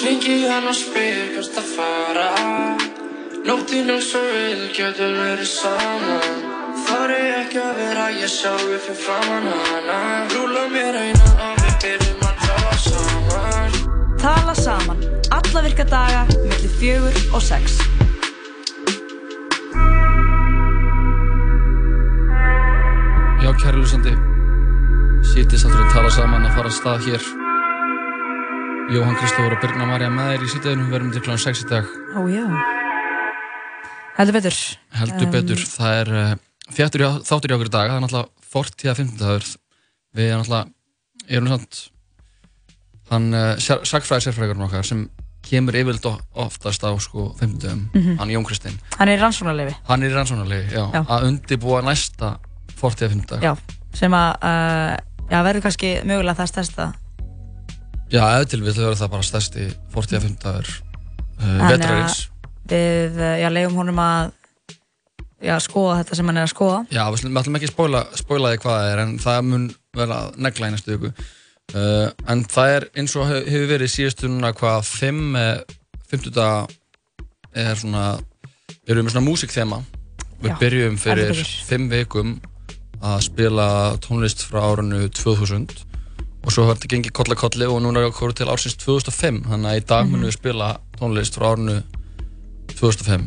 Hringi í hann og spyr hvert að fara Nóttin eins og við getum verið saman Þar er ekki að vera ég sjálfi fyrir framan hana Rúla mér einan og við byrjum að tala saman Tala saman. Alla virka daga, milli fjögur og sex. Já, kæri lusandi Sýttist aftur að tala saman að fara af stað hér Jóhann Kristófur og Birna Marja með þér í sýttiðinu Við verðum til kl. 6 í dag Ó já. Heldur betur. Um, Heldur Ehm. betur, það er uh, þjáttur, hjá- þáttur í okkur í dag Það er náttúrulega fortíða 15 dagur Við erum náttúrulega erum samt Hann uh, sagfræði sérfræðigurinn okkar sem kemur yfirleitt o- oftast á sko 15 dagum Hann Jón Kristinn Mhm. Hann er í rannsóknarlefi. Hann er í rannsónarlegi, já, Já. Að undibúa næsta fortíða 15 dag Já. Sem að, uh, já, verður kannski mögulega það stærsta. Já, eða til við verður það bara stærsti 45 dagur uh, Þannig að- vetrarins. Við, uh, já, leiðum honum að, já, skoða þetta sem hann er að skoða. Já, við slum- við ætlum ekki að spóla, spóla því hvað það er en það mun vera að negla í næstu viku. Uh, en það er eins og hef- hefur verið síðustu núna hvað 5, 50 daga er svona, erum við með svona músikþema. Við Já, byrjum fyrir heldur betur. 5 vikum að spila tónlist frá árunnu 2000 og svo höfum þetta gengið koll að kolli og núna er okkur til ársins 2005 þannig að í Mhm. dag munum við spila tónlist frá árunnu 2005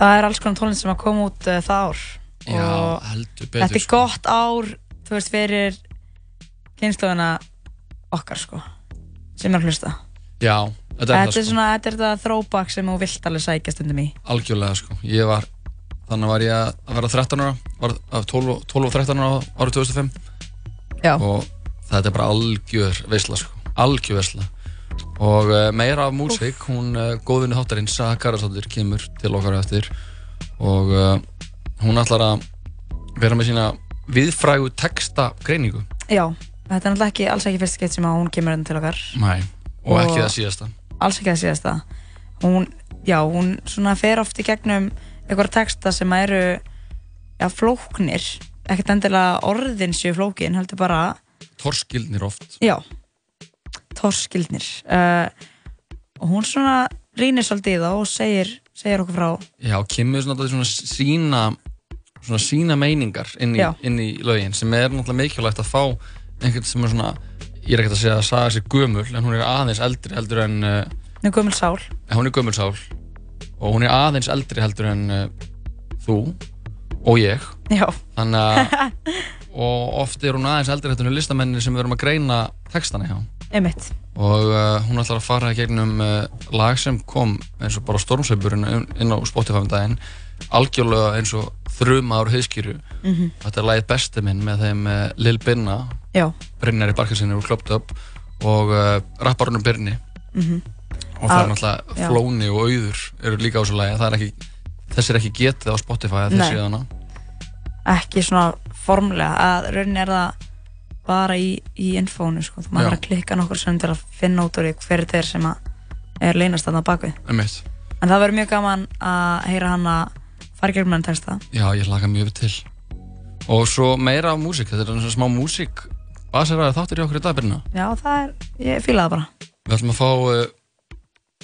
Það er alls konar tónlist sem að koma út uh, það ár. Já, Og heldur betur þetta er sko. gott ár, þú veist, fyrir kynnslóðina okkar, sko. Sem er að hlusta. Já, þetta er Þetta það er sko, svona, þetta er þetta throwback sem þú vilt alveg sækja stundum í. algjörlega sko Ég var, þannig var ég að- að vera 13 ára var af 12, og- 12 og 13 ára árið 2005 Já. og þetta er bara algjör veisla sko, algjör veisla og uh, meira af músík, hún uh, góðvinni þáttarinn Saga Karasáttir kemur til okkar á eftir og uh, hún ætlar að vera með sína viðfrægu texta greiningu Já, þetta er náttúrulega ekki, alls ekki fyrst skeitt sem að hún kemur enn til okkar Nei, og ekki Og- það síðasta alls ekki að síðast það hún, já, hún svona fer oft í gegnum einhverja texta sem að eru já, flóknir ekkert endilega orðin séu flókin heldur bara, Torskildnir oft já torskildnir uh, og hún svona rýnir svolítið í það og segir, segir okkur frá Já, kemur svona, dálítið svona sína svona sína meiningar inn í, Já. inn í lögin sem er náttúrulega mikilvægt að fá einhvern sem er svona, ég er ekkert að segja að saga sér gömul, en hún er aðeins eldri heldur en, uh, nú gömul sál hún er gömulsál og hún er aðeins eldri heldur en uh, þú og ég já, þannig að og oft er hún aðeins eldri heldur en listamennin sem við erum að greina textana hjá einmitt og uh, hún ætlar að fara í gegnum uh, lag sem kom eins og bara stormsveipurinn inn inn á Spotify um daginn algjörlega eins og þruma ár hauskýru þetta er lagið besti minn með þeim uh, Lil Binna Mhm. já, Brynjar í barkarsinni úr Klopped Up og uh, rapparunum Birni og það Al- er náttúrulega Mhm. Ah, já. Flóni og Auður eru líka á þessu lagi það er ekki, þess er ekki getið á Spotify að Nei. þessi hana ekki svona formlega að raunin er það bara í, í infónu sko. þú Já. maður þarf að klikka nokkur sem til að finna út úr því hver þetta er sem að er leynast þarna á bakvið Einmitt. en það verður mjög gaman að heyra hann að fara í gegnum hann texta Já, ég laka mjög til og svo meira af músík þetta er eins og smá músík baseraði þáttir í okkur í dag Birna já það er, ég fíla það bara Við ætlum að fá uh,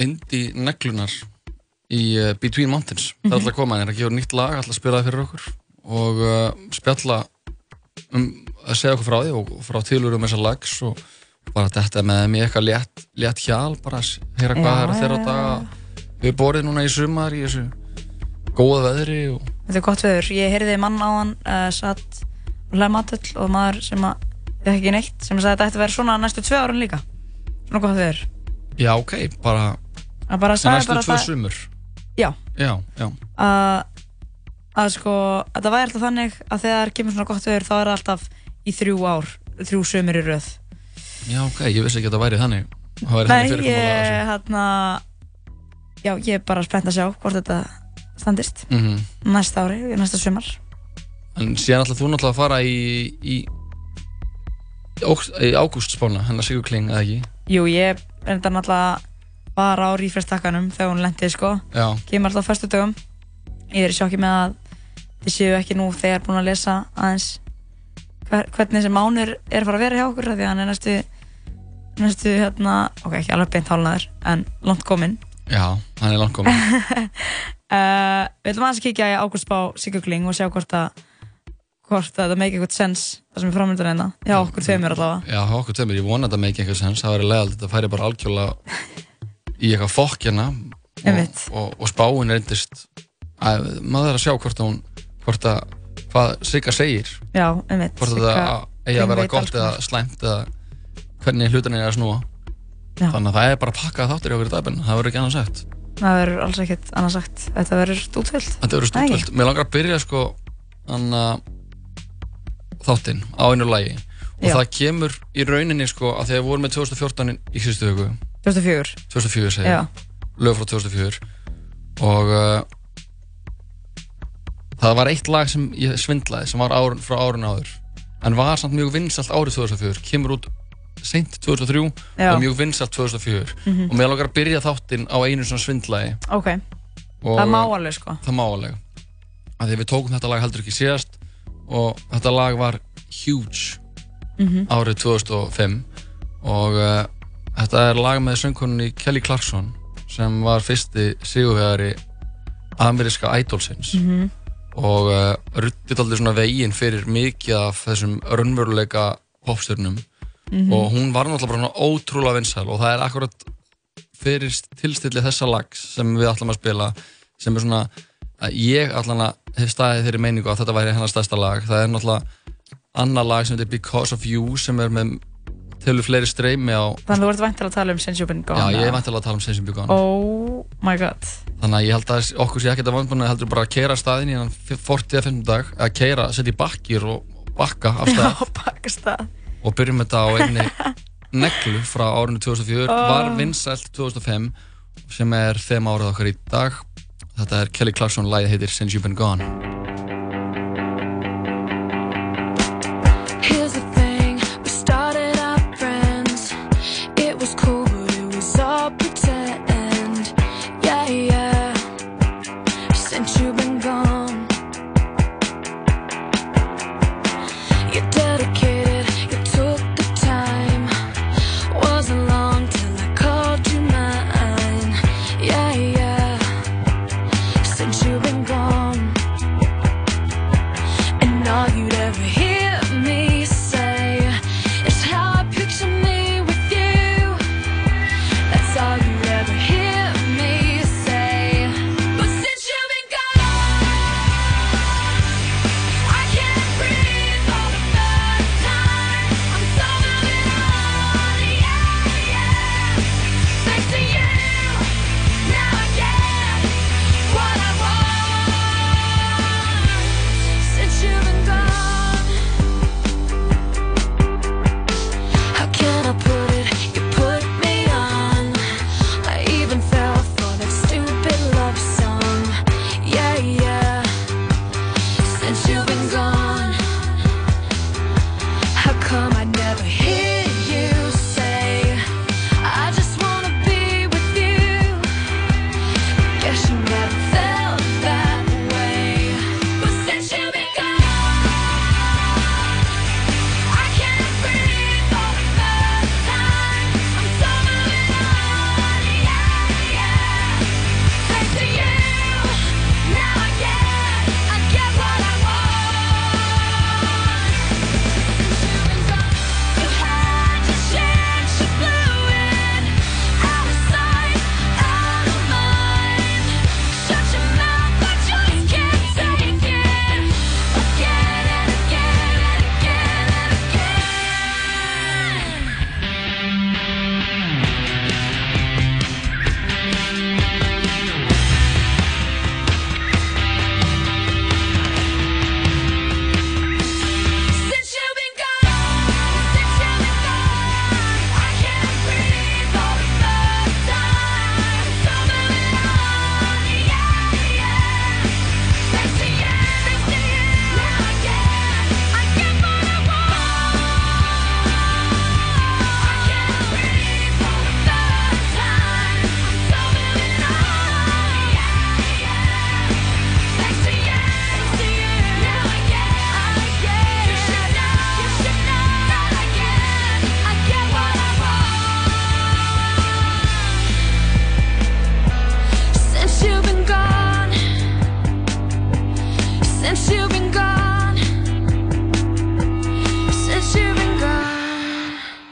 Indi neglunar í uh, Between Mountains. Það er alltaf að koma, það er að gefa nýtt lag, alltaf að spila það fyrir okkur og uh, spjalla um að segja okkur frá því og og frá tilurum þessar lags og bara þetta með mér eitthvað létt, létt hjal, bara að heyra hvað Já, það er að þeirra já, já, daga. Við borðið núna í sumar í þessu góða veðri og þetta er gott veður, ég heyrði mann á hann uh, satt og hlæði matöll og maður sem að, ég ekki neitt sem sagði að þetta ætti að vera svona næstu tvö árun líka svona gott veður já, ok, bara að bara sagði næstu bara tvö það- sumur. já, Já, já, að að sko, að það væri alltaf þannig að þegar kemur svona gott veður þá er það alltaf í þrjú ár, þrjú sömur í röð já, ok, ég vissi ekki að það væri þannig. Það væri Nei, þannig sko. fyrir komalega þessu. ég hérna já, ég er bara spennt að sjá hvort þetta standist Mhm. næsta ári, næsta sömar En síðan ætlaði þú náttúrulega að fara í, í, óg- í ágústspána, hennar Sigur Kling, eða ekki? Jú, ég er þetta náttúrulega bara á rífrestakkanum þegar hún lendi sko, Já, kemur alltaf á föstu dögum ég er í sjokki með að þið séu ekki nú þegar búin að lesa aðeins hver, hvernig þessi mánur er að fara að vera hjá okkur af því að hann er næstu næstu hérna, ok, ekki alveg beint hálnaður en langt kominn Já, hann er langt komin uh, Við ætlum aðeins að kíkja í Ágúst Bá Sigurkling og sjá hvort að hvort að það make eitthvað sense það sem er framöndan einna, já okkur tveimur allavega Já, hjá okkur tveimur, ég vona að þetta make eitthvað sens það væri leiðald, þetta færi bara algjörlega í eitthvað fokkjana og, Einmitt. og, og spáin reyndist að maður er að sjá hvort að hún hvort að hvað Sigga segir já, einmitt hvort að Sigga þetta eigi Kling að vera veit alls gott eða konar. slæmt eða hvernig hlutin er að snúa Já. þannig að það er bara að pakka þáttur hjá okkur í dagbinn það verður ekki annað sagt það verður alls ekkert annað sagt þetta verður útvöld Þetta verður stútvöld. Mér langar að byrja sko anna, þáttinn á einu lagi og Já. það kemur í rauninni sko að þegar við vorum með 2014 í síðustu hugu 2004, 2004 segir, já, ég, lög frá 2004 og uh, það var eitt lag sem ég svindlaði sem var árun, frá árun áður en var samt mjög vinsalt árið 2004 kemur út seint 2003 já, Mhm. og mjög vinsalt 2004 og mér langar að byrja þáttinn á einu svona svindlagi ok og, það má alveg sko það má alveg að því við tókum þetta lag heldur ekki síðast og þetta lag var huge Mhm. árið 2005 og uh, þetta er lag með söngkonunni Kelly Clarkson sem var fyrsti sigurvegari ameríska idolsins Mhm. og uh, ruttið aldrei svona veginn fyrir mikið af þessum raunveruleika popstjörnum og hún var náttúrulega bara svona ótrúlega vinsæl og það er akkurat fyrir tilstilli þessa lags sem við ætlum að spila sem er svona að ég allan að hef staðið þeirri meiningu að þetta væri hennar stærsta lag það er náttúrulega annað lag sem heitir Because of You sem er með tölur fleiri streymi á þannig þú ert væntar að tala um Sense You've Been Gone já ég er eða? vantilega að tala um Sensin Byggon oh my god þannig að ég held að okkur sé ekkert að vandbúna heldur bara að keira staðin í hann 40 að 50 dag að keira, setja í bakkir og bakka af já, stað Pakistan og byrjum þetta á einni neglu frá árinu 2004 var vinsælt 2005 sem er þeim árið okkar í dag þetta er Kelly Clarkson lagið heitir Since You've Been Gone Here's the thing, we started out friends. It was cool, but it was all pretend. Yeah, yeah. Since you've been gone, you dedicated, you took the time. Wasn't long till I called you mine. Yeah, yeah. Since you've been gone.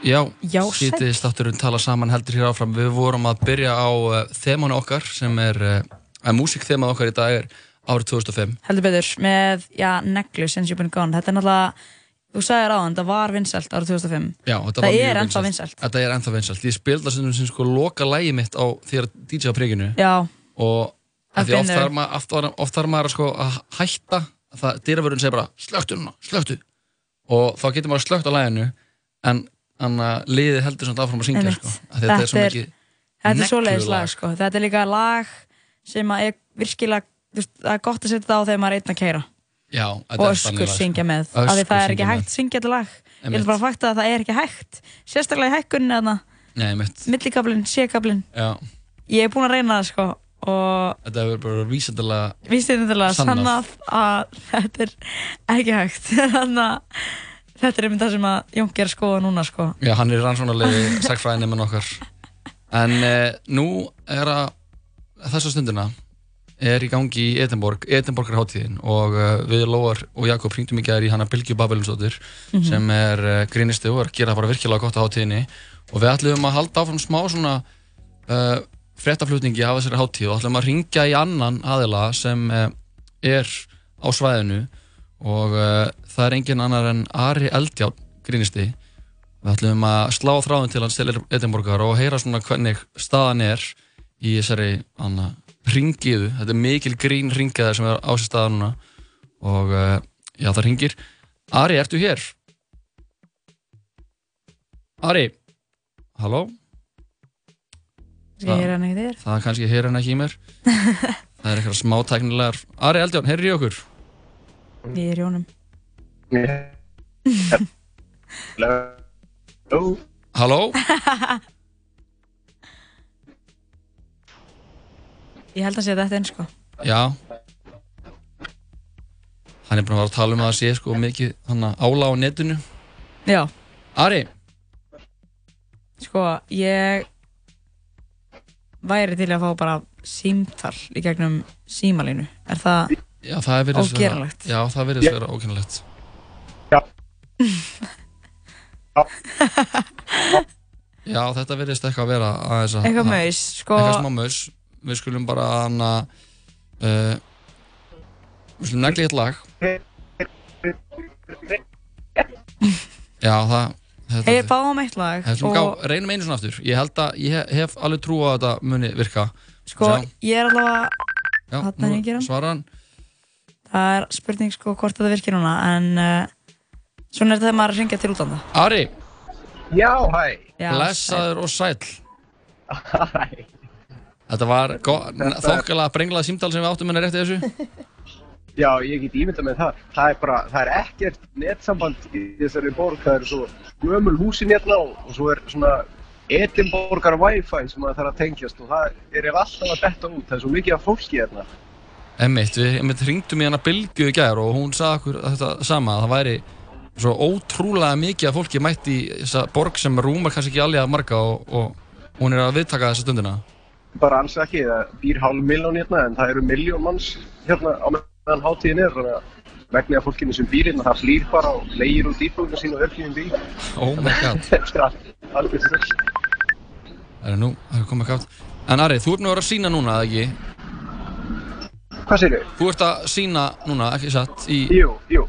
Já, Já, sæll. sítið státturinn tala saman heldur hér áfram. Við vorum að byrja á uh, þemanu okkar sem er, uh, að músikþemað okkar í dag er árið 2005. heldur betur, með, já, neglu Since You've Been Gone, þetta er náttúrulega þú sagðir á það var vinsælt árið 2005 Já, þetta Það var mjög er ennþá vinsælt. Þetta er ennþá vinsælt. Ég spilða sem, sem sko loka lægi mitt á þegar DJ á prikinu já, og af Að því oft finnur. þarf maður, oft, var- oft þarf maður að sko að hætta það dýravörun segir bara slöktu núna, slöktu og þá getur maður slökt á læginu en, en uh, liðið heldur samt áfram að syngja Einmitt. sko. Af því þetta er svo Þetta er- mikið þetta er svoleiðis neglulag. lag sko. þetta er líka lag sem að er virkilega, þú veist, það er gott að setja það á þegar maður er einn að keira Já, þetta er og þannig öskur lag, sko. syngja með Öskur af því það er syngja ekki með. hægt að syngja þetta lag ég Einmitt. vil bara fakta að það er ekki hægt sérstaklega í hækkunni þarna, Nei, mitt, millikablin, sékablin já, ég er búin að reyna það sko og þetta er bara vísindalega víst er þetta Sannað. sannað að þetta er ekki hægt þannig að þetta er einmitt það sem að Jónki er að skoða núna sko Já, hann er rannsónarlegi sagfræðinni með nokkar En eh, nú er að þessa stundina er í gangi í Edinborg, Edinborgar hátíðin og uh, við Lóar og Jakob hringdum í gæðir í hana Bilgju Babelinsdóttir sem er uh, grínistu og er að gera bara virkilega gott á hátíðinni og við ætlum að halda áfram smá svona uh, fréttaflutningi af þessari hátíð og ætlum að ringja í annan aðila sem uh, er á svæðinu og uh, það er engin annar en Ari Eldjárn grínisti Við ætlum að slá þráðin til hans til Edinborgar og heyra svona hvernig staðan er í þessari hana, ringiðu. Þetta er mikil grín ringiða sem er á sér staða núna og uh, já, það ringir. Ari, ertu hér? Ari, halló? ég er hann ekki þér Það er kannski heyra hann ekki í mér. Það er eitthvað smá teknilegar. Ari Eldjón, heyri í okkur. ég er Jónum Hello. Halló? ég held að sé þetta einn sko Já. Hann er búin að vera að tala um að það sé sko mikið hana, ála á netinu. já Ari, Sko, ég væri til að fá bara símtal í gegnum símalínu. Er það, Já, það er verið Ógerlegt. Já, það er verið að vera ógerlegt Já. Já. Já, þetta verðist eitthvað að vera aðeins að eitthvað að- maus, sko, Eitthvað smá maus Við skulum bara hana uh, Við skulum negli eitt lag Já, það þetta- ég báum eitt lag Þetta skulum og gá, reynum einu svona aftur Ég held að, ég hef- hef alveg trú á að þetta muni virka sko, sjá. ég er allavega, Já, Þarna nú hringir hann. svarar hann það er spurning sko hvort þetta virkir núna, en uh, svona er þetta þegar maður er að ringja til útlanda. Ari, Já, hæ. Já, blessaður og sæll Hæ. Þetta var þokkala brenglað símtal sem við áttum henni rétt í þessu Já, ég get ímyndað með það. Það er bara, það er ekkert netsamband í þessari borg. Það eru svo gömul húsin hérna og, og svo er svona Edinborgar Wi-Fi sem maður þarf að tengjast og það er ef alltaf að detta út. Það er svo mikið af fólki hérna. Emmitt, við emmitt hringdum í hana Bilgju í gær og hún sagði okkur þetta sama að það væri svo ótrúlega mikið að fólki mætt í þessa borg sem rúmar kannski ekki alveg að marga og, og hún er að viðtaka þessa stundina Bara alls ekki, það býr hálf miljón hérna en það eru miljón manns hérna á meðan hátíðin er. Þannig að vegna að fólkinu sem býr hérna það flýr bara og leigir út íbúðinu sín og örfjum bíl. Oh my god, Þetta er allt- algjört full. það er nú, það er komið kátt En Ari, þú ert nú að vera að sína núna, eða ekki? Hvað segir þau? Þú ert að sína núna, ekki satt, í Jú, jú.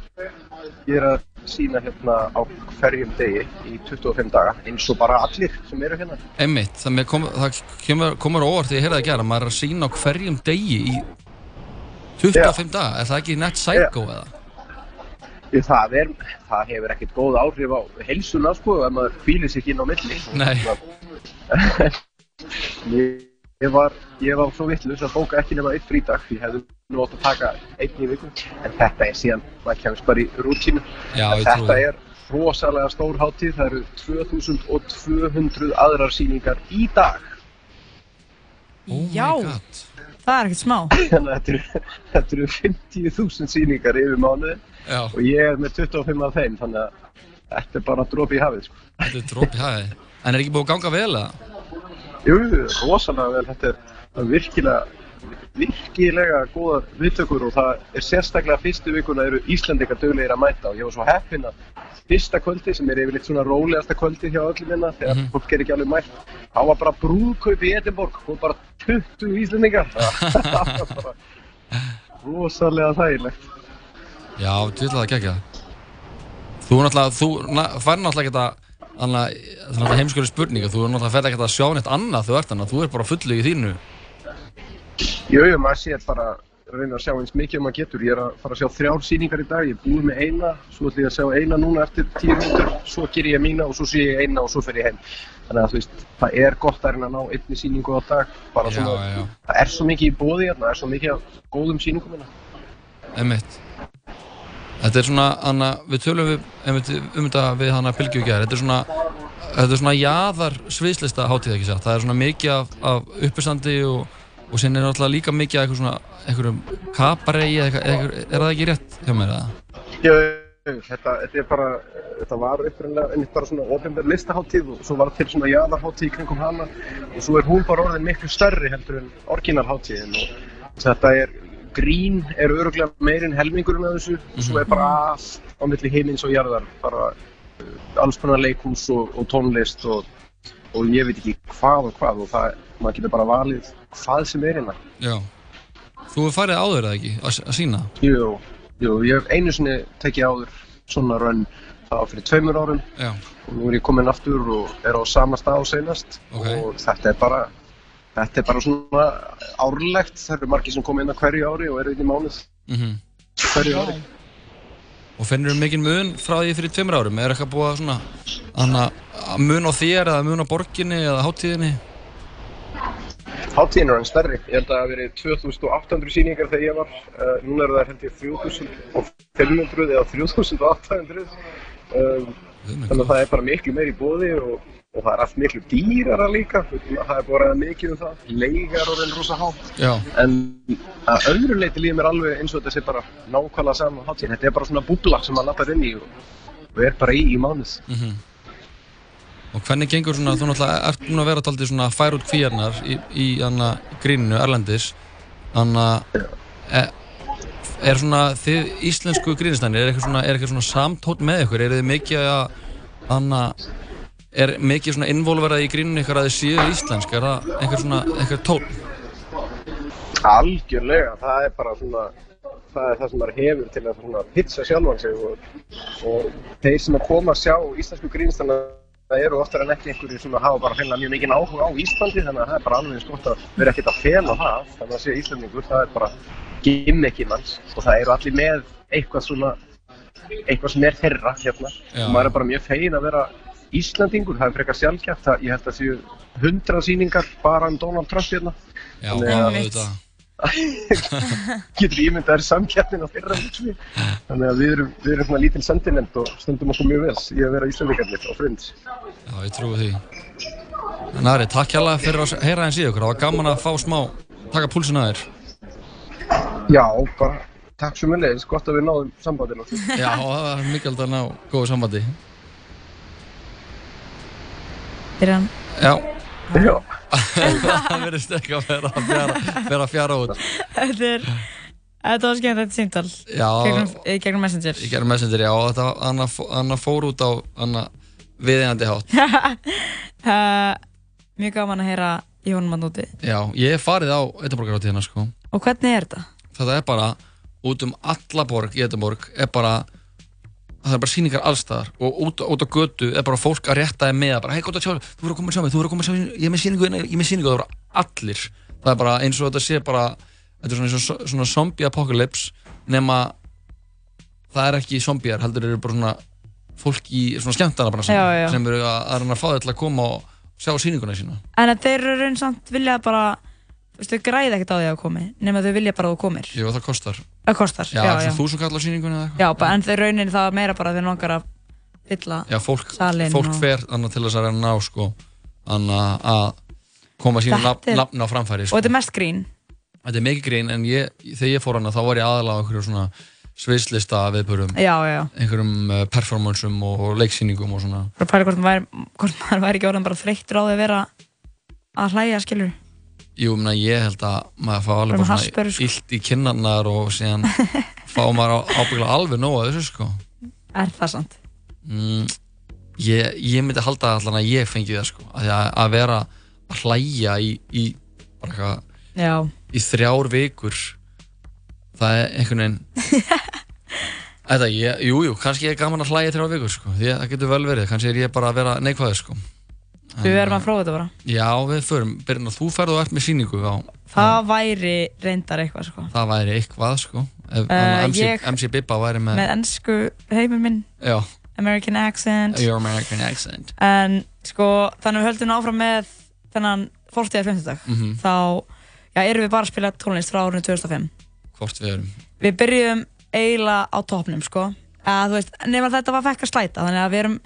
Ég er að sína hérna á hverjum degi í 25 daga eins og bara allir sem eru hérna. Emmitt, það, mér kom, það kemur, komur á óvart þegar ég heyrði það í gær að gera, maður er að sína á hverjum degi í 25 daga, er það ekki nett psycho eða? Því Það, er, það hefur ekkert góð áhrif á heilsuna sko ef maður hvílir sér ekki inn á milli. Nei. ég, ég, var, ég var svo vittlust að bóka ekki nema eitt frídag. Ég hefði nú átt að taka einn í viku. En þetta er síðan, maður kemst bara í rútínu. Já, En ég trúi þetta því. er rosalega stór hátíð. Það eru 2200 aðrar síningar í dag. Oh my Já. god. Það er ekkert smá. þannig að þetta eru- þetta eru 50.000 sýningar yfir mánuði Já, og ég er með 25 af þeim þannig að þetta er bara dropi í hafið sko. þetta er dropi hæði. En er ekki búið að ganga vel eða? Jú, jú, rosalega vel, þetta er það er virkilega virkilega góðar viðtökur og það er sérstaklega fyrstu vikuna eru Íslandingar döglegir að mæta og ég var svo heppinn að fyrsta kvöldi sem er yfirleitt svona rólegasta kvöldi hjá öllum hérna þegar fólk er ekki alveg mætt þá var bara brúðkaup í Edinborg og bara 20 Íslandingar það var bara rosalega þægilegt Já, djúðlega það gegja Þú náttúrulega, þú na, fær náttúrulega ekki að Þannig að það er náttúrulega heimskjölu spurninga, þú er náttúrulega ferð ekki að sjá neitt annað þú ert þannig að þú er bara fullu í þínu. Jú, jú, maður sé bara að reyna að sjá eins mikið og maður getur. Ég er að fara að sjá þrjár sýningar í dag, ég er búið með eina, svo ætlum ég að sjá eina núna eftir tíu mínútur, svo ger ég mína og svo sé ég eina og svo fer ég heim. Þannig að þú veist, það er gott að reyna að ná einni sýningu á dag, bara Já, svona, já, já. það er svo mikið í bóði hérna, það er svo mikið af góðum sýningum hérna. Einmitt. Þetta er svona, hana, við tölum við, einmitt, um þetta við hana Pilgju í gær, þetta er svona, þetta er svona jaðar sviðslista hátíð ekki satt, það er svona mikið af, af uppistandi og, og sinni er náttúrulega líka mikið af eitthvað svona, einhverjum kabarei eða eitthvað, eitthvað, er það ekki rétt hjá mér það? Jú, jú, jú, þetta, þetta er bara, eh, þetta var upprinnilega einmitt bara svona ofinverð listaháttíð og svo var til svona jaðarháttíð í kringum hana og svo er hún bara orðin miklu stærri heldur en orginalháttíðin og þetta er, grín er öruglega meirinn helmingurinn af þessu og svo er bara allt á milli heimins og jarðar, bara eh, alls konar leikhús og, og tónlist og, og ég veit ekki hvað og hvað og það, maður getur bara valið hvað sem er hérna. Já. Þú hefur farið áður eða ekki, að, að sína? Jú, jú, ég hef einu sinni tekið áður svona rönn það var fyrir tveimur árum Já. og nú er ég kominn aftur og er á sama stað og seinast Ok. og þetta er bara þetta er bara svona árlegt það eru margir sem koma inn á hverju ári og eru inn í mánuð Mm hverju ári Og finnur þú mikinn mun frá því fyrir tveimur árum? Er eitthvað búið að svona, hana, að mun á þér eða mun á borginni eða hátíðinni? Hátíðin er hann stærri ég held að það hafi verið 2800 sýningar þegar ég var uh, núna eru það held ég 3500 eða 3800 um, Guð minn þannig góður. að það er bara miklu meiri í bóði og, og það er allt miklu dýrara líka það er bara mikið um það leigar og enn rosa hátt Já. En að öðru leiti líður mér alveg eins og þetta sé bara nákvæmlega saman hátíðin. Þetta er bara svona búbla sem maður lappar inn í og, og er bara í í mánuð. Og hvernig gengur svona, þú náttúrulega ert núna að vera taldið svona að færa út kvíarnar í, í hana, gríninu Erlendis Þannig að e, er svona þið íslensku grínistænir, er eitthvað svona, er eitthvað svona samtótt með ykkur? Er þið mikið að, hana, er mikið svona involverað í gríninu ykkur að þið séu íslensk? Er það eitthvað svona, eitthvað tótt? Algjörlega, það er bara svona, það er það sem maður hefur til að svona pitcha sjálfan sig og, og þeir sem að koma að sjá íslensku grínstana það eru oftar en ekki einhverju sem hafa bara hreinlega mjög mikinn áhuga á Íslandi þannig að það er bara alveg eins gott að vera ekkert að fela það þannig að sé Íslandingur, það er bara gimmikinn hans og það eru allir með eitthvað svona, eitthvað sem er þeirra hérna Já. og maður er bara mjög fegin að vera Íslandingur, það er frekar sjálfgæft, það- ég held að séu hundra sýningar bara um Donald Trump hérna Já, Nei, já, einmitt. auðvitað. getur ímyndað þér samkjarnin á þeirra hugsi. Þannig að við erum, við erum svona lítil sendinend og stöndum okkur mjög vel í að vera Íslandingarnir á frund. Já, ég trúi því En Ari, takk hérlega fyrir að heyra eins í ykkur Það var gaman að fá smá, taka púlsina þér Já, bara takk svo mjög leiðis, gott að við náðum sambandinu. Já, það var mikilvægt að ná góðu sambandi fyrir hann Já, Já, Það verðist ekki að vera að fjara, vera að fjara út Þetta er Þetta var skemmt þetta símtal Já, gegnum, eh, gegnum Messenger ég gerði messenger já, og þetta hann að fó- hann að fór út á hann að viðeigandi hátt uh, Mjög gaman að heyra í honum að núti Já, ég hef farið á Edinborgarhátíðina sko Og hvernig er þetta? Þetta er bara út um alla borg í Edinborg er bara það er bara sýningar allstaðar og út, út á götu er bara fólk að rétta þeim með að bara, hei, gott að sjá, þig, þú verður að koma að sjá mig, þú verður að koma að sjá mig, ég er með sýningu, hérna, ég er með sýningu, það eru allir það er bara eins og þetta sé bara þetta er svona, eins og, svona zombie apocalypse nema það er ekki zombiear, heldur eru bara svona fólk í svona skemmtana bara sem, Já, já. sem eru að, að reyna að fá þetta til að koma og sjá sýninguna sína En að þeir eru raun samt vilja bara Þú veist, þau græði ekkert á því að komi Nefn að þau vilja bara að þú komir Jú, það kostar, Það kostar, já, já, já, já, þú sem kallar sýninguna eða eitthvað já bara, En þau raunin það meira bara að þau langar að fylla Já, fólk, Salinn fólk og- fer annað til þess að reyna að ná sko, annað að koma sínu Þetta nafn, er- nafn á framfæri Og sko. þetta er mest grín Þetta er mikið grín en ég, þegar ég fór hana þá var ég aðalega á einhverjum svona sviðslista viðbörum Já, já, já einhverjum eh, performansum og og leiksýningum og svona Bara pæla hvort maður, væri- hvort maður væri ekki orðan bara þreyttur á því að vera að hlæja, skilur Jú, menna, ég held að maður fá alveg Bara með bara hasperu, svona sko. illt í kinnarnar og síðan fá maður ábyggla alveg nóg að þessu sko. Er það sant? Mm, ég, ég myndi halda allan að ég fengi það sko. Af því Að, að vera að hlæja í, í, bara eitthvað, Já, í þrjár vikur, það er einhvern veginn... Þetta, ég, jú, jú, kannski er gaman að hlæja í þrjár vikur sko. Því að það getur vel verið, kannski er ég bara að vera neikvæður sko. við verðum að prófa þetta bara Já, við förum, byrjum að þú ferð og ert með síningu á... Það væri reyndar eitthvað sko Það væri eitthvað sko ef, Eh, MC, ég- MC Bibba væri með, Með ennsku heimur minn, Já, American accent Your American Accent En sko, þannig við höldum áfram með þennan 40. að 50. dag Mhm. Þá, já, erum við bara að spila tónlist frá árinu 2005 Hvort við erum Við byrjum eiginlega á topnum sko að, Þú veist, nema þetta var fekk að slæta Þannig að við erum,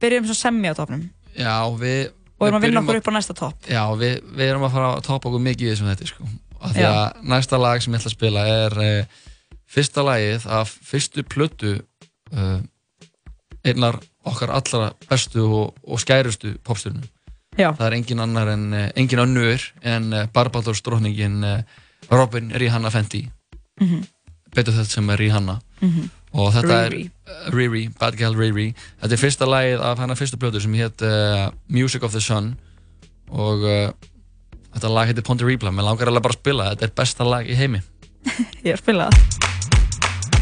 byrjum svo semmi á topnum Já, við Og erum að vinna byrjum okkur upp á næsta top Já, við, við erum að fara að topa okkur mikið í þessum þetta sko Af Því Já. að næsta lag sem ég ætla að spila er eh, fyrsta lagið af fyrstu plötu eh, einnar okkar allra bestu og, og skærustu popstjörnum Já, Það er engin annar en, eh, engin önnur en eh, Barbados drókningin Robin Rihanna Fenty Mhm. betur þetta sem er Rihanna og þetta Riri. er Riri, Bad Girl Riri þetta er fyrsta lagið af hennar fyrstu plötu sem hétt uh, Music of the Sun og uh, þetta lag heitir Ponte Replay, mér langar alveg bara að spila það. þetta er besta lag í heimi ég er að spila það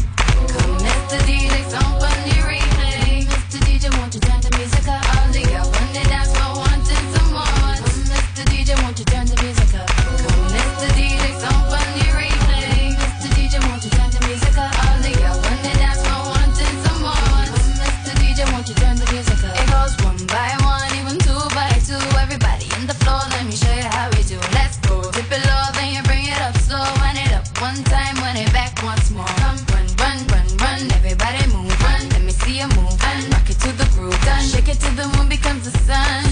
Mr. DJ, somebody replay. Mr. DJ, won't you turn the music up? All the girls on the dance floor wanting some more. Come, Mr. DJ, won't you turn the music up? Come, Mr. DJ, somebody replay. Mr. DJ, won't you turn the music up? All the girls on the dance floor wanting some more. Come, Mr. DJ, won't you turn the music up? It goes one by one, even two by two. Everybody in the floor, let me show you how we do. Let's go. Dip it low, then you bring it up slow. Run it up one time, run it back once more. Come, run, run, run, run. Everybody move, run. Let me see you move. Run. Rock it to the groove. Done. Shake it till the moon becomes the sun.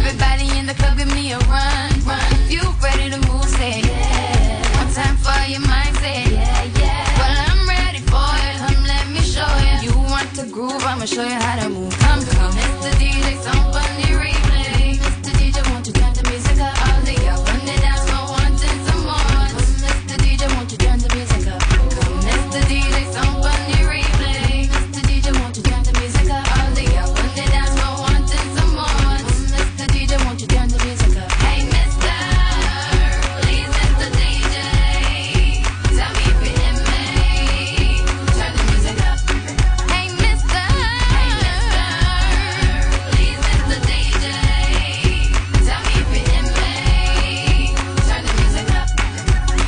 Everybody in the club, give me a run, run. If you ready to move, say yeah. One time for your mind, say yeah, yeah. Well, I'm ready for it. Come, let me show you. You want to groove? I'ma show you how to move. Come, come. Mr. DJ, somebody replay. Mr. DJ, won't you turn the music up? All the y'all run it down, so wanting some more. Come, Mr. DJ, won't you turn the music up? Come, Mr. DJ, somebody replay. Mr. DJ, won't you turn the music up? All the y'all run it down, so wanting some more. Come, Mr. DJ, won't you turn the music up? Hey, Mr. Please, Mr. DJ, tell me if you hear me. Turn the music up. Hey, Mister. Hey, Mister. Please, Mr. DJ, tell me if you hear me. Turn the music up.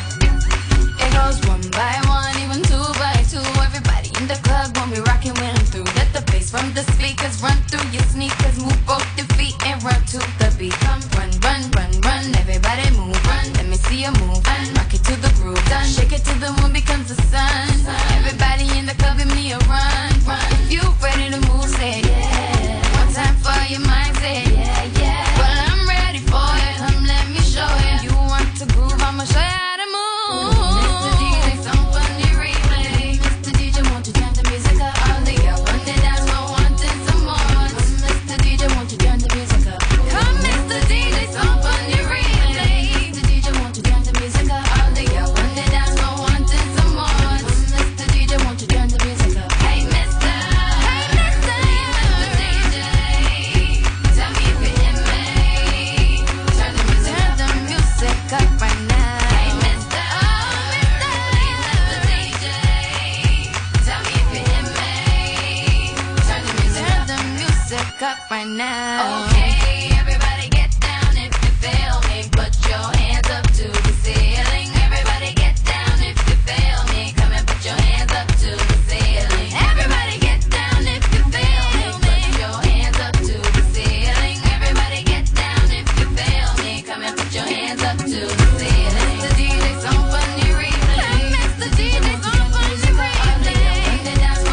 It goes one by one, even two by two. Everybody in the club when we rockin' when I'm through. Let the bass from the speakers run through your sneakers. Move both your feet and run to the beat. Come run, run, run, run. Everybody move, run. Let me see you move. Run. Rock it to the groove. Done. Shake it till the moon becomes the sun. Everybody in the club give me a run, run. If you ready to move, say yeah. One time for your mind, say yeah, yeah. Well, I'm ready for it. Come, let me show you. You want to groove? I'ma show you how to move. Mr. DJ, somebody replay. Mr. DJ, won't you turn the music up? All the girls on the dance floor wanting some more. Come, Mr. DJ, won't you turn the music up? Come, Mr. DJ, somebody replay. Mr. DJ, won't you turn the music up? All the girls on the dance floor wanting some more. Come, Mr. DJ, won't you turn the music up? Hey, Mr. Hey, Mr. DJ, tell me if you hear me. Turn the music up. Turn the music up right now. Hey, Mr. Oh, Mr. Mr. DJ, tell me if you hear me. Turn the music up. Turn the music up right now. Okay, everybody get down if you feel me. Put your hands up to the ceiling. Everybody get down if you feel me. Come and put your hands up to the ceiling. Everybody get down if you feel me. Put your hands up to the ceiling. Everybody get down if you feel me. Come and put your hands up to the ceiling. Mr. DJ, some funny replay. Mr. DJ, some funny replay. Mr. DJ, some funny replay. Mr. DJ,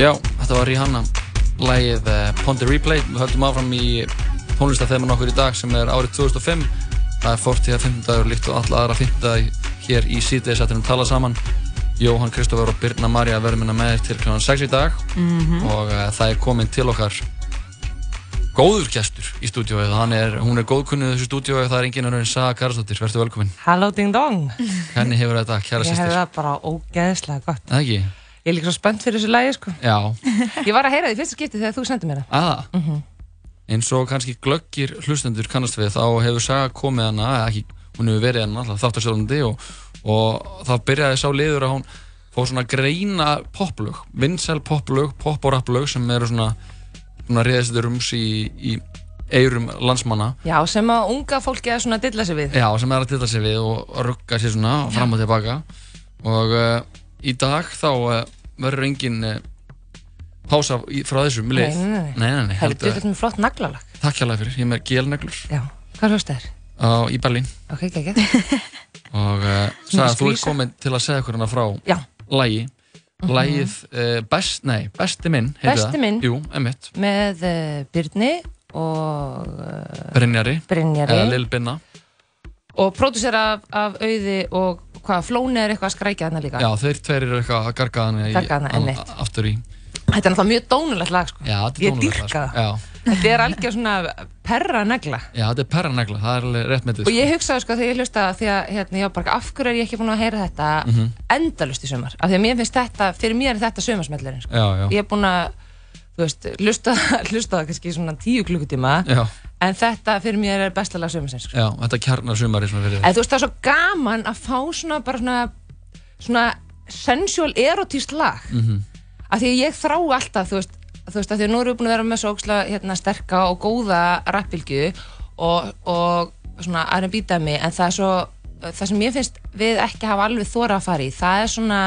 Já, þetta var Rihanna Lægið Ponte Replay Við höldum áfram í tónlistatheman okkur í dag sem er árið 2005 Það er 40. 5. dagur líkt og alla aðra 5. dag hér í síðdeis að þeirnum tala saman Jóhann Kristoffer og Birna Marja verðum hérna með þér til kl. 6 í dag Mhm. og uh, það er komin til okkar góður gestur í stúdíóið Hann er, hún er góðkunnið þessu stúdíóið það er enginn önnur en Saga Karasdóttir, verður velkomin Halló ding dong Henni hefur þetta kæra Ég hefði sýstir það bara ógeðslega gott Það ekki? Ég er líka svo spennt fyrir þessu lægi sko Já, Ég var að heyra því fyrsta skipti þegar þú sendið mér það aða Ah. Mhm. eins og kannski glöggir hlustendur kannast við þá hefur Saga komið hana eða ekki, hún hefur verið hana alltaf þáttarstjórnandi og, og þá byrjaði sá liður að hún fór svona að greina poplög, vinsæl poplög pop og rapplög sem eru svona svona reyðistur rums í, í eyrum landsmanna Já, sem að unga fólki að svona dilla sig við Já, sem er að dilla sig við og rugga sér svona fram og tilbaka og uh, í dag þá uh, verður engin uh, pása í- frá þessum lið Nei, nei, nei. nei, nei, nei Það er heldur, dillast með flott naglalag Takk hjá fyrir, ég er með gélneglur Já, hvað hlust þér? á, í Berlín Ok, ekki, og uh, sagði að þú ert skvísa. komin til að segja okkur hana frá Já, Mhm. lægi Lægið uh, best, nei, besti minn heitir Besti það. minn. Jú, emitt, með uh, Byrni og uh, Brynjari eða Brynjari Lil Binna Og pródúsir af, af auði og hvað, Flóni er eitthvað að skrækja þarna líka Já, þeir tveir eru eitthvað að garga hann í- Garga hana, hann einmitt. aftur í Þetta er náttúrulega mjög dónulegt lag sko Já, þetta er Ég tónlega dýrka það. Já, Þetta er algjör svona perra nagla Já, þetta er perranagla, það er alveg rétt með Og þetta ég hugsaði sko þegar ég hlusta því að hérna, já, bara, af hverju er ég ekki búin að heyra þetta Mhm. endalust í sumar af því að mér finnst þetta, fyrir mér er þetta sumarsmellurinn sko. Já, já, ég er búin að, þú veist, hlusta hlusta það kannski í svona tíu klukkutíma já, en þetta fyrir mér er besta lag sumarsins sko. já, þetta kjarnar sumari sem er fyrir en þú veist það er svo gaman að fá svona bara svona, svona sensual erotískt lag af því að ég þrá alltaf þú veist, þú veist, af því að nú erum við búin að vera með svo óksla hérna, sterka og góða rappbylgju og, og svona R&B dæmi en það er svo, það sem ég finnst við ekki hafa alveg þóra að fara í það er svona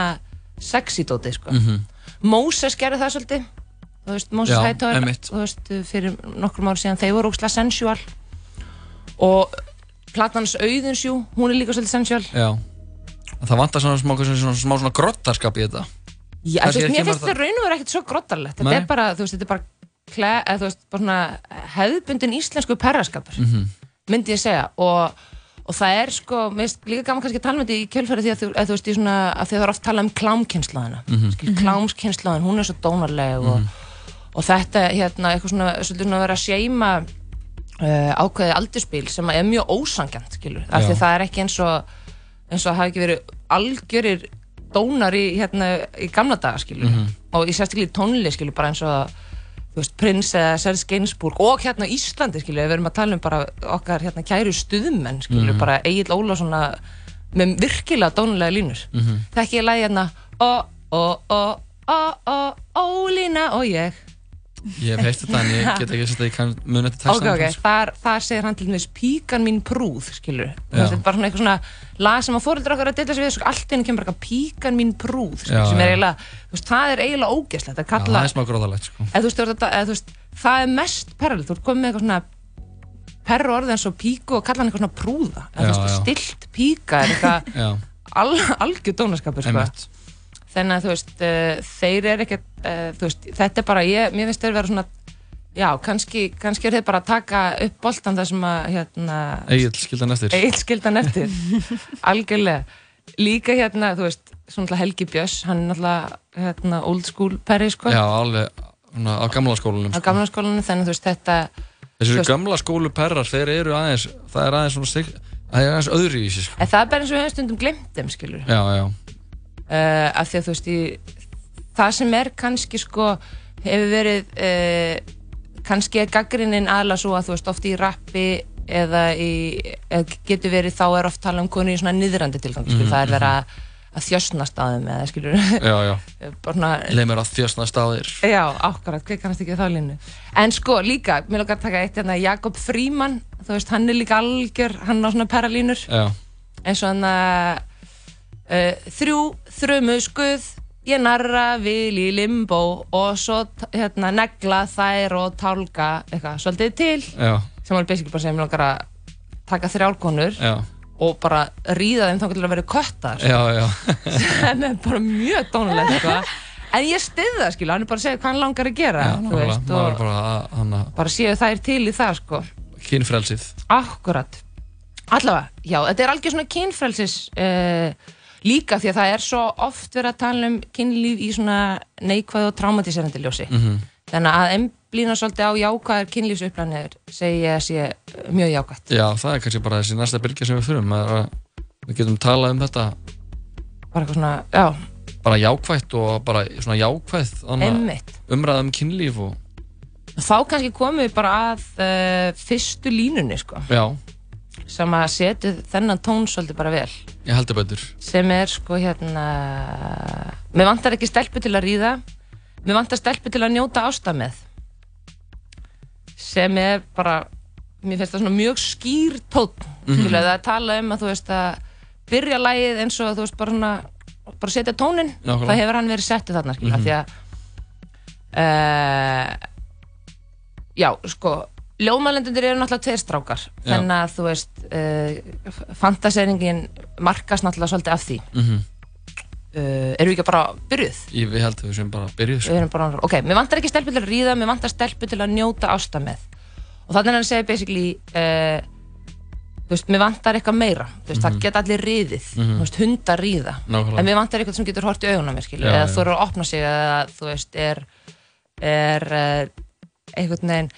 sexy dótið sko Mm. Moses gerði það svolítið þú veist, Moses Já, Hightower einmitt. þú veist, fyrir nokkrum ára síðan þeir voru óksla sensual og platnans auðinsjú, hún er líka svolítið sensual Já, það vantar svona smá, svona, svona, smá svona grottarskap í þetta Já, Kannski þú veist, ekki mér bara finnst þetta það- raun og verið ekkert svo grottarlegt þetta Nei. er bara, þú veist, þetta er bara, kle, eða, þú veist, bara svona hefðbundin íslensku perraskapur myndi ég segja og, og það er sko, mér finnst líka gaman kannski að tala með þetta í kjölfæri því að þú, að, þú veist, í svona, að því að það er oft talað um klámkynslaðina mm -hmm. klámskynslaðin, hún er svo dónarleg og, og þetta, hérna, eitthvað svona, svolítið svona að vera að seima uh, ákveðið aldurspil sem er mjög ósangjant, skilur, af því Já. það er ekki eins og eins og það hafi ekki verið algjörir dónar í, hérna, í gamla daga skilur Mhm. og í sérstaklega í tónli skilur bara eins og þú veist, prins eða Serge Gainsbourg og hérna á Íslandi skilur við erum að tala um bara okkar hérna kæru stuðmenn skilur bara Egil Ólafsson með virkilega dónulega línur mm Mhm. -hmm. þekki ég lagi hérna ó, ó, ó, ó, ó, ólína og ég Ég hef heilt þetta en ég get ekki að setja, ég kann mun þetta sko. ok, ok, texta þar, þar segir hann til dæmis píkan mín prúð, skilur Já. þetta er bara svona eitthvað svona lag sem að fóreldur okkar að deyta sér við, sko, allt í einu kemur eitthvað píkan mín prúð, skilur, Já, sem er já. eiginlega þú veist, það er eiginlega ógeðslegt að Það kalla er smá grottarlegt, sko eða þú veist, þú ert að- eða, þú veist, það er mest perralegt, þú ert komið með eitthvað svona perru orðið eins og píku og kalla hann eitthvað svona prúða eða þú Já, veist, já. stilt píka er eitthvað Já, al, algjör dónaskapur, sko einmitt þannig að þú veist, uh, þeir eru ekkert, uh, þú veist, þetta er bara ég, mér finnst þeir vera svona, já, kannski, kannski eru þeir bara að taka upp boltan þar sem að, hérna, Egil, skildan eftir eitt skildan eftir, algjörlega, líka hérna, þú veist, svona náttúrulega Helgi Björns, hann er náttúrulega, hérna, old school perri, sko, Já, alveg, svona, á gamla skólanum á sko. gamla skólanum, þannig að þú veist, þetta, Þessir Þú- gamla skólu perrar, þeir eru aðeins Það er aðeins svona sig, það er aðeins öðru í sér, sko en það er bara eins og við höfum stundum glemt þeim, skilur, Já, já, uh, af því að þú veist í, það sem er kannski sko hefur verið uh, kannski er gaggrinnin aðla svo að þú veist oft í rappi eða í, eða getur verið þá er oft tala um konu í svona niðrandi tilgangi mm það er verið að, að þjösnast á þeim eða skilur já, já bara svona Leif mér að þjósna staðir Já, akkurat, hver kannast ekki við þá línu En sko, líka, mér lókar að taka eitt hérna, Jakob Fríman, þú veist, hann er líka algjör, hann á svona perralínur Já, eins og hann að uh, þrjú, þrömu skuð ég narra vil í limbó og svo t- hérna negla þær og tálka eitthvað svolítið til já, sem hann basically bara segir mér langar að taka þrjálkonur já, og bara ríða þeim þá til að vera köttar já, já sem er bara mjög dónulegt sko. en ég styð það skilur, hann er bara að segja hvað hann langar að gera Já, þú veist, nákvæmlega. Maður er og bara að- hann að bara séu þær til í það sko kynfrelsið Akkurat Allavega, já, þetta er algjör svona kynfrelsis uh, líka því að það er svo oft verið að tala um kynlíf í svona neikvæð og traumatiserandi ljósi Mm. Mhm. -hmm. þannig að emblína svolítið á jákvæðar kynlífsupplanir segi ég að sé mjög jákvætt Já, það er kannski bara þessi næsta bylgja sem við fyrum við getum talað um þetta bara eitthvað svona, já, bara jákvætt og bara svona jákvæð þarna emmitt umræða um kynlíf og þá kannski komum við bara að uh, fyrstu línunni sko já, sem að setja þennan tón svolítið bara vel ég heldur betur sem er sko hérna mér vantar ekki stelpu til að ríða mér vantar stelpu til að njóta ásta með sem er bara mér finnst það svona mjög skýr tótt Mhm. mm -hmm. að tala um að þú veist að byrja lagið eins og þú veist bara svona bara setja tónin, Nákvæmlega. Mhm. það hefur hann verið settu þarna skilja, því að uh, já, sko ljómalendur eru náttúrulega tveir strákar Já. þannig að þú veist uh, fantaseringin markast náttúrulega svolítið af því mm eru Eh, við ekki bara byrjuð Mhm. ég, ég heldur við sem bara byrjuð við sko. erum bara, ok, mér vantar ekki stelpu til að ríða mér vantar stelpu til að njóta ásta með og þannig er hann að segja basically uh, þú veist, mér vantar eitthvað meira þú veist, það geta allir ríðið þú veist, hundar ríða, Mhm. Nákvæmlega. en mér vantar eitthvað sem getur hort í augunum, mér skilur, Já, eða já. þú eru að opna sig eða þú veist, er er uh, einhvern veginn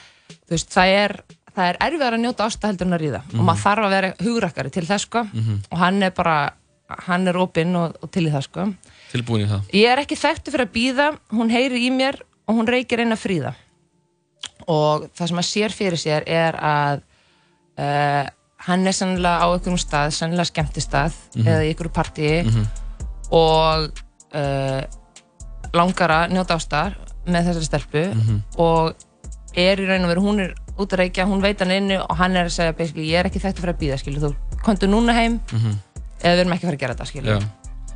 þú veist, það er það er erfiðar að njóta ásta heldur en að ríða Mhm. og maður þarf að vera hugrakkari til þess sko Mm. og hann er bara, hann er opinn og, og til í það sko tilbúin í það Ég er ekki þekktu fyrir að býða, hún heyri í mér og hún reykir eina fríða. Og það sem að sér fyrir sér er að uh, hann er sannlega á einhverjum stað, sannlega skemmtistað eða í einhverju partíi Mhm. og uh, langar að njóta ástar með þessari stelpu og er í raun og veru, hún er út að reykja, hún veit hann inni og hann er að segja basically, ég er ekki þekktu fyrir að býða, skilu, þú komdu núna heim eða við erum ekki að fara að gera þetta, skilu Mhm. já.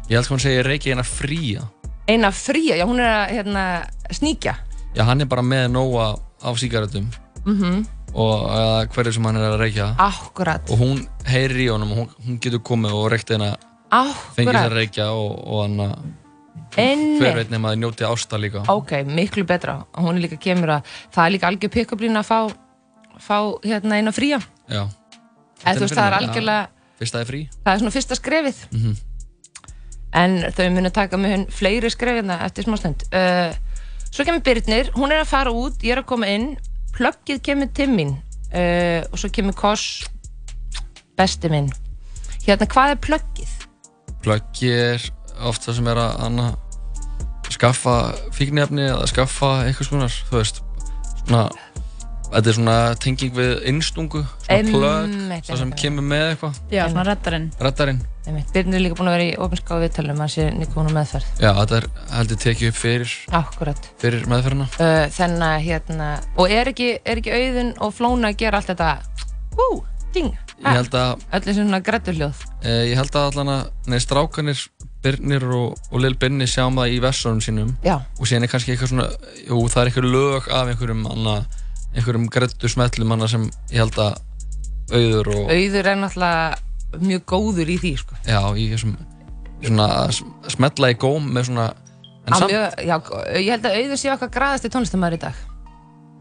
ég held sko hann segi reykja hérna fría eina fría, já hún er að hérna, sníkja já, hann er bara með nóa af sígaretum Mhm. -hmm. og uh, hverju sem hann er að reykja akkurat, og hún heyrir í honum og hún, hún getur komið og reykta hérna fengið sér að akkurat reykja og, og hann að hver einmitt, veit nema að njóti ásta líka ok, miklu betra og hún er líka kemur að, það er líka algjör pikkablín að fá, fá hérna eina fría, já, eða þú veist það er fyrir mér, algjörlega fyrst það er frí það er svona fyrsta skrefið Mhm. en þau munu taka með hún fleiri skrefina eftir smá stund uh, svo kemur Byrnir, hún er að fara út ég er að koma inn, plöggið kemur til mín uh, og svo kemur Koss besti minn hérna, hvað er plöggið? plöggi er oft það sem er að anna, skaffa fíknefni eða skaffa einhvers konar þú veist svona, þetta er svona tenging við innstungu svona plögg, Einmitt, það sem einmitt. kemur með eitthvað Já, svona reddarinn reddarinn, Einmitt. Birnir er líka búin að vera í ofinskáðu viðtalum að sé Nikonu meðferð. já þetta er heldur tekið upp fyrir, Akkurat. fyrir meðferðina Uh, þannig að hérna, og er ekki, er ekki auðun og flóna að gera allt þetta, hú, ding, ég held að, öll þessi svona grætturljóð. e, ég held að allan að nei, strákanir, Birnir og, og Lil Binni sjáum það í versunum sínum Já, og síðan er kannski eitthvað svona jú, það er eitthvað lög af einhverjum anna, einhverjum grættu smetlum anna sem ég held að auður og, auður er náttúrulega mjög góður í því, sko. Já, í þessum svona sm- smetla í góm með svona en Á samt, Mjög, já, ég held að auður sé okkar graðasti tónlistamæður í dag.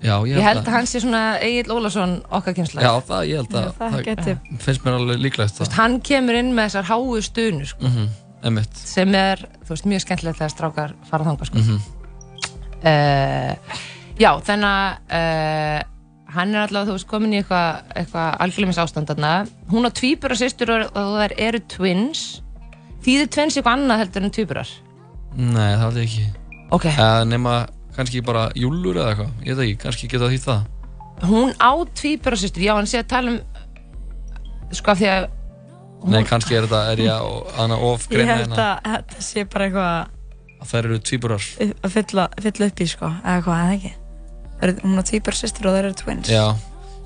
já, ég Ég held að hann sé svona Egil Ólafsson okkar kynsla. Já, það, ég held að Það geti finnst mér alveg líklegt Mhm, það, Hann kemur inn með þessar háu stunur, sko. emitt sem er, þú veist, mjög skemmtilegt þegar strákar fara þangað, sko. uh, já, þannig að uh, hann er allavega, þú veist, komin í eitthvað eitthva algjörlumis ástandarna. Hún á tvíbura sýstur og og þær eru twins. Þýðir twins eitthvað annað heldur en tvíburar? Nei, það held ég ekki Ok, Eða nema kannski bara júlur eða eitthvað Ég veit ekki, kannski geta því það hún á tvíbura sýstur, já, hann sé að tala um, sko, af því að Nei, kannski er þetta, er ég að hana of Ég greina held hérna að þetta sé bara eitthvað að þær eru tvíburar að fylla, fylla upp í sko eða hvað, eða ekki Er- Hún er týpur systir og þeir eru twins Já,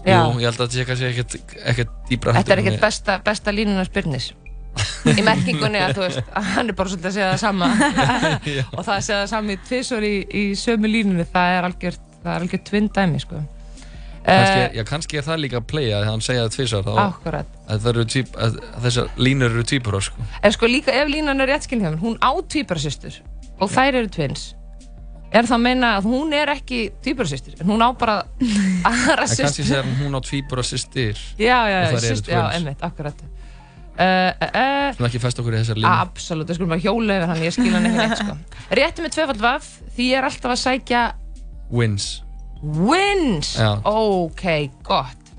Já. jú, ég held að þetta sé kannski ekkert, ekkert dýbra þetta er ekkert besta, besta línunar spyrnis. Í merkingunni að þú veist, að hann er bara svolítið að segja það sama. best og það segja það sami tvisor í, í sömu línunni það er algjört, það er algjört tvinn dæmi sko. Eh, kannski, Já, kannski er það líka að playa þegar hann segja það tvisar þá, Akkurat að þær eru tvíb- að Þessar línur eru tvíburar sko En sko líka ef línan er réttskilhjöfn hún á tvíbrasystur og þær eru twins er það að meina að hún er ekki týpurasýstir, en hún á bara aðra En kannski sýstir segir hún hún á tvíbura sýstir já, já, Og já, þær eru sýst, já, twins. einmitt, akkurat uh, uh, uh, sem ekki fest okkur í þessar línu absolutt, við skulum að hjóla yfir hann ég skil hann ekki neitt sko rétti með tvefald vaf, því ég er alltaf að sækja Wins wins Já. ok, gott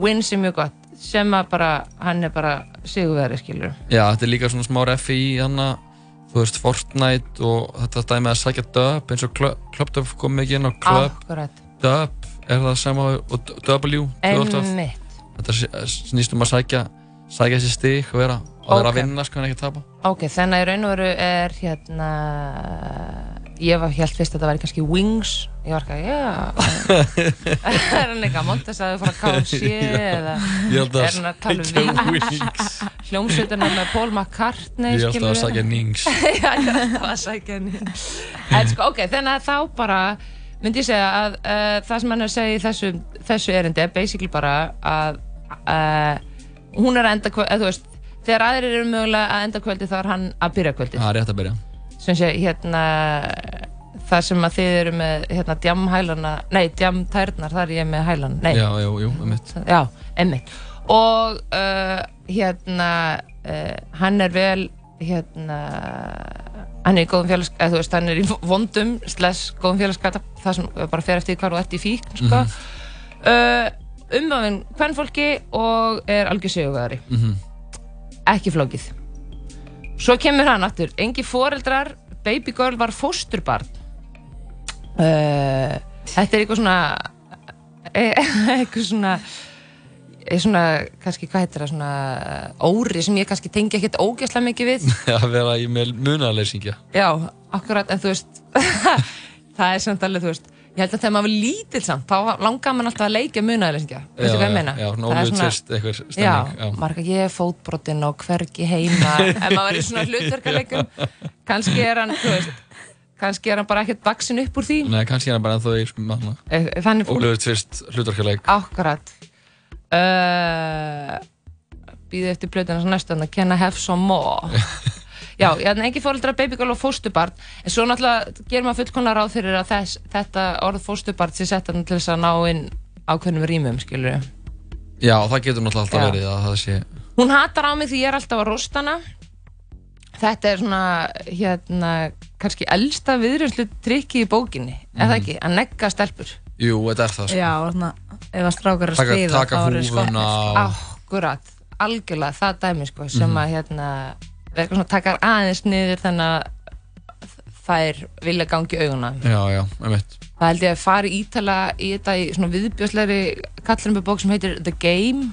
wins er mjög gott sem að bara, hann er bara sigurveri skilur Já, þetta er líka svona smá refi í hana þú veist Fortnite og þetta dæmi að sækja dub eins og Clu- Club Dub kom mikið inn á Club akkurat, Dub er það sama og D- W tvöfalt af. einmitt þetta sé- snýst um að sækja sækja sér stig og vera, og vera Ok. að vinna sko en ekki að tapa ok, þannig að í raun og veru er hérna ég var helt fyrst að þetta væri kannski wings ég var ekki að, já er hann eitthvað, Montes að þau fara að KFC eða Ég held Er hún að tala um sækja Wings? Wings hljómsveitina með Paul McCartney Ég held að skilurðu. sækja Nings Já, ég er alltaf að sækja henni en sko, ok, þannig að þá bara myndi ég segja að uh, það sem hann er að segja í þessu, þessu erindi er basically bara að uh, hún er að enda kvöldi, þú veist þegar aðrir eru mögulega að enda kvöldi þá er hann að byrja kvöldi Það er rétt að byrja sem sé, hérna það sem að þið eru með hérna djamhælana, nei, djamtærnar þar er ég með hælan, nei, Já, jú, jú, um mitt já, einmitt og uh, hérna uh, hann er vel hérna hann er í góðum félagskap, eða þú veist, hann er í vondum sless góðum félagskap, það sem bara fer eftir hvað þú ert í fík, sko mm Mhm. -hmm. uh, umvafinn hvernfólki og er algjör sigurvegari Mhm, ekki flókið svo kemur hann aftur, engi foreldrar baby girl var fósturbarn uh, þetta er eitthvað svona e- eitthvað svona er svona, kannski, hvað heitir það, svona eh, óri sem ég kannski tengi ekkert ógeðslega mikið við Að vera í með munaleysingja já, akkurat, en þú veist það er samt alveg, þú veist ég held að þegar maður var lítill samt þá langar mann alltaf að leikja munaðilegja veistu hvað ég meina? Já, svona Það er óljóð tist eitthvað stemning já, marga ég er fótbrotinn og hvergi heima ef maður er í svona hlutverkaleikum kannski er hann, þú veist kannski er hann bara ekkert vaksin upp úr því Nei, kannski er hann bara ennþá í sko, manna Eh, þannig fólk Óljóð tvist hlutarkaleik Akkurat uh, Býði eftir blöðina svo næstu þannig að kenna hef svo mó Já, ég hann ekki fóreldra babygirl og fóstubarn en svo náttúrulega gerum maður fullkonar ráð fyrir að þess, þetta orð fóstubarn sé sett hann til þess að ná inn ákveðnum rýmum, skilur Já, það getur náttúrulega alltaf Já. verið að það sé Hún hatar á mig því ég er alltaf að rosta hana Þetta er svona hérna, kannski elsta viðrjönslu trikki í bókinni, er það ekki? Að negga stelpur Jú, þetta er Mhm. það sko Já, svona, ef að strákar eru sko- að Taka, skrifa taka húfuna og Mhm. Akkurat, algjörlega það dæmi sko, sem að hérna eitthvað svona takar aðeins niður þannig að þær vilja gangi auguna Já, já, um mitt það held ég að fara ítala í þetta í svona viðbjóslegri kallrumbu bók sem heitir The Game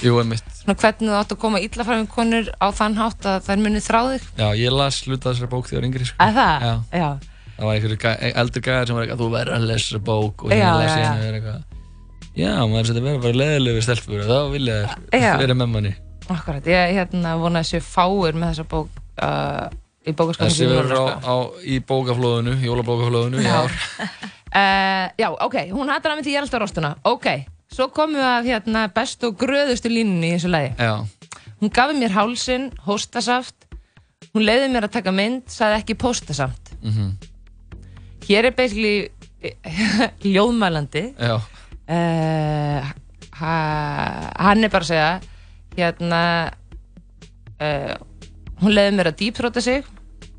Jú, um mitt svona hvernig þú átt að koma illa fram í konur á þann hátt að þær muni þrá þig Já, ég las hluta þessari bók þegar yngri sko að það, Já, já, það var einhverju gæ- eldri gæðar sem var eitthvað Þú verður að lesa þessa bók Já, og hérna las já, ég já. henni verið eitthvað Já, maður þetta verður bara leðileg við stelpur og þá vilja Já. þér verið með manni akkurat ég hérna vona að séu fáir með þessa bók uh, í bókaskóðum Þessi verður á, á, í bókaflóðinu, jólabókaflóðinu Já, Uh, já, ok, hún hattar að mig því ég er alltaf rostuna Ok, svo komum við að hérna, best og gröðustu línunni í þessu lagi já, Hún gafi mér hálsin, hóstasaft Hún leiði mér að taka mynd, sagði ekki póstasamt Mhm. Hér er basically eh, ljóðmælandi já uh, ha, Hann er bara að segja Hérna uh, Hún leiði mér að dýpróta sig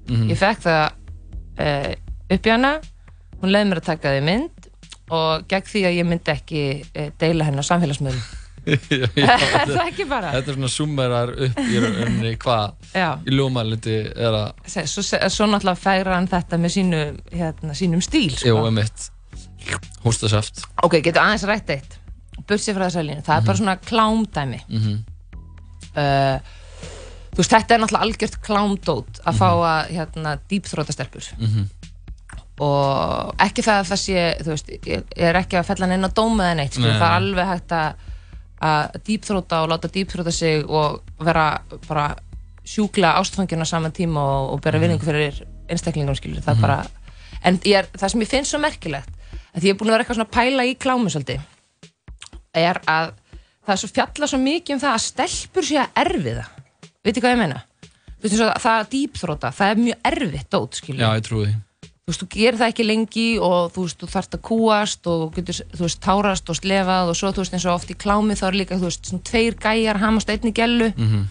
Mm. Ég fekk það uh, upp í hana Hún leiði mér að taka því mynd og gegn því að ég myndi ekki uh, deila henni á samfélagsmiðlum Já, já. Er það ekki bara? Þetta er svona summerar upp í rauninni hvað Já, í ljómalindi er að se- svo, se- svo náttúrulega færa hann þetta með sínu, hérna, sínum stíl Jú, sko. emitt Hóstasaft Ok, getur aðeins rætt eitt Bursið frá þessa línu, það er bara svona klámdæmi Mhm. uh, Þú veist, þetta er náttúrulega algjört klámdót að fá að hérna, dýpþróta stelpur og ekki það að það sé þú veist, ég ég er ekki að fella hann inn á dóma eða neitt, sko, Nei, það er nei. alveg hægt að að dýpþróta og láta dýpþróta sig og vera bara sjúkla ástfangin á saman tíma og, og Mhm. bera virðingu fyrir einstaklingum skilur, það er bara en ég er, það sem ég finnst svo merkilegt að því ég er búin að vera eitthvað svona að pæla í klámi svolítið er að það er svo fjalla svo mikið um það að stelpur sé að erfiða veitir hvað ég meina Þú veist, eins og það að dýpþróta, það er mjög erfitt dót skilur Já, ég trúi því þú veist, þú gerir það ekki lengi og þú veist, þú þarft að kúast og getur, þú veist, tárast og slefað og svo, þú veist, eins og oft í klámi þá er líka, þú veist, svona tveir gæjar hamast á einni gælu Mm.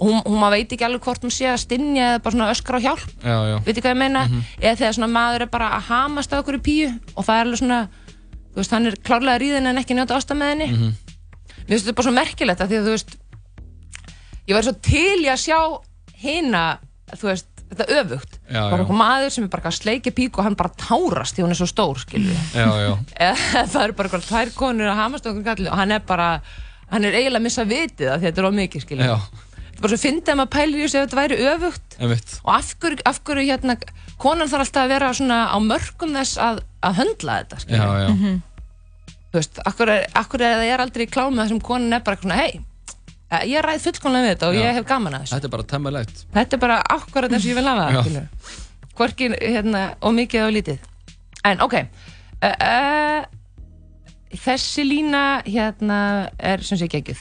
og hún, hún maður veit ekki alveg hvort hún sé að stinja eða bara svona öskra á hjálp já, já, Mhm. veit ekki hvað ég meina, eða þegar svona maður er bara að hamast á okkur í píu og það er alveg svona þú veist, hann er klárlega að ríðin en ekki njóta ásta með henni mér finnst þetta bara svo merkilegt að því að þú veist ég var svo til í að sjá hina, þú veist, þetta öfugt Já, bara já. okkur maður sem er bara eitthvað að sleikja píku og hann bara tárast því hún er svo stór, skilju já, já. eða það eru bara eitthvað tvær konur að hamast á okkur kalli og hann er bara hann er eiginlega að missa vitið að þetta er of mikið, skilju já, þetta er bara svo fyndið að maður pælir í þessu ef þetta væri öfugt einmitt og af hverju, af hverju hérna konan þarf alltaf að vera svona á mörgum þess að, að höndla þetta já, skilur. já, Mhm. þú veist, af hverju, er- af hverju er það er aldrei í klámi þessum konan er bara eitthvað svona, hei ég ræð fullkomlega við þetta og Já. ég hef gaman að þessu þetta er bara temmalegt sko. þetta er bara akkurat eins og ég vil hafa Já. það skilur. hvorki hérna og mikið og lítið en ok uh, uh, þessi lína hérna er sem sé geggjuð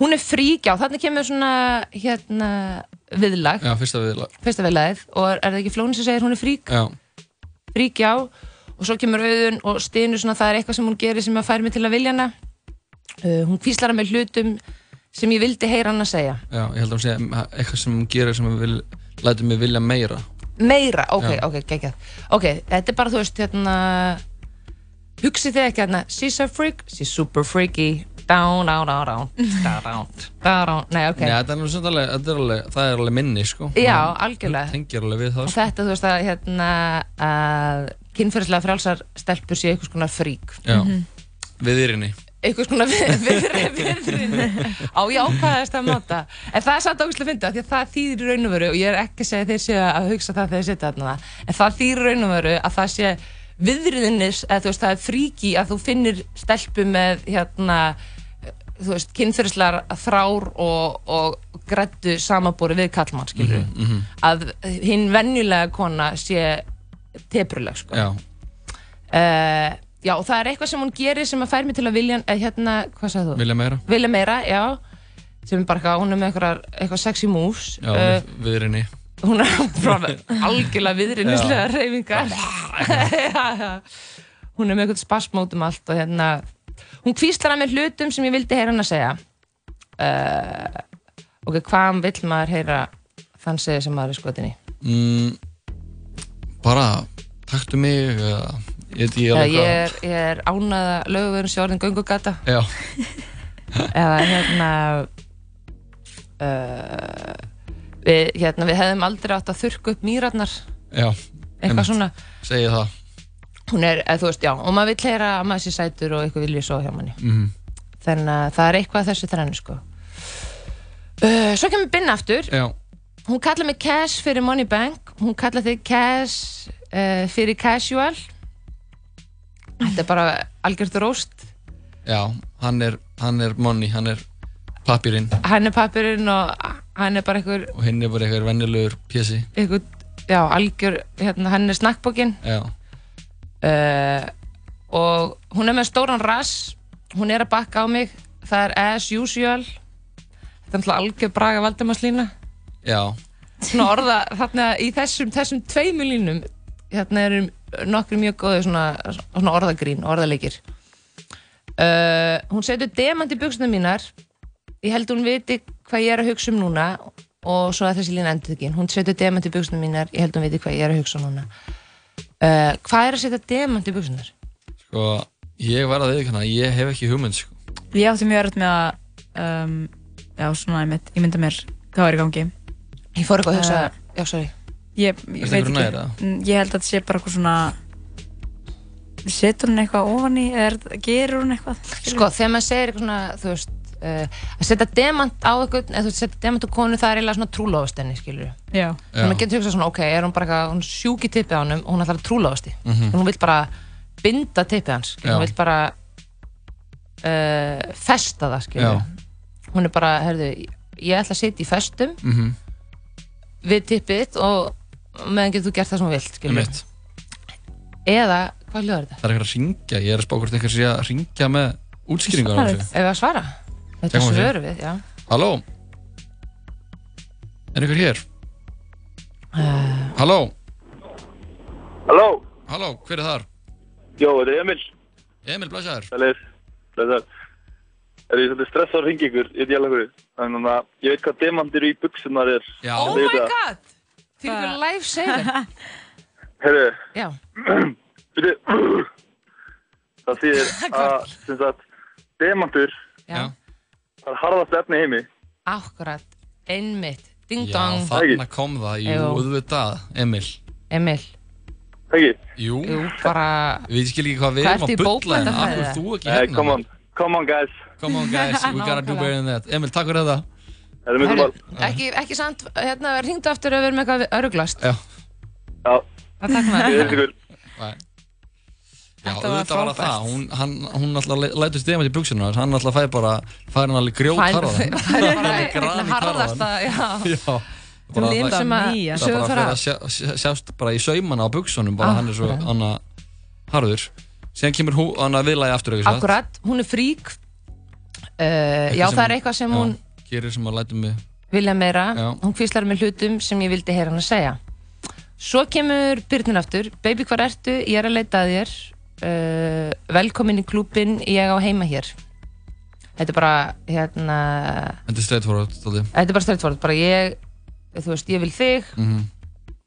hún er fríkjá, þannig kemur svona hérna viðlag já, fyrsta viðlag fyrsta viðlagið og er, er það ekki flóni sem segir hún er frík já, ríkja á og svo kemur auðun og stinu svona það er eitthvað sem hún gerir sem að fær mig til að vilja hana uh, hún kvíslar að mig hlutum sem ég vildi heyra hann að segja já, ég held að hún sé eitthvað sem hún gerir sem hún vil, lætur mig vilja meira meira, ok, Já. ok, geggjað ok, þetta er bara þú veist hérna hugsið þið ekki hérna she's a freak, she's super freaky down, down, down, down, down, down, down. nei, ok, Nei, þetta er alveg, þetta er alveg, þetta er alveg, það er alveg minni, sko já, Hún- algjörlega hún tengir alveg við það, og sko þetta þú veist að hérna að kynferðislega frálsar stelpur sé einhvers konar frík já, við yrinni einhvers konar viðrið viðrið á jákvæðast að máta en það er samt ógæslega fyndið af því að það þýðir í raun og veru og ég er ekki að segja þeir séu að hugsa það þegar þeir setja þarna það, en það þýðir í raun og veru að það sé viðriðinnis að þú veist það er fríki að þú finnir stelpu með hérna þú veist, kynferðislegar þrár og, og grættu samabóri við kallmann, skilur Mhm. að hinn venjulega kona sé tepruleg, sko já, uh, já, og það er eitthvað sem hún gerir sem að fær mig til að vilja eh, hérna, hvað sagði þú? vilja meira vilja meira, já sem er bara eitthvað, hún er með eitthvað, eitthvað sexy moves já, Eh, við, við yrinni hún er bara algjörlega viðrinnislega reyfingar Já, já. hún er með eitthvað spasmót um allt og hérna hún kvíslar að mér hlutum sem ég vildi heyra hann að segja uh, ok, hvað vill maður heyra þann segja sem maður er skotin í mm, bara, taktu mig eða, ég veit ekki Eða alveg ég hvað er, ég er ánaða lögverðin sjórðin göngugata já, eða hérna uh, við, hérna við hefðum aldrei átt að þurrka upp mýrarnar já, eitthvað svona, segi það hún er, eða, þú veist, já og maður vill heyra að maður sé sætur og eitthvað vilja svo hjá manni mm, þannig að það er eitthvað að þessu þrennu sko uh, svo kemur Binna aftur já, hún kallar mig cash fyrir money bank hún kallar þig cash uh, fyrir casual þetta er bara algjört róst já, hann er hann er money, hann er papirinn hann er pappirinn og hann er bara einhver, og hinn er bara eitthvað vennilegur pjessi einhver já, algjör, hérna, hann er snakkbókin já, uh, og hún er með stóran rass hún er að bakka á mig það er as usual þetta er alltaf algjör braga valdemarslína já, svona orða þarna í þessum, þessum tveimu línum hérna eru nokkri mjög góði svona, svona orðagrín, orðaleikir uh, hún setur demant í buksuna mínar ég held hún viti hvað ég er að hugsa um núna og svo að þessi lína endur ekki hún setur demant í buksuna mínar, ég held hún viti hvað ég er að hugsa um núna uh, hvað er að setja demant í buksunar? sko ég var að viðkjanna, ég hef ekki hugmynd sko. Ég átti mjög öll með að um, Já, svona, ég, mynd, ég mynda mér Hvað er í gangi Uh, ég fór eitthvað að hugsa, já sorry Ég, Ertu ég veit einhverju ekki nær, eða? Mm, Ég held að þetta sé bara eitthvað svona Setur hún eitthvað ofan í eða er- gerur hún eitthvað sko þegar maður segir eitthvað svona þú veist uh, að setja demant á eitthvað eða þú veist setja demant á konu það er eiginlega svona trúlofast henni skilur Já, já, maður getur hugsað svona ok er hún bara eitthvað hún er sjúk í tippið á hennum og hún ætlar að trúlofast því -hmm. hún vil bara binda tippið hans skilur, Mhm. Já. hún vil bara uh, festa það skilur Já. hún er bara herðu ég ætla að setja í festum mm -hmm, við tippið þitt og meðan getur þú gert það sem hún vilt skilur eða hvað hljóður þetta? það er eitthvað að ringja, ég er að spá hvort eitthvað sé að ringja með útskýringar á Svarið. þessu Ef við að svara? Þetta Tökum við sér. svörum við, já Halló Eh. Er einhver hér? Halló Halló, Halló, hver er þar? jó, þetta er Emil. Emil Blæsar Það er, það er, það er svolítið stressað að ringa ykkur, ég er jæla hverju. Þannig að ég veit hvað demandir í buksunar er. Já, Ég Oh my veit það. god! Því Hvað? ykkur life saver. Herru, Já, byrju, það þýðir að, sem sagt, demantur já, Já. það er harðast efni í heimi. akkurat, einmitt, ding Já, dong, þarna kom það, jú, Jú. auðvitað, Emil Emil, Ekki, Jú, jú, bara, við skilum ekki hvað við Hvað erum ertu að í bulla hérna, af bókmenntafræði? hverju ert þú ekki hey, hérna Eh, come on, come on guys. Come on, guys, we gotta do better than that Emil, takk fyrir þetta Það er mjög Herru, mál. ekki, ekki samt, hérna, ringdu aftur að vera með eitthvað öruglast. Já, Já, Það takk maður. ég veit ykkur. bye. Já, Þetta var auðvitað var það frábært. það, hún, hann, hún alltaf lætur stemast í buksunar, hann alltaf fær bara, fær hann alveg grjót harðan. Það er bara Alveg grafít einna harðasta, já. Já, bara Þú það, limur sem að nýja. það sögur bara fara. fyrir að sjá, sjá- sjást bara í saumana á buksunum, Ah, bara hann er svo hann að harður. Síðan kemur hún, hann að viðlægi aftur, ekki satt? Akkurat, hún er frík. Uh, já, sem það er hún- eitthvað sem hún Já, gerir sem að lætur mig, vilja meira. Já. Hún kvíslar með hlutum sem ég vildi heyra hann að segja. Svo kemur Byrnin aftur. Baby, hvar ertu? Ég er að leita að þér. Uh, velkomin í klúbin, ég á heima hér. Þetta er bara, hérna, þetta er straight forward, stóði. þetta er bara strættvort. Bara ég, þú veist, ég vil þig. Mm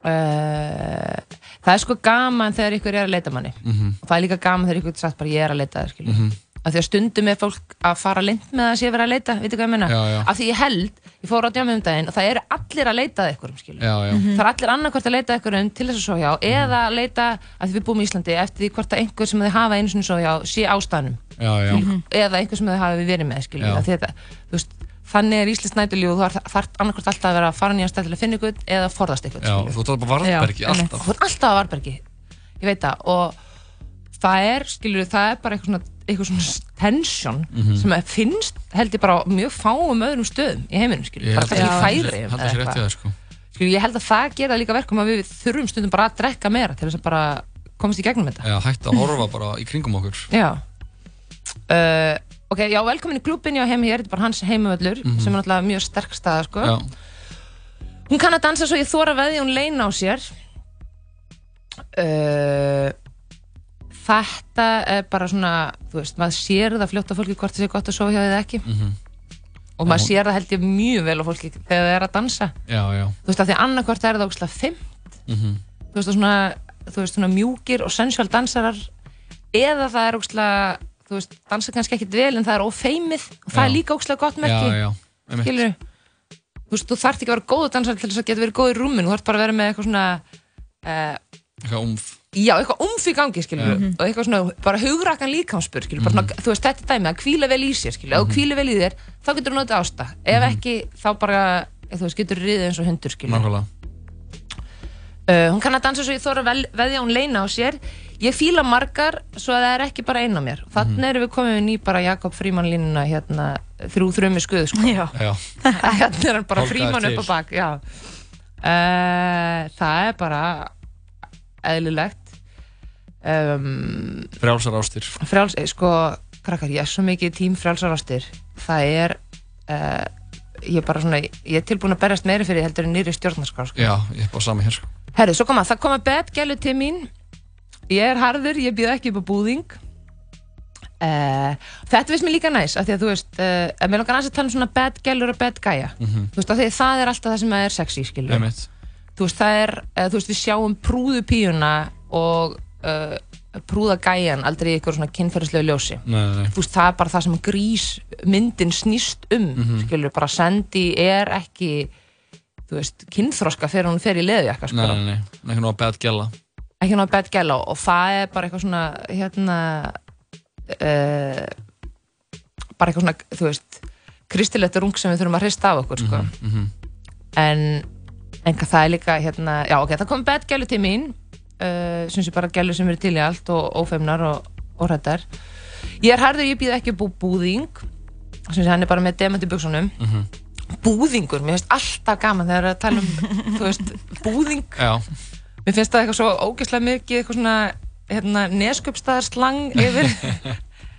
Uh, það er sko gaman þegar ykkur er að leita manni. Mhm. Og það er líka gaman þegar ykkur er sagt bara ég er að leita að þér, skilur. Mm Af því að stundum er fólk að fara lind með það sé verið að leita, veitu hvað ég menna? Já, já. Af því ég held, ég fór á djámið um daginn og það eru allir að leita að ykkurum, skilur. Mhm. Já, Mhm. já, Það er allir annarkvort að leita að ykkurum til þess að svo hjá eða að leita, af því við búum í Íslandi, eftir því hvort að einhver sem þið hafa einu sinni svo hjá sé ástæðanum já, já. eða einhver sem þau hafi verið með skilur, Já. að þetta, þú veist, þannig er Íslands nætulíf og þú þarf- þarf annarkvort alltaf að vera að fara nýjan stað til að finna ykkur eða forðast ykkur Já, skilur. þú ert bara varðbergi Já, alltaf. þú er alltaf að varbergi ég veit það og það er, skilur, það er bara eitthvað svona, eitthvað svona tension Mhm. sem að finnst, held ég bara á mjög fáum öðrum stöðum í heiminum, skilur, bara kannski í færi Haldið sér rétt í það, sko. skilur, ég held að það gera líka verkum að við þurfum stundum bara að drekka meira til þess að bara komast í gegnum þetta Já, hætt að horfa bara í kringum okkur. Já uh, Ok, já, velkomin í klubin, já, heim, ég er þetta er bara hans heimavöllur sem er náttúrulega mjög sterk staða, sko Mhm. Já, Hún kann að dansa svo ég þóra veði hún leina á sér uh, Þetta er bara svona þú veist, maður sér það fljótt á fólki hvort það sé gott að sofa hjá þið ekki Mhm. og maður Já, hún- sér það held ég mjög vel á fólki þegar það er að dansa já, já. þú veist, af því annarkvort er það ógslag fimm mhm. þú veist, og svona, þú veist, svona mjúkir og sensual dansarar eða það er ógslag, þú veist, dansa kannski ekkit vel en það er ófeimið og það Já. er líka ógslag gott Já, merki, já. einmitt. skilur þú veist, þú þarft ekki að vera góð dansar til þess að geta verið góð í rúminu, þú þarft bara að vera með eitthvað svona uh, Eitthvað umf. já, eitthvað umf í gangi, skilur og eitthvað svona, bara hugrakkan líkamspur skilur, bara, Mhm. svona, þú veist, þetta er dæmi að hvíla vel í sér skilur, ef þú hvíla vel í þér, þá getur þú notið ásta ef ekki, þá bara, þú veist, getur riðið eins og hundur, skilur Mhm. Nákvæmlega. Uh, hún kann að dansa svo ég þóra vel, veðja hún leina á sér. Ég fíla margar svo að það er ekki bara eina mér. Þannig erum við komið við ný bara Jakob Fríman línuna hérna þrjú þrjumi skuðu sko. Já, Já, hérna er hann bara Hálfdagar Fríman upp til. á bak. Já. Uh, það er bara eðlilegt. Um, frjálsar ástir. frjáls, eh, sko, krakkar, ég er svo mikið tím frjálsarastir. Það er, uh, ég er bara svona, ég er tilbúin að berjast meira fyrir því heldur en nýri stjórnarskrá sko. Já, ég er bara sama hér, sko. Herru, svo koma, það koma bett gælu til mín Ég er harður, ég býð ekki upp á búðing uh, Þetta finnst mér líka næs af Því að þú veist, uh, mér langar aðeins að tala um svona bett gælur og bett gæja Þú veist, af því að það er alltaf það sem er sexy, skilur Einmitt. Þú veist, það er, uh, þú veist, við sjáum prúðu píuna og uh, prúða gæjan aldrei í ykkur svona kynferðislegu ljósi Mm. Nei, nei, nei. þú veist, það er bara það sem grísmyndin snýst um, mm skilur, bara Sandy er ekki þú veist, kynþroska fyrir hún fer í leðjaka sko Nei, nei, nei. Nei, Ekki nú að beða gæla. ekki náttúrulega bett gæla og það er bara eitthvað svona hérna uh, bara eitthvað svona þú veist, kristilegt rung sem við þurfum að hrista af okkur sko. Mhm. Mhm, en, en hvað það er líka hérna, já ok, það kom bett gælu til mín uh, sem sé bara gælu sem eru til í allt og ófeimnar og, og hrættar ég er harður, ég býð ekki bú búðing sem sé hann er bara með demant í buksunum búðingur, mér finnst alltaf gaman þegar það er að tala um, þú veist, búðing Já, Mér finnst það eitthvað svo ógeðslega mikið eitthvað svona hérna, neskjöpstaðarslang yfir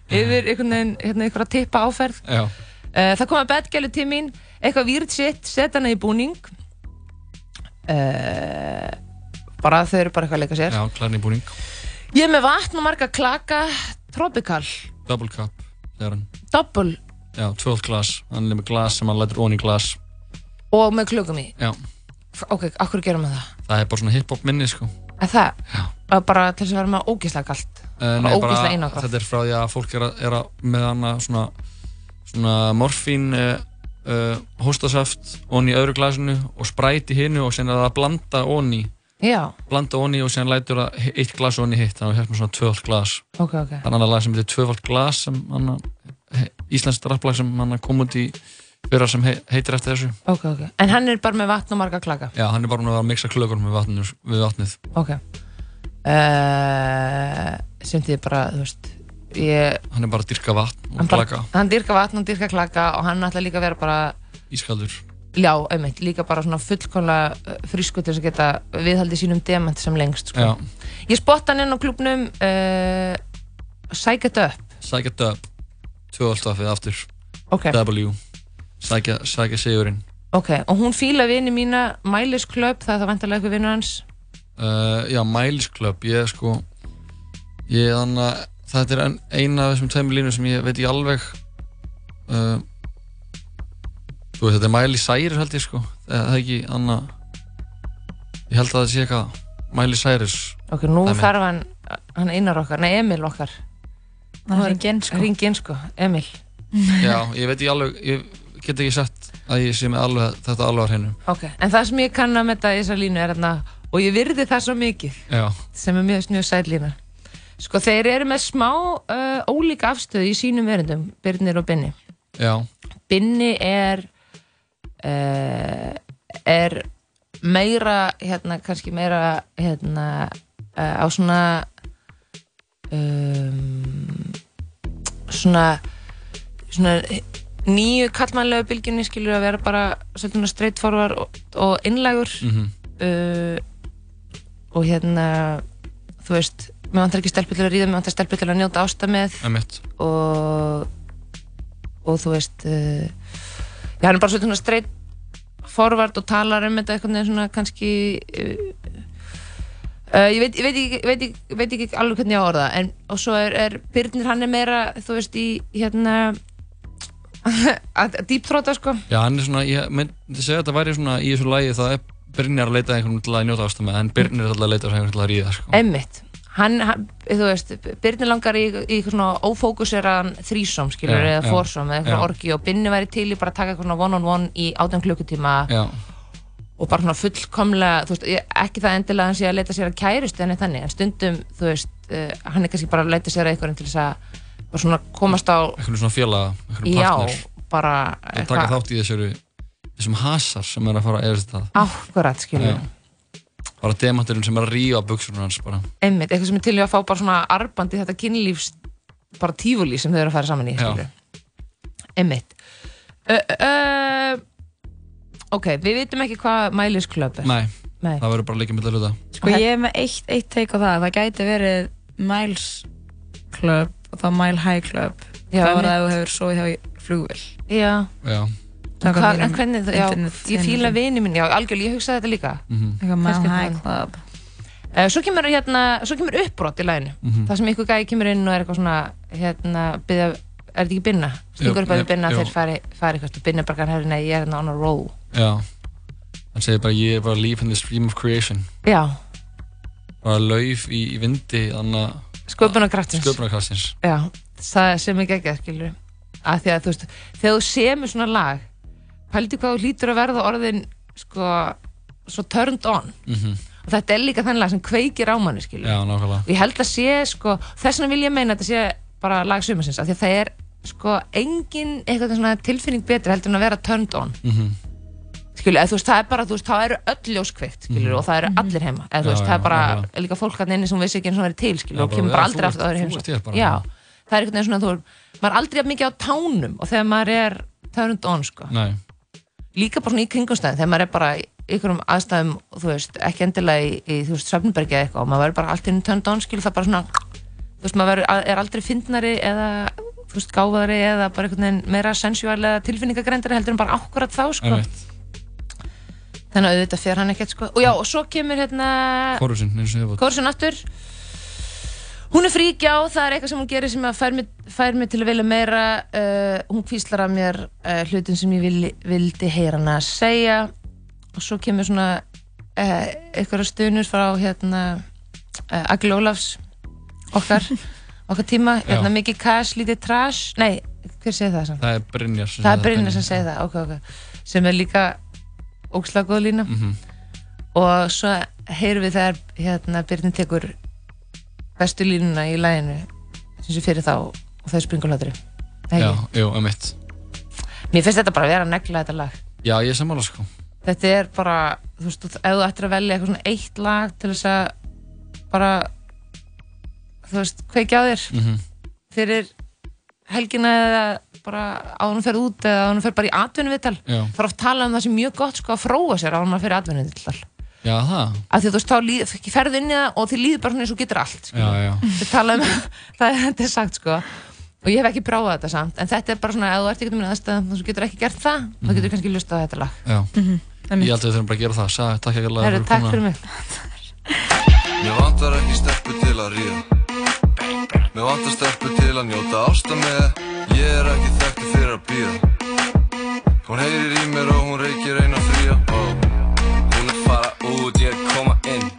yfir einhvern veginn hérna, einhverja tippa áferð já. uh, Það kom að betgælu til mín Eh, eitthvað výrt sitt, sett hana í búning uh, bara þau eru bara eitthvað að leika sér Já, klærni búning, Ég er með vatn og marga klaka Tropical, double cup þegar hann, double já, 12 glas hann er með glas sem hann lætur ón í glas og með klökum í já, F- Ok, akkur gerum við það? það er bara svona hip-hop minni sko En það, að bara til þess að vera með ógislega kalt En Bara ég ógeðslega einangrað. Eh, þetta er frá því að fólk er að, er að með hana svona, svona morfín uh, uh, hóstasaft onni í öðru glasinu og spræti hinu og sen er það að blanda onni Já, blanda onni og sen lætur það hi- eitt glas onni hitt þannig að við hefum svona tvöfald glas ok, ok það er annar lag sem heitir tvöfald glas sem hana, Íslands draflag sem hann kom út í fyrra sem he, heitir eftir þessu Ok, ok, en hann er bara með vatn og marga klaka já, hann er bara núna að miksa klökunum við, vatninu, við vatnið Ok uh, Sem þið bara, þú veist ég, hann er bara að dyrka vatn hann, og bara, klaka hann dyrka vatn, hann dyrka klaka og hann ætla líka að vera bara ískaldur Já, einmitt, líka bara svona fullkomlega frísku til þess að geta viðhaldi sínum demant sem lengst sko. já, Ég spotta hann inn á klubnum uh, Sæk þetta upp sækja dub tvöfald dub við aftur Ok, W Sækja, sækja sigurinn ok, og hún fíla vini mína Mælis Club, það er það vantarlega eitthvað vinur hans uh, Já, Miles Club Ég er sko Ég er þannig að Þetta er ein- eina af þessum tveimur línum sem ég veit ekki alveg uh, Þú veist, þetta er Miley Cyrus held ég sko Það það er ekki annað Ég held að það sé eitthvað Miley Cyrus Ok, nú Það er þarf hann, hann einar okkar, nei Emil okkar Hann er enginn sko. sko Ringi inn sko, Emil Já, ég veit ekki alveg Ég get ekki sett að ég sé með alveg þetta alveg á hreinu Ok, en það sem ég kann að metta í þessa línu er þarna Og ég virði það svo mikið Já, Sem er mjög snjöð sæt lína Sko, þeir eru með smá uh, ólíka afstöðu í sínum verundum Birnir og Binni já, Binni er uh, Er meira, hérna, kannski meira Hérna, uh, á svona um, Svona Svona nýju kallmannlegu bylgjunni skilur að vera bara svolítið straight forward og, og innlægur mhm, uh, og hérna þú veist, mér vantar ekki stelpu til að ríða mér vantar stelpu til að njóta ásta með emitt og og þú veist uh, já, hann er bara svolítið svona straight forward og talar um þetta eitthvað svona kannski uh, uh, ég, veit, ég veit, ekki, veit, ekki, veit ekki alveg hvernig ég á að orða það, en, og svo er, er Byrnir hann er meira, þú veist, í hérna að dýptróta sko Já, hann er svona, ég myndi segja að þetta væri svona í þessu lagi það er Brynjar að leita að einhvern til að njóta ástæð með en Brynjar er alltaf að leita að einhvern til að ríða sko. Emmitt hann, hann, þú veist, Birnir langar í, í eitthvað svona ófókuseraðan þrísom skilur, Já, eða já, fórsóm eða eitthvað já. orgi og Binni væri til í bara að taka eitthvað svona one on one í átján klukkutíma Já, og bara svona fullkomlega, þú veist, ég- ekki það endilega að hann sé að leita sér að kærustu en þannig, en stundum, þú veist, uh, hann er kannski bara að leita sér að einhverjum til þess að bara svona komast á, einhvern svona félaga, einhvern já, partner bara að taka þátt í þessu, þessum hasar sem er að fara eftir það ákvarðat, skilur Já. bara demanturinn sem er að ríða buksunum hans bara, einmitt, eitthvað sem er til í að fá bara svona arbandi þetta kynlífs bara tífulí sem þau eru að fara saman í Já. skilurðu. einmitt ö, ö, ö, ok, við vitum ekki hvað Mælis Club er nei, Nei. það verður bara líka með hluta Sko ég er með eitt, eitt teik á það Það gæti verið Miles Club og þá Mile High Club Já, Það var einmitt. það að þú hefur sóið hjá í flugvél já, Já, en, Samkvæmt hvað, mínum en hvernig það, já, internet- ég fíla heimildum. vini minn, já, algjörlega, ég hugsaði þetta líka Eitthvað Kannski Mile það. Mhm. High Club uh, svo kemur hérna, svo kemur uppbrot í læginu, Mhm. það sem ykkur gæði kemur inn og er eitthvað svona, hérna, byrja er þetta ekki binna, Jú, stingur upp að jú, við binna jú. þeir fari, fari eitthvað, binna bara kannar herri, nei, ég er hérna on a roll já hann segir bara, ég er bara líf in the stream of creation já, bara lauf í, í vindi þannig að sköpunarkraftins sköpunarkastins Já, það sem ekki ekki að skilur að því að þú veist, þegar þú semur svona lag pældi hvað þú hlýtur að verða orðin sko, svo turned on Mhm. og þetta er líka þann lag sem kveikir á manni skilur Já, nákvæmlega, og ég held að sé, sko, þess vegna vil ég meina að þetta sé bara lag sumasins, af því að það er sko, engin eitthvað svona tilfinning betri heldur en að vera turned on mm Mhm. skilur, eða þú veist, það er bara þú veist, þá eru öll ljós kveikt, skilur, og það eru allir heima eða þú Mhm. Já, veist, það er já, bara, nákvæmlega. líka fólk hann inni sem vissi ekki eins og það er til, skilur, Já, og bara, kemur já, bara þú aldrei ert- aftur að það er þú heimsókn. ert hér bara. Já, það er einhvern veginn svona, þú er, maður er aldrei jafn mikið á tánum og þegar maður er turned on, sko nei, líka bara svona í kringumstæðin þegar maður er bara í einhverjum aðstæðum þú veist, ekki endilega í, í þú veist, Söfnbergi eða eitthvað og maður verður bara allt í enn tönd ánskil það bara svona, þú veist, maður verður, er aldrei fyndnari eða, þú veist, gáðari eða bara einhvern veginn meira sensuál eða tilfinningagrendari heldur en bara akkurat þá, sko einmitt þannig að auðvitað fer hann ekkert sko og já, og svo kemur hérna Kórusin, eins og ég var Kórsun aftur hún er fríkjá, það er eitthvað sem hún gerir sem að fær mig, fær mig til að vilja meira uh, hún kvíslar að mér uh, hlutin sem ég vil, vildi heyra hana að segja og svo kemur svona uh, eitthvað stunur frá hérna uh, Agli Ólafs okkar, okkar tíma Já. hérna, mikið cash, lítið trash nei, hver segir það samt? Það er Brynjar sem það sagði er Brynja sem segir það, ok, ok sem er líka ógslag góð lína og svo heyrum við þegar hérna Byrnin tekur bestu línuna í læginu sem sé fyrir þá og það er springulatri Já, jú, um eitt mér finnst þetta bara að vera að negla þetta lag Já, ég er sammála sko þetta er bara, þú veist, ef þú ættir að velja eitthvað svona eitt lag til þess að bara þú veist, kveikja á þér Mhm. fyrir helgina eða bara áðunum fer út eða áðunum fer bara í atvinnum viðtal Já, það er oft talað um það sem er mjög gott sko að fróa sér á hann að fyrir atvinnið til all já það af því að þú veist, þá líð, ferðu inn í það og þið líður bara svona eins og þú getur allt Já, já, þið tala um, það er þetta er sagt sko og ég hef ekki prófað þetta samt en þetta er bara svona, ef þú ert ekki minna aðstæðan þú getur ekki gert það, þá Mhm. getur þú kannski lustað á þetta lag já einmitt. Ég held að við þurfum bara að gera það Sæ, Takk ekki Herru, Mhm, takk fyrir mig Mér vantar ekki stelpu til að ríða Mér vantar stelpu til að njóta ásta með Ég er ekki þekktu fyrir að býða Hún heyrir í mér og hún reykir eina fría ó. Hún er fara út, ég er að koma inn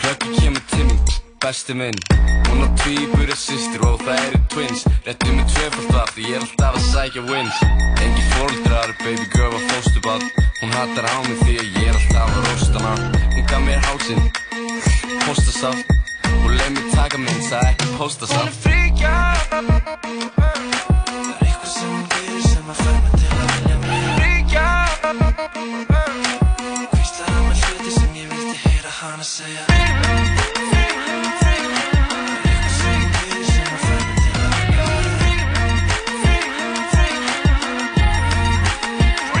Plöggi kemur til mín, besti minn Hún á tvíburi sýstir og það eru twins Réttu með tvöfald var því ég er alltaf að sækja wins Engi fóldrar, baby girl var fóstubad Hún hattar á mig því að ég er alltaf að rósta hana Hún gaf mér hálsinn, póstasaft Hún leið mér taka minn, sagði ekki póstasaft Hún er fríkja Það er eitthvað sem hún gerir sem að fær mig til að vilja mér Fríkja Hvíslar að mér hluti sem ég vildi heyra hana segja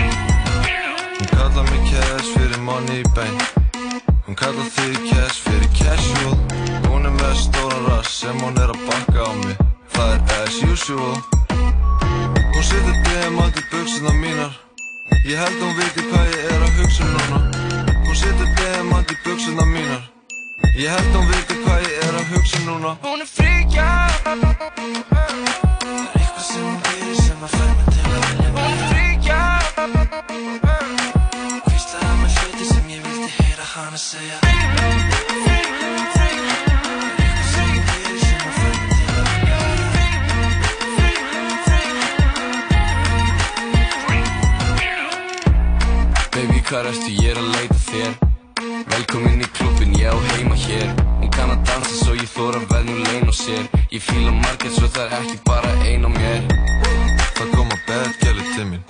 Hún kallar mig cash fyrir money bank Hún kallar þig cash fyrir casual Hún er með stóran rass sem hún er að bakka á mig Það er as usual Hún setur demant í buksina mínar Ég held hún viti hvað ég er að hugsa um núna Hún setur demant í buksina mínar Ég held hún viti hvað ég er að hugsa um núna Hún er fríkja Það er eitthvað sem hún gerir sem að fær mig til að vilja Hún er fríkja Hvíslar að mér hluti sem ég vildi heyra hana segja Baby, hvað erstu? Ég er að leita þér Velkomin í klubbin, ég á heima hér Hún kann að dansa svo ég þóra veðnum lein og sér Ég fíla margir svo það er ekki bara ein á mér Það koma bedgæli til mín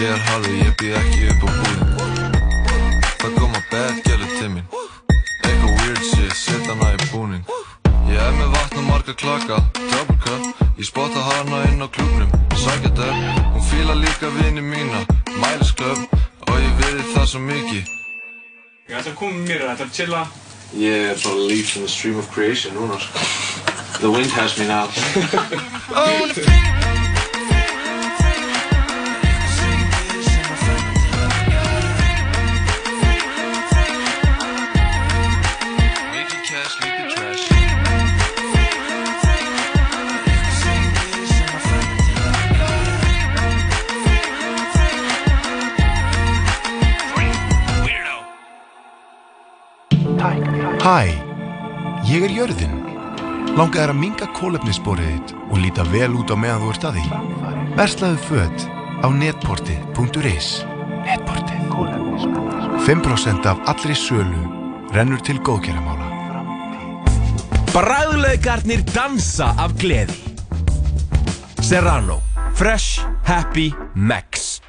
Ég er halvi, ég býð ekki upp á búðin Það koma bedgæli til mín Eitthvað weird shit, set hana í búning Ég er með vatn og marga klaka, double cup Ég spotta hana inn á klubnum, sækja döp Hún fíla líka vini mína, mælisklöp Og ég verið það svo mikið Ég ætla að koma með mér, ég ætla að chilla. Ég er bara leaps in the stream of creation núna sko. The wind has me now Mikið cash, mikið trash Hæ, ég er Jörðin. Langaðar að minga kólefnisborið þitt og líta vel út á meðan þú ert að því. Verslaðu fött á netportið.is. Netportið. 5% af allri sölu rennur til góðgerðamála. Bræðlaugarnir dansa af gleði Serrano Fresh Happy Max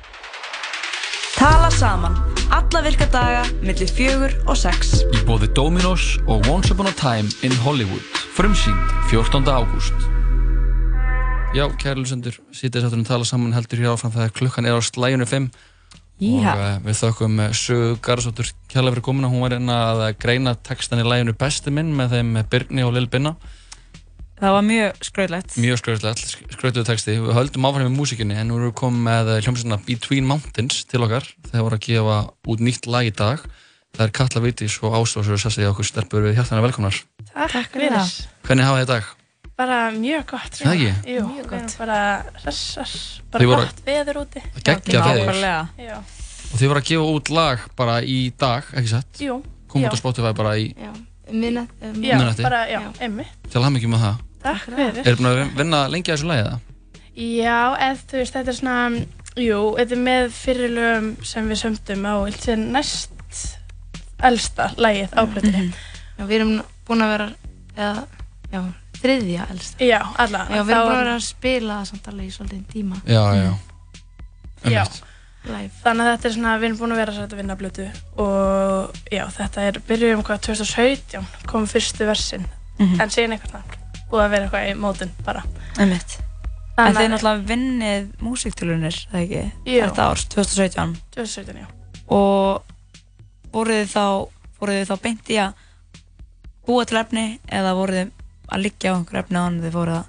Tala saman, alla virka daga, millir fjögur og sex. Í bóði Dominos og Once Upon a Time in Hollywood Frumsýnd 14. ágúst Já, kærlusendur Sýtið satturinn tala saman heldur hér áfram þegar klukkan er á slæjunu 5 Íha, og uh, við þökkum eh, Sögu Garðsóttur kærlega fyrir hérna eh, komuna hún var einn að greina textan í læginu Besti minn með þeim Birni og Lil Binna það var mjög skröðlegt Mjög skröðlegt, skröðlegu texti Við höldum áfram með músikinni en nú erum við komið með eh, hljómsveitina Between Mountains til okkar þegar voru að gefa út nýtt lag í dag Það er Katla Vitis og Áslósur Sessi okkur stelpur við hjartana velkomnar Takk fyrir það. Hvernig hafa þið í dag? Bara mjög gott. Það ekki? Jú, mjög gott. Við erum bara hressar, Þau bara voru- gott veður úti. Það geggja Já, veður. nákvæmlega. Já. Og þið voru að gefa út lag bara í dag, ekki satt? Jú. Kom já. út á Spotify bara í Já, um minnett. Já, miðnætti. bara, já, einmitt. til að hafa mikið með það Takk fyrir. Er búin að vinna lengi að þessu lagi eða? Já, eða þú veist, þetta er svona, jú, þetta er með fyrirlögum sem við sömdum á illt næst elsta lagið á plötunni. Já, við erum búin að vera, eða, já, þriðja elst. Já, alla. Já, við Þá erum búin er- að vera að spila það samt alveg í svolítið tíma. Já, já, já Já. Live. Þannig að þetta er svona, við erum búin að vera satt að vinna blötu og já, þetta er, byrjuðum hvað 2017, kom fyrstu versin, Mhm. en síðan eitthvað svona, búið að vera eitthvað í mótun bara. Einmitt. En Þannig þið að- náttúrulega vinnið músiktilunir, það ekki? Jú. Þetta árs, 2017. 2017, já. Og voruð þið þá, voruð þið þá beint í að búa til efni eða voruð þið að liggja á einhver efni áður en þið fóruð að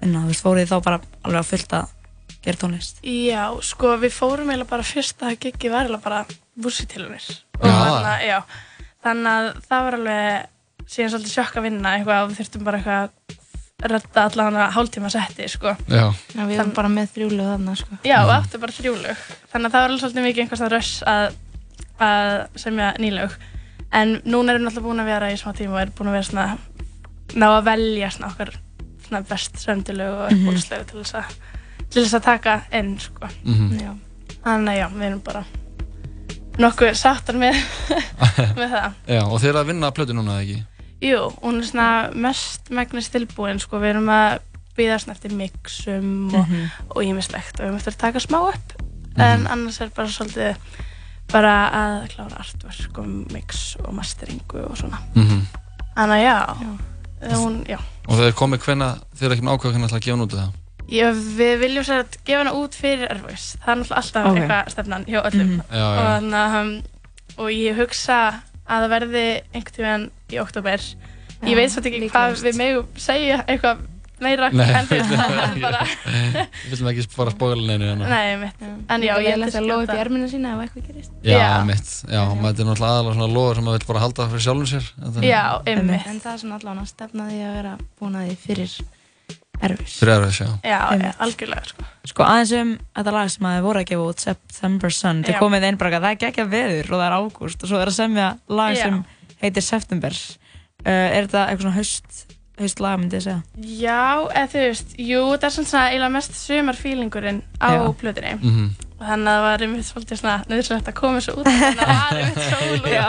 vinna? Þú veist, voruð þið þá bara alveg að fullt að gera tónlist? Já, sko, við fórum eiginlega bara fyrsta giggi var eiginlega bara músitilunir. Já. já. Þannig að það var alveg síðan svolítið sjokk að vinna eitthvað og við þurftum bara eitthvað að redda allavega hálftíma setti, sko. Já. Já, við erum bara með þrjúlu þarna, sko. Já, og áttu bara þrjúlög. Þannig að það var alveg svolítið mikið einhvers að röss að, að semja nýlög. En núna erum við náttúrulega búin að vera í smá tíma og erum búin að vera svona, ná að velja svona okkar svona best sömdilög og Mhm. uppbólslög til þess að, til þess að taka inn, sko. Mhm. Já. Þannig að já, við erum bara nokkuð sáttar með, með það. Já, og þið eru að vinna að plötu núna eða ekki? Jú, hún er svona mest megnast tilbúin, sko, við erum að býða svona eftir mixum og, Mhm. og ímislegt og við erum eftir að taka smá upp en annars er bara svolítið bara að klára artverk og mix og masteringu og svona Mhm. Þannig að já, já. Hún, já. Og þið er komið hvenna, þið eru ekki með ákvæða hvenna ætla að gefa nútið það? Ég, við viljum sér að gefa hana út fyrir Airways það er náttúrulega alltaf Ok. eitthvað stefnan hjá öllum Mhm. Já, já. Og, þannig, um, og ég hugsa að það verði einhvern tímann í oktober Já, ég veit svolítið ekki hvað líklegast. við megum segja eitthvað meira Nei, en fyrir nei, það bara Við viljum ekki bara spóla neinu hérna. Nei, mitt. En já, Líka ég leiðilegt ætla að að lóga upp skjóta. í ermina sína ef eitthvað gerist. Já, mitt. Já, maður er náttúrulega aðalega svona loður sem maður vil bara halda fyrir sjálfum sér. Þetta er- einmitt. En það er svona allan að stefna því að vera búin að því fyrir erfis. Fyrir erfis, já. Já, algjörlega sko. Sko aðeins um þetta lag sem að þið voru að gefa út September Sun, þið Já. komið inn bara að það er gekkja veður og það er ágúst og svo er að semja lag Já. sem heitir September uh, Er þetta eitthvað svona haust, haust lag myndi ég segja? Já, eða þú veist, jú, það er svona eiginlega mest sumarfílingurinn á Já. plötunni. Mhm. Og Þannig að það var einmitt svolítið svona nöðsynlegt að koma þessu út, þannig að það var einmitt sól og Já.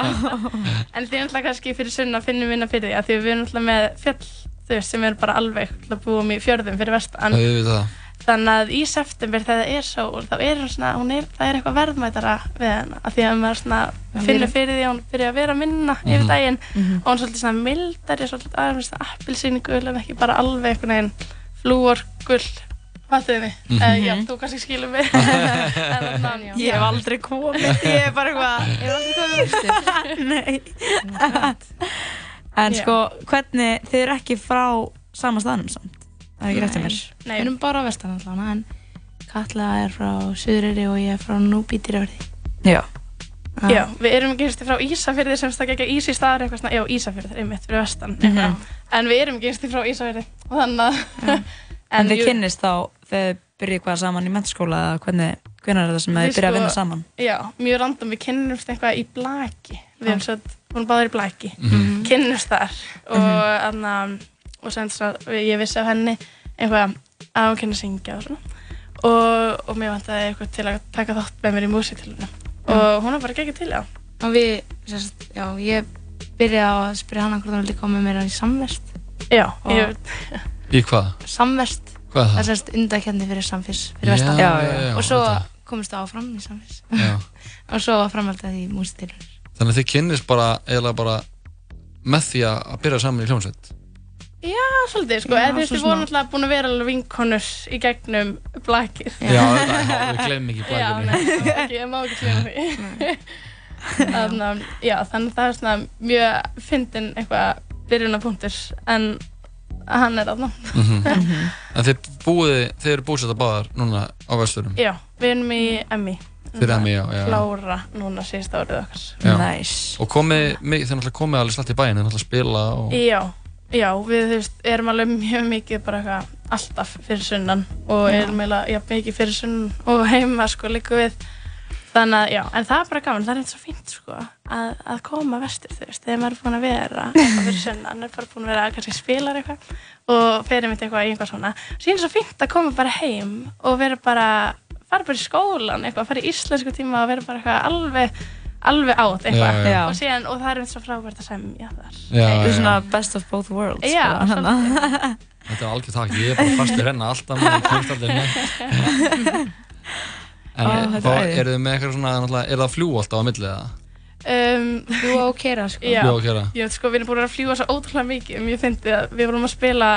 En því náttúrulega kannski fyrir sunna finnum minna fyrir því, að því við erum náttúrulega með fjall, þú veist, sem eru bara alveg náttúrulega búum um í fjörðum fyrir vestan. Það við það. Þannig að í september þegar það er sól, þá er hún svona, hún er, það er eitthvað verðmætara við hana. Af því að maður svona finnur fyrir því að hún byrja að vera minna yfir Mhm. daginn Mhm. og hún er svolítið svona mildari, svolítið aðeins svona appilsýningul en ekki bara alveg einhvern veginn flúorgull. Fattuðu mig? Mm Mhm. já, þú kannski skilur mig. en þannig að já. Ég hef aldrei komið, ég er bara eitthvað Ég hef aldrei komið austur. Nei En Já. sko, hvernig, þið eru ekki frá sama staðnum samt Það er ekki rétt hjá mér Nei, við erum bara að vestan allan, en Katla er frá Suðuriri og ég er frá Núbí dýrafyrði. Já. Ah. Já, við erum ekki einstu frá Ísafyrði sem stakk ekki ís í staðar eitthvað svona, já, Ísafyrði, einmitt, fyrir vestan. Mhm. En við erum ekki einstu frá Ísafyrði, þannig að... En, þið jú- kynnist þá, þegar þið byrjið hvað saman í mentaskóla eða hvernig, hvernig er það sem þið Við byrjið að sko- vinna saman? Já, mjög random, við kynnumst eitthvað í blaki Við erum svo, hún báður í blaki Mhm. Kynnumst þar Og þannig og sem svo, ég vissi af henni Eitthvað að hún kynna að syngja og svona Og, og mér vantaði eitthvað til að taka þátt með mér í músitilunum Og hún var bara ekki til, já Ah. Og við, sérst, já, ég byrjaði á að spyrja hana hvort hún vildi koma með mér í samverst. Já, ég... Í hvað? Samverst. Hvað er það? Það er sérst undakenni fyrir samférs, Já, fyrir vestan. já, já, já, Og svo þetta. komist það áfram í samférs. Já. og svo framhaldið í músitilur. Þannig að þið kynnist bara, eiginlega bara með því að að byrja saman í hljómsveit. Já, svolítið, sko, Já, eða þú veist, svo við vorum smá. alltaf búin að vera alveg vinkonur í gegnum blakið. Já, þetta- já, við gleymum ekki Já, blakinu. nei, það má ekki- ég má ekki gleyma því. Þannig, að, já, þannig að það er svona mjög fyndin eitthvað byrjunarpunktur, en að hann er aðna. En þið búið, þið eru búið sér þetta báðar núna á vesturum Já, við erum í MI. Þið eru MI, já, já. Klára núna síðust árið okkar. Já. Og komið, mi- þið náttúrulega komið alveg slatt í bæinn, þið náttúrulega spila og Já, já, við þú veist, erum alveg mjög mikið bara eitthvað alltaf fyrir sunnan og Já. erum eiginlega jafn mikið fyrir sunnan og heima sko líka við þannig að já, en það er bara gaman, það er eitthvað svo fínt sko að, að koma vestur þú veist, þegar maður er búin að vera eitthvað fyrir sunnan, er bara búin að vera að kannski spilar eitthvað og ferir mitt eitthvað í eitthvað svona síðan er svo fínt að koma bara heim og vera bara, fara bara í skólan eitthvað, fara í íslensku tíma og vera bara eitthvað alveg, alveg átt eitthvað Já, já. og síðan, og það er mitt svo frábært að semja þar Já, Þetta já. er svona best of both worlds Já, sko, þannig að- þetta er algjör takk, ég er bara fastur hérna alltaf maður, ég kemst aldrei neitt. En Ó, oh, þetta þá er æði. eru þið með eitthvað svona, náttúrulega, er það að fljúga alltaf á millið eða? Um, Fljúga og keyra, sko. Já, Fljúga og keyra. Ég veit sko, við erum búin að vera að fljúa svo ótrúlega mikið Mér fyndi að við vorum að spila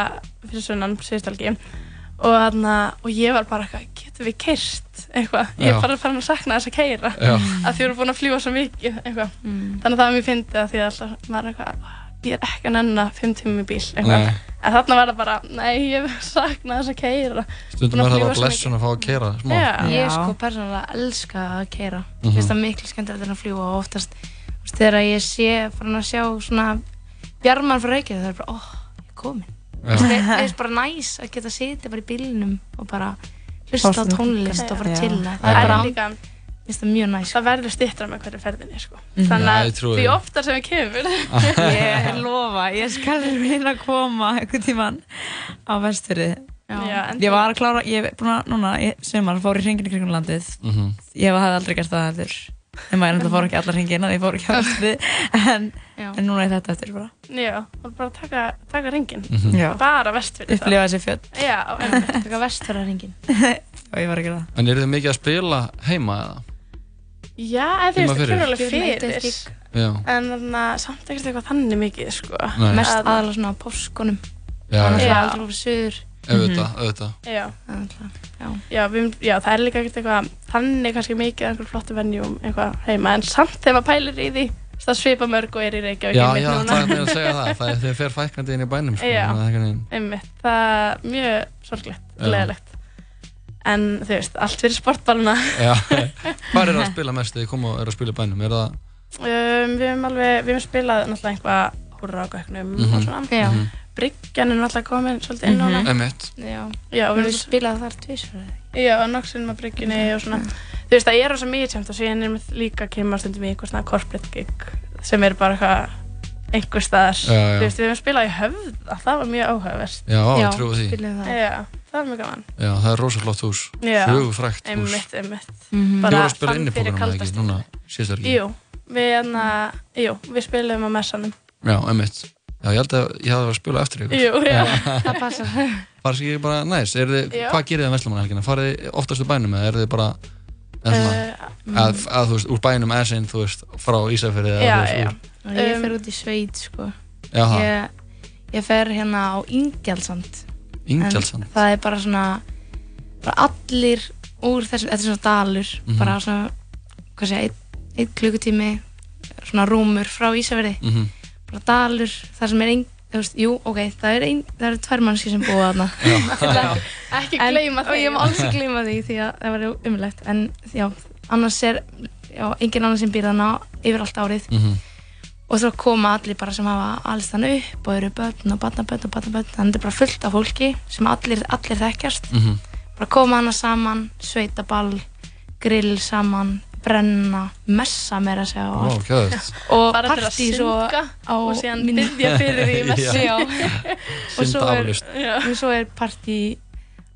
fyrir sunnan síðustalgi og, þarna, og ég var bara eitthvað, getum við keyrst eitthvað Ég Já. er bara farin að sakna þess að keyra Já. að því við erum búin að fljúa svo mikið eitthvað Þannig að það var mér fyndi að því að alltaf maður er eitthvað "Ah, Ég er ekki að nenna fimm tímum í bíl eitthvað Nei. En þarna var það bara, nei, ég sakna þess að keyra Stundum Búin fljúga er það bara svo mikið. blessun að fá að kera smá. Ég sko persónulega elska að keira Mér Mhm. finnst það miklu skemmtilegt en að fljúa og oftast þú veist, þegar ég sé farin að sjá svona bjarman frá Reykjavík það er bara, óh, ég er komin Já. Þú veist, Mér finnst bara næs að geta setið bara í bílnum og bara hlusta á Fást nú- tónlist og bara Já. chilla Það er bara líka- finnst það mjög næs Það verður stittra með hverju ferðinni sko. Mm. Mhm. Þannig Já, að ég því trúi því. oftar sem við kemur Ég lofa, ég skal reyna að koma einhvern tíman á vesturði Já. Já, endilega. Ég var að klára, ég er búin að núna í sumar fór í hringin í kringum landið Mhm. Ég hafði aldrei gert það heldur En maður enda fór ekki allar hringina, ég fór ekki á vesturði en, en núna er þetta eftir bara Já, og bara taka, taka ringin Mhm. Já. bara vestfyrir Upplifa þessi fjöll Já, taka vestfyrir ringin og ég var að gera En eru þið mikið að spila heima eða? Já, eða þú Heima veist, það fyrir? kemur alveg Fyrir eitt eitt fyrir Já. En þarna, samt ekkert eitthvað þannig mikið sko. Nei. mest Að- aðalega svona á páskunum Já, annars já. er aldrei úr suður Mhm. Auðvitað, auðvitað. Já. Já. Já, við, já, það er líka ekkert eitthvað þannig kannski mikið einhver flottu venjum eitthvað heima, en samt þegar maður pælir í því það svipa mörg og er í Reykjavík Já, einmitt já, núna. það er mér að segja það, það er þegar fer fækandi inn í bænum sko. Já. þannig að það er einhvern veginn- einmitt, það er mjög sorglegt, Já. leðilegt en þú veist, allt fyrir sportballuna Já, hvað er að spila mest þegar þið kom og eru að spila í bænum? Er það, Um, við hefum alveg, við hefum spilað náttúrulega einhvað húrra á göknum og Mhm. svona. Já. Mhm. Bryggjan er náttúrulega komin svolítið inn á Mhm. hana. Einmitt. Já. Já, og Við við höfum spilað þar tvisvar. Já, nokksun með bryggjunni og svona. Þú veist, það er rosa mikið tjönd og síðan er mér líka kemur stundum í eitthvað svona corporate gig sem er bara eitthvað einhver staðar. Já, já. Þú veist, við hefum spilað í höfða, það var mjög áhugavert. Já, ég Já, trúi því. spiluðum það. Já, það var mjög gaman. já, það er rosa flott hús, Já. hugfrækt hús. Einmitt, einmitt. Mhm. Þið voru að spila fann inn í fyrir bókunum kalda eða ekki, stríðið. núna síðast er ekki. Jú, við, hérna- jú, við spilum á messanum. Já, einmitt. Já, ég held að ég hafði að spila eftir ykkur. Jú, já, það passar. Bara sé ég bara, næs, er þið, Já. hvað gerir þið að Vestlumann helgina? Farið þið oftast úr bænum eða er þið bara, eða svona, Eh, að, að þú veist, úr bænum eða sinn, þú veist, frá Ísafjörði eða mm. Já, þú veist, já. Um, úr- Og Ég fer út í sveit sko. Jaha. Ég, ég fer hérna á Ingjaldsand. Ingjaldssand? En Það er bara svona, bara allir úr þessum, þetta er svona dalur, Mhm. bara svona, hvað sé, einn ein klukkutími, svona rúmur frá Ísafjörði. Mhm. Bara dalur, það sem er ein, þú veist, jú, ok, það er ein, það eru tvær mannski sem búa þarna. Já. Ekki En- gleyma Og þeim. ég má alls ekki gleyma því því að það var umlegt. En já, annars er, já, engin annar sem býr þarna yfir allt árið. Mhm. og svo koma allir bara sem hafa alls þann upp og eru börn og barnabörn og barnabörn þannig að þetta er bara fullt af fólki sem allir, allir þekkjast Mhm. bara koma hana saman, sveitaball grill saman, brenna messa meira að segja og Vá, allt geðveikt. og Bara til að partí svo syngja á og síðan mínu- biðja fyrir því í messu. Já. og Synda svo er, aflaust. Já. og svo er partí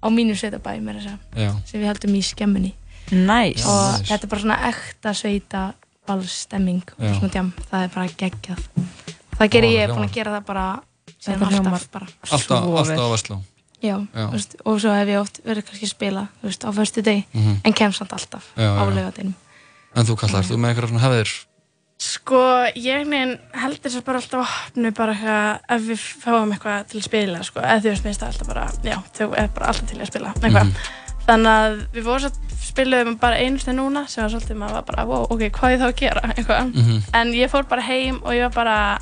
á mínu sveitabæ meira að segja Já. sem við heldum í skemmunni Næs. Já, og næs. þetta er bara svona ekta sveitaballstemming Já. og svona djám, það er bara geggjað það gerir Ó, ég, það er búin að hljómar. gera það bara síðan Þetta hljómar alltaf bara Alltaf, alltaf á Vestló. Já, Já. þú Veist, og svo hef ég oft verið kannski að spila þú veist, á förstu deg, Mhm. en kem samt alltaf Já, já, á já. laugadeinum En þú kallar, þú með einhverja svona hefðir? Sko, ég neginn heldur þess að bara alltaf opnu bara eitthvað ef við fáum eitthvað til að spila, sko, eða þú veist, minnst það alltaf bara, já, þau er bara alltaf til í að spila, eitthvað. Mhm. Þannig að við vorum svo spiluðum bara einu sinni núna sem var svolítið maður var bara, wow, ok, hvað er það að gera, eitthvað. Mhm. En ég fór bara heim og ég var bara,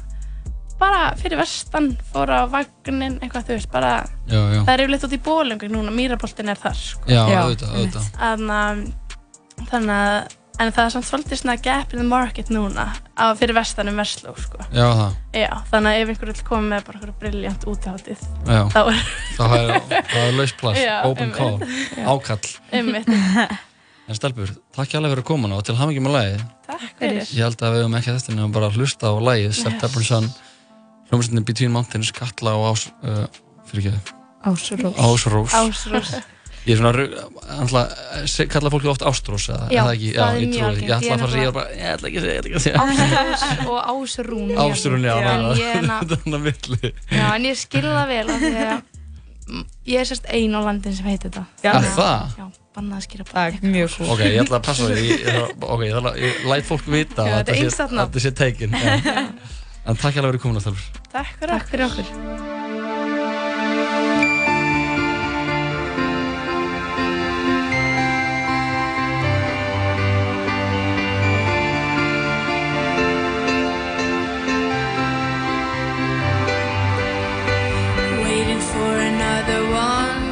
bara fyrir vestan, fór á vagnin, eitthvað þú veist, bara Já, já. það er yfirleitt út í bólengu núna, mýraboltin er þar sko. Já, Já, auðvitað, einmitt. auðvitað. Þannig að- þannig að, en það er samt svolítið svona gap in the market núna á fyrir vestan um Vestló sko. Já, það. Já, þannig að ef einhver vil koma með bara einhverja briljant útihátið Já. þá er Það er, það er laust plass, Já, open call, einmitt. Já. ákall. Einmitt. En stelpur, takk hjá alveg fyrir komuna og til hamingi með lagið. Takk fyrir. Ég held að við höfum ekki að þetta nefnum bara að hlusta á lagið September Sun, hljómsveitinni Between Mountains, Katla og Ás... Uh, fyrir ekki Ásrós. Ásrós. Ásrós. Ég er svona, alltaf, kalla fólki oft Ástrós, eða Já, er það ekki? það er ég mjög trúi því. Ég ætla að algengt. Ég er fara að segja nefnilega- bara, ég ætla ekki að segja, ég ætla ekki að segja. Ásrós og Ásrún Ástrún, já, en ég, er ná, na- þetta er hann að milli. já, en ég skil það vel af því að mm, ég er sérst ein á landin sem heitir þetta Já. Er það? Já, bannað að skýra bara Það er mjög Ok, ég ætla að passa því, ég, ég, þarf að- ok, ég, þarf að- ég læt fólk vita Já, að þetta er sé- einstakt að nafn. þetta sé tekin. já. En takk alveg fyrir komuna, Þalfur. Takk fyrir, Takk fyrir okkur. waiting for another one,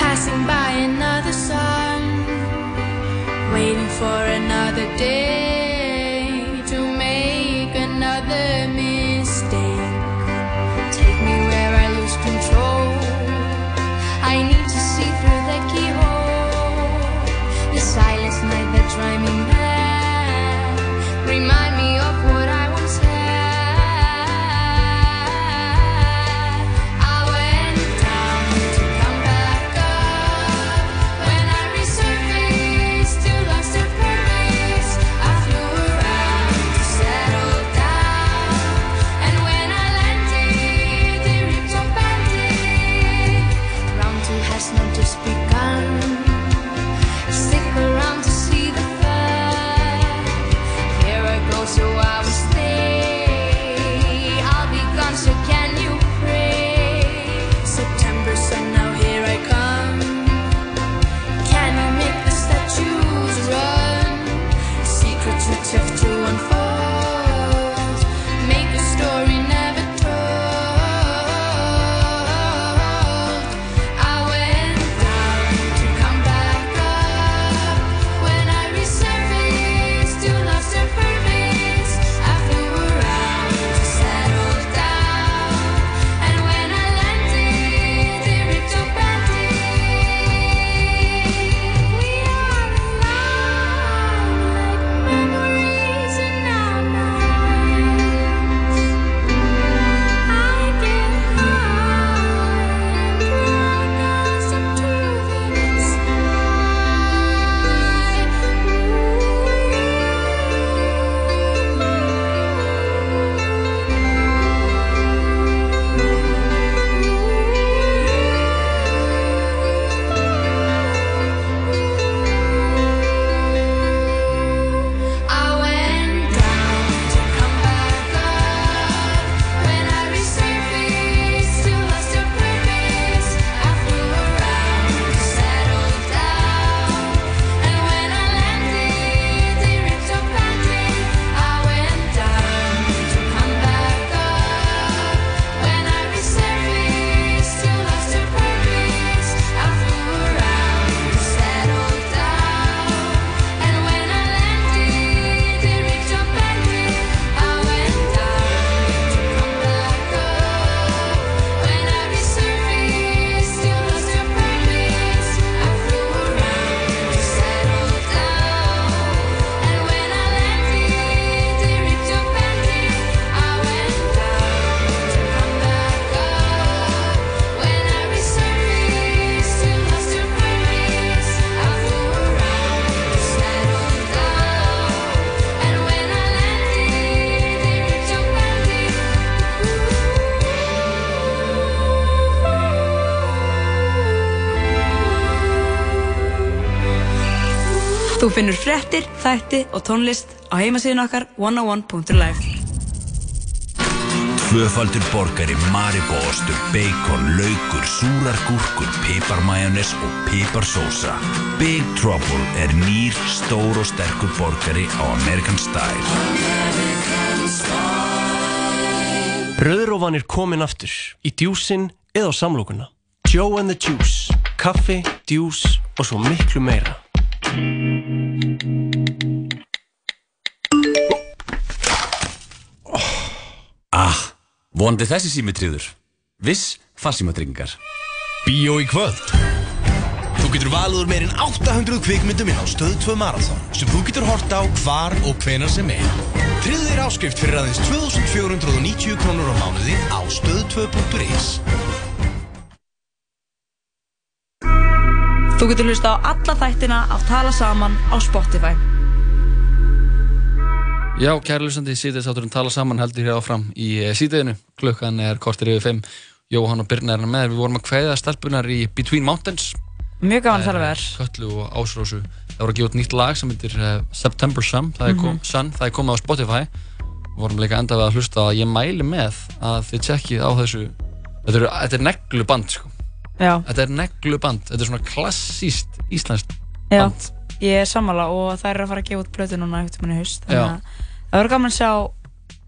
passing by another sun, waiting for another day to make another mistake. Take me where I lose control. I need to see through the keyhole. The silence night that's driving mad. Remind me of what I once had. I went down to come back up. When I resurfaced to lost a purpose, I flew around to settle down. And when I landed, the rips are banded. Round two has not just begun. Stick around to see the fun. Here I go, so I will stay. I'll be gone, so can you pray? September sun, now here I come. Can I make the statues run? Secret too tough to unfold. Make a story never told. I went down to come back up. When I resurfaced to lost a purpose, I flew around to settle down. And when I landed, they ripped or banded. We are alive like memories in our minds. I get high and drunk us up to the I went down to come back up. When I resurfaced to lost a purpose, I flew around to settle down. And when I landed, they ripped up landed. I went down to come back up. When I resurfaced to lost a purpose, I flew around to settle down. And when I landed, they ripped or banded. I went down to come back up. When I resurfaced, you lost your purpose. I flew around to settle down. And when I landed, they ripped or banded. I went down to come back up. When I resurfaced, you lost your purpose. I flew around to settle down. And when I landed, they ripped or banded. Þú finnur fréttir, þætti og tónlist á heimasíðin okkar 101.life Tvöfaldur borgari maribóostur, bacon, laukur, súrar gúrkur, piparmajónes og piparsósa. Big Trouble er nýr, stór og sterkur borgari á American Style. American style. Bröðrófan er komin aftur í djúsin eða á samlokuna Joe and the Juice, kaffi, djús og svo miklu meira Ah, vonandi þessi sími tríður. Viss farsímatryggingar. Bíó í kvöld. Þú getur valið úr meirinn 800 kvikmyndum inn á Stöð 2 Marathon sem þú getur hort á hvar og hvenar sem er. Tryggðu þér áskrift fyrir aðeins 2490 krónur á mánuði á stöð2.is. Þú getur hlusta á alla þættina af Tala Saman á Spotify. Já, kæri lusandi, síðdeis átturinn tala saman heldur hér áfram í síðdeinu. Klukkan er kortir yfir 5. Jóhann og Birna er hann með. Við vorum að kveða stelpunar í Between Mountains. Mjög gaman að tala við þér. Köllu og Ásrósu. Það voru að gefa út nýtt lag sem heitir eh, September Sun. Það er, kom, Mhm. Sun. Það er komið á Spotify. Við vorum líka enda við að hlusta að ég mæli með að þið tjekkið á þessu. Þetta er, þetta er negluband, sko. Já. Þetta er negluband. Þetta er svona klassíst íslenskt. Já, ég er sammála og það er að fara að gefa út blötu núna eftir manni haust. þannig Já. að Það verður gaman að sjá,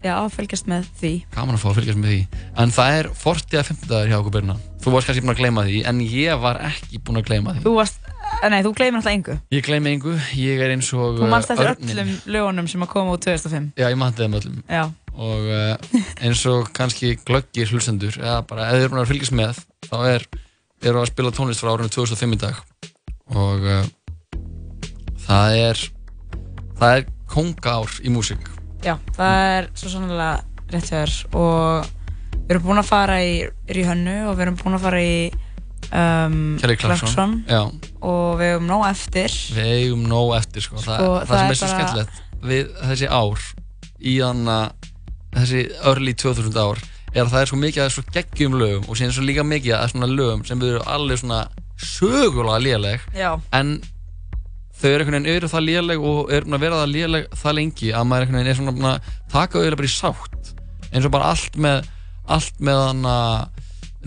já, að fylgjast með því. Gaman að fá að fylgjast með því. En það er 40 að 50 dagar hjá okkur byrna. Þú varst kannski búin að gleyma því, en ég var ekki búin að gleyma því. Þú varst, eh, nei, þú gleymir alltaf engu. Ég gleymi engu, ég er eins og Þú mannst uh, eftir örninn. öllum lögunum sem að koma út 2005. Já, ég mannst þeim öllum Já. Og uh, eins og kannski glöggir hlustendur eða bara ef þeir eru búin að fylgjast með þá er, eru að spila tónlist frá árinu 2005 í dag og uh, það er það er kongár í músík Já, það er svo sannlega rétt hjá þér og við erum búin að fara í Rihönnu og við erum búin að fara í um, Kelly Clarkson. Já. og við erum nóg eftir Við eigum nóg eftir sko. Þa, Sko, það, það sem er er svo bara- skemmtilegt við þessi ár í þann að þessi örli 2000 ár er að það er svo mikið að svo geggjum lögum og síðan svo líka mikið að svona lögum sem við erum alveg svona sögulega léleg Já. en þau eru einhvern veginn eru það léleg og eru búin að vera það léleg það lengi að maður einhvern veginn er svona búin að taka auðvitað bara í sátt eins og bara allt með allt með hann að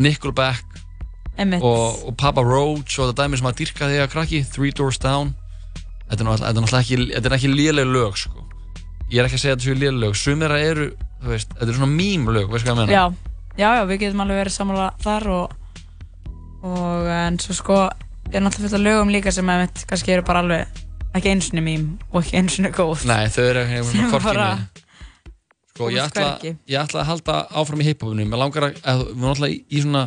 Nickelback Einmitt. og, og Papa Roach og það dæmi sem að dyrka þegar krakki Three Doors Down þetta er náttúrulega- þetta er náttúrulega ekki, þetta er ekki léleg lög sko. ég er ekki að segja að þetta séu léleg lög sumir þeirra eru, þú veist, þetta er svona mím lög veist hvað ég meina já, já, já, við getum alveg verið sammála þar og, og en svo sko er náttúrulega fullt af lögum líka sem að mitt kannski eru bara alveg ekki einsunni mím og ekki einsunni góð Nei, þau eru einhvern veginn svona Sem korkinu bara- Sko, ég komast ætla, hvergi. ég ætla að halda áfram í hiphopinu Mér langar að, að við erum alltaf í, í svona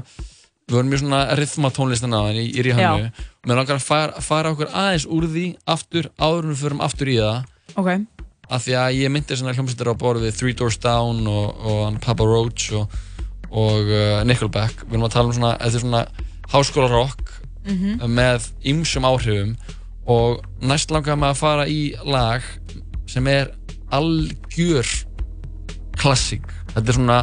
Við vorum í svona rithmatónlistina á henni, í Já. hannu Mér langar að fara, fara okkur aðeins úr því aftur, áður en við förum aftur í það ok, af því að ég myndi svona hljómsveitir á borð við Three Doors Down og, og hann Papa Roach og, og uh, Nickelback við erum að tala um svona, þetta er svona háskólarokk Mhm. með ymsum áhrifum og næst langar maður að fara í lag sem er algjör klassík þetta er svona,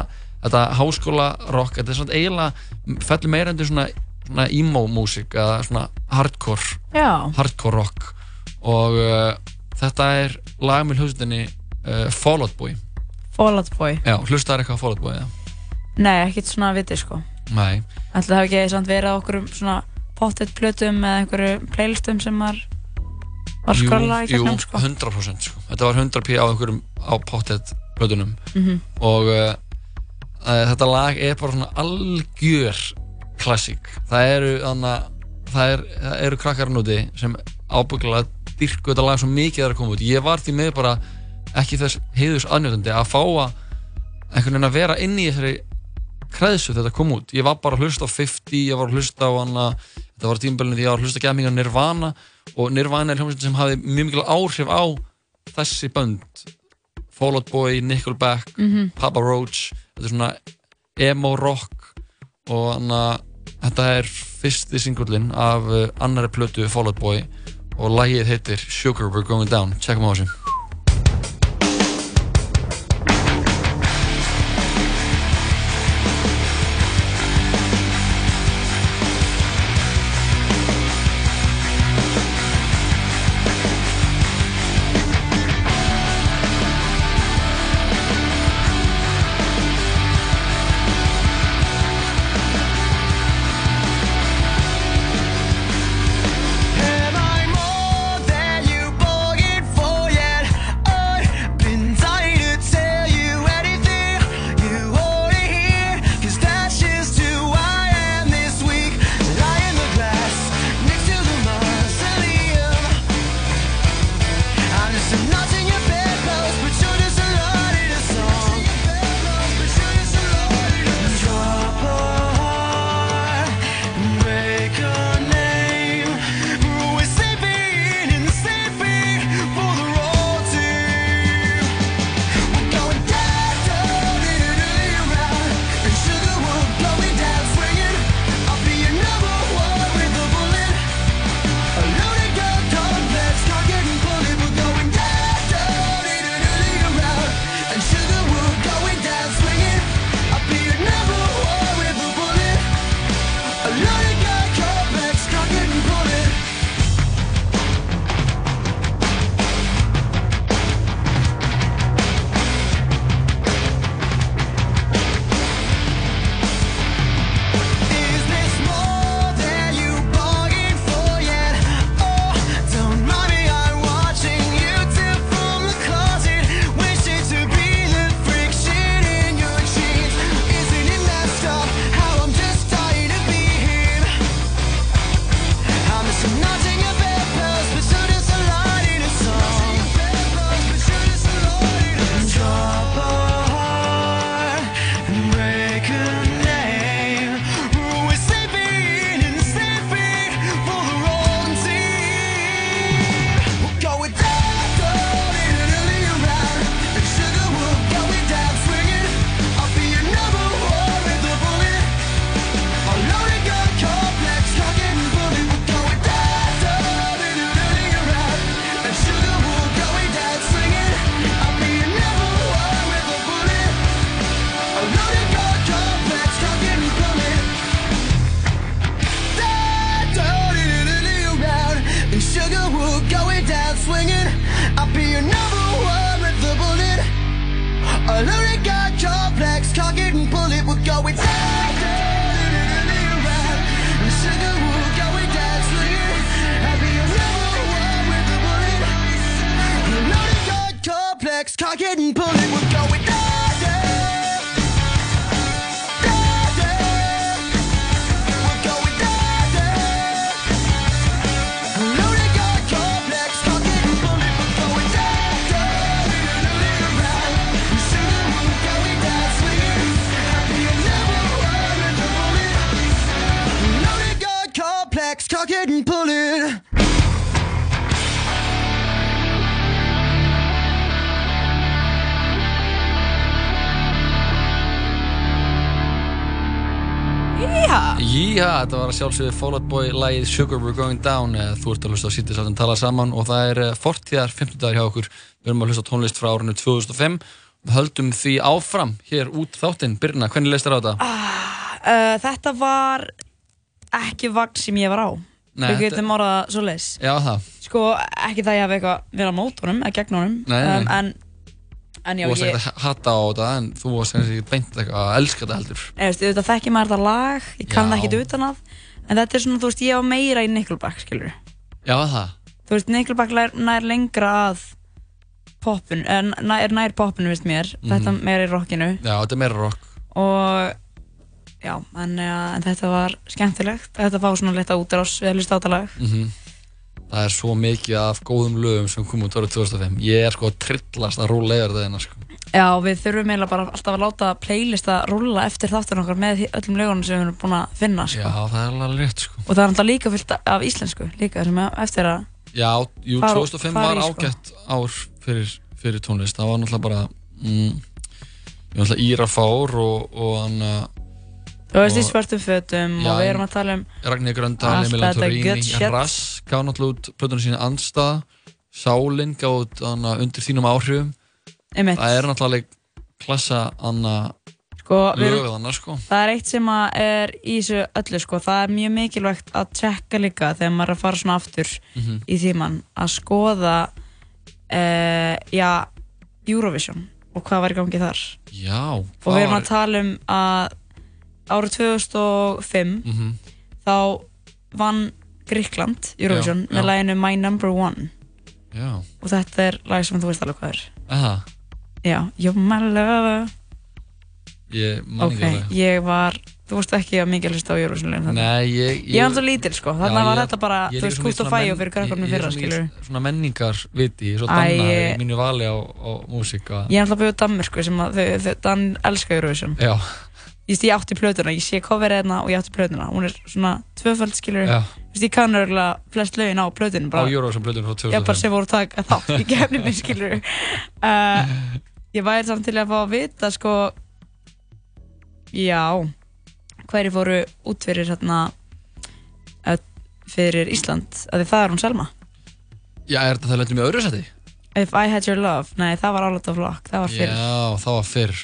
þetta háskólarokk þetta er svona eiginlega, fellur meira undir svona, svona emo-músík eða svona hardcore Já. hardcore rock og uh, þetta er lag með hljóðsutinni uh, Fall Out Boy Fall Out Boy Já, hlustaðar eitthvað á Fall Out Boy, já nei, ekkert svona að viti sko Nei, ætla það hafi ekki samt verið á okkur svona pottet plötum eða einhverju playlistum sem var var Jú, skrolla í jú, gegnum sko 100% sko. þetta var 100 p á einhverjum á pottet plötunum Mhm. og uh, uh, þetta lag er bara svona algjör klassík það eru þannig að það, er, það eru krakkar núti sem ábyggilega dyrku þetta lag svo mikið það er að koma út ég var því með bara ekki þess heiðus aðnjóðandi að fá að einhvern veginn að vera inn í þessari kreðsu þegar þetta kom út ég var bara að hlusta á 50, ég var að hlusta á hana þetta var tímabölinu því ég var að hlusta gæminga Nirvana og Nirvana er hljómsveit sem hafi mjög mikil áhrif á þessi bönd Fall Out Boy, Nickelback Mhm. Papa Roach, þetta er svona emo rock og hana, þetta er fyrsti singullin af uh, annari plötu Fall Out Boy og lagið heitir Sugar We're Going Down, checkum á þessu And I'm more than you bargained for yet Oh, swinging. I'll be your number one with the bullet. A loaded gun, jaw flex, target and bullet. We're going down, down, in and in and around. And sugar, we're going down, swinging. I'll be your number one with the bullet. A loaded gun, jaw flex, target and bullet. We're going down, down. Getting pull it. Íha Jíha, þetta var að sjálfsögðu Fall Out Boy lagið Sugar We're Going Down eh, þú ert að hlusta á sítið sáttum tala saman og það er eh, fortíðar 50 dagar hjá okkur við erum að hlusta á tónlist frá árinu 2005 við höldum því áfram hér út þáttinn Birna, hvernig leist þér á þetta? uh, Þetta var ekki vagn sem ég var á Nei, Við þetta- getum orðað svo leis Já, það Sko, ekki það ég hafi eitthvað verið á mót honum eða gegn honum Nei, nei. en, en já, Þú varst ég ekkert að hata á þetta en þú varst ekkert beint eitthvað að elska þetta heldur Nei, veist, auðvitað þekki maður þetta lag, ég kann Já. það ekkert utan að en þetta er svona, þú veist, ég á meira í Nickelback, skilur Já, það þú veist, Nickelback lær, nær lengra að poppun, er, er nær poppun, veist mér Mhm. þetta meira í rockinu Já, þetta er meira rock og já, en, ja, en þetta var skemmtilegt, þetta fá svona leta útrás við að hlusta á þetta lag mm Það er svo mikið af góðum lögum sem kom út árið 2005 Ég er sko að trillast að rúla yfir þetta hérna, sko. Já, við þurfum eiginlega bara alltaf að láta playlista rúlla eftir þáttunum okkar með því- öllum lögunum sem við erum búin að finna sko. Já, það er alveg rétt sko. og það er náttúrulega líka fyllt af íslensku líka sem er eftir að Já, jú, Fara- 2005 fara var í, sko. ágætt ár fyrir, fyrir tónlist Það var náttúrulega bara mm, Ég var náttúrulega Íra Fár og, og hann uh, Þú veist, í og- svörtum fötum og við erum að tala um Ragnir Gröndal, allt Emil þetta good Torini, shit. Rass gaf náttúrulega út plötunum sína Andstað Sálin gaf út hana, undir þínum áhrifum Einmitt. Það er náttúrulega klassa hana, sko, við erum- lögð hana sko. Það er eitt sem að er í þessu öllu sko, það er mjög mikilvægt að tjekka líka þegar maður er að fara svona aftur Mhm. í tíman að skoða uh, já, Eurovision og hvað var í gangi þar Já og hvað við erum var- að tala um að árið 2005 Mhm. þá vann Gríkland Eurovision Já, með já. læginu My Number One Já, og þetta er lag sem þú veist alveg hvað er eða, Já, You're My Lover ég man Ok, ekki alveg ég var, þú veist ekki að mikið hlusta á Eurovision lögin þarna. Nei, ég... Ég var náttúrulega lítil, sko. Þarna Já, var ég- þetta bara, ég er þú líka veist, svona í kúst og svona fæja menn- fyrir krakkana ég- fyrra, Ég er svona skilurðu. í svona menningar viti, ég er svo Æ, danna ég- í mínu vali á, á músík og... Ég er náttúrulega búið á Danmörku sem að þau, þau, Dan elska Eurovision. Já, Ég veist, ég átti plötuna, ég sé coverið hérna og ég átti plötuna. Hún er svona tvöfald, skilur. Já. Þú veist, ég kann örgulega flest lögin á á plötinu bara. Eurovision blöðum frá 2005 Ég bara sem voru að taka þátt í kefninu, skilur. Uh, ég væri samt til að fá að vita, sko, já, hverju fóru út fyrir hérna, uh, fyrir Ísland, af því það er hún Selma. Já, er þetta það lendum í öðru seti? If I Had Your Love, nei það var Out of Luck, það var fyrir Já, það var fyrr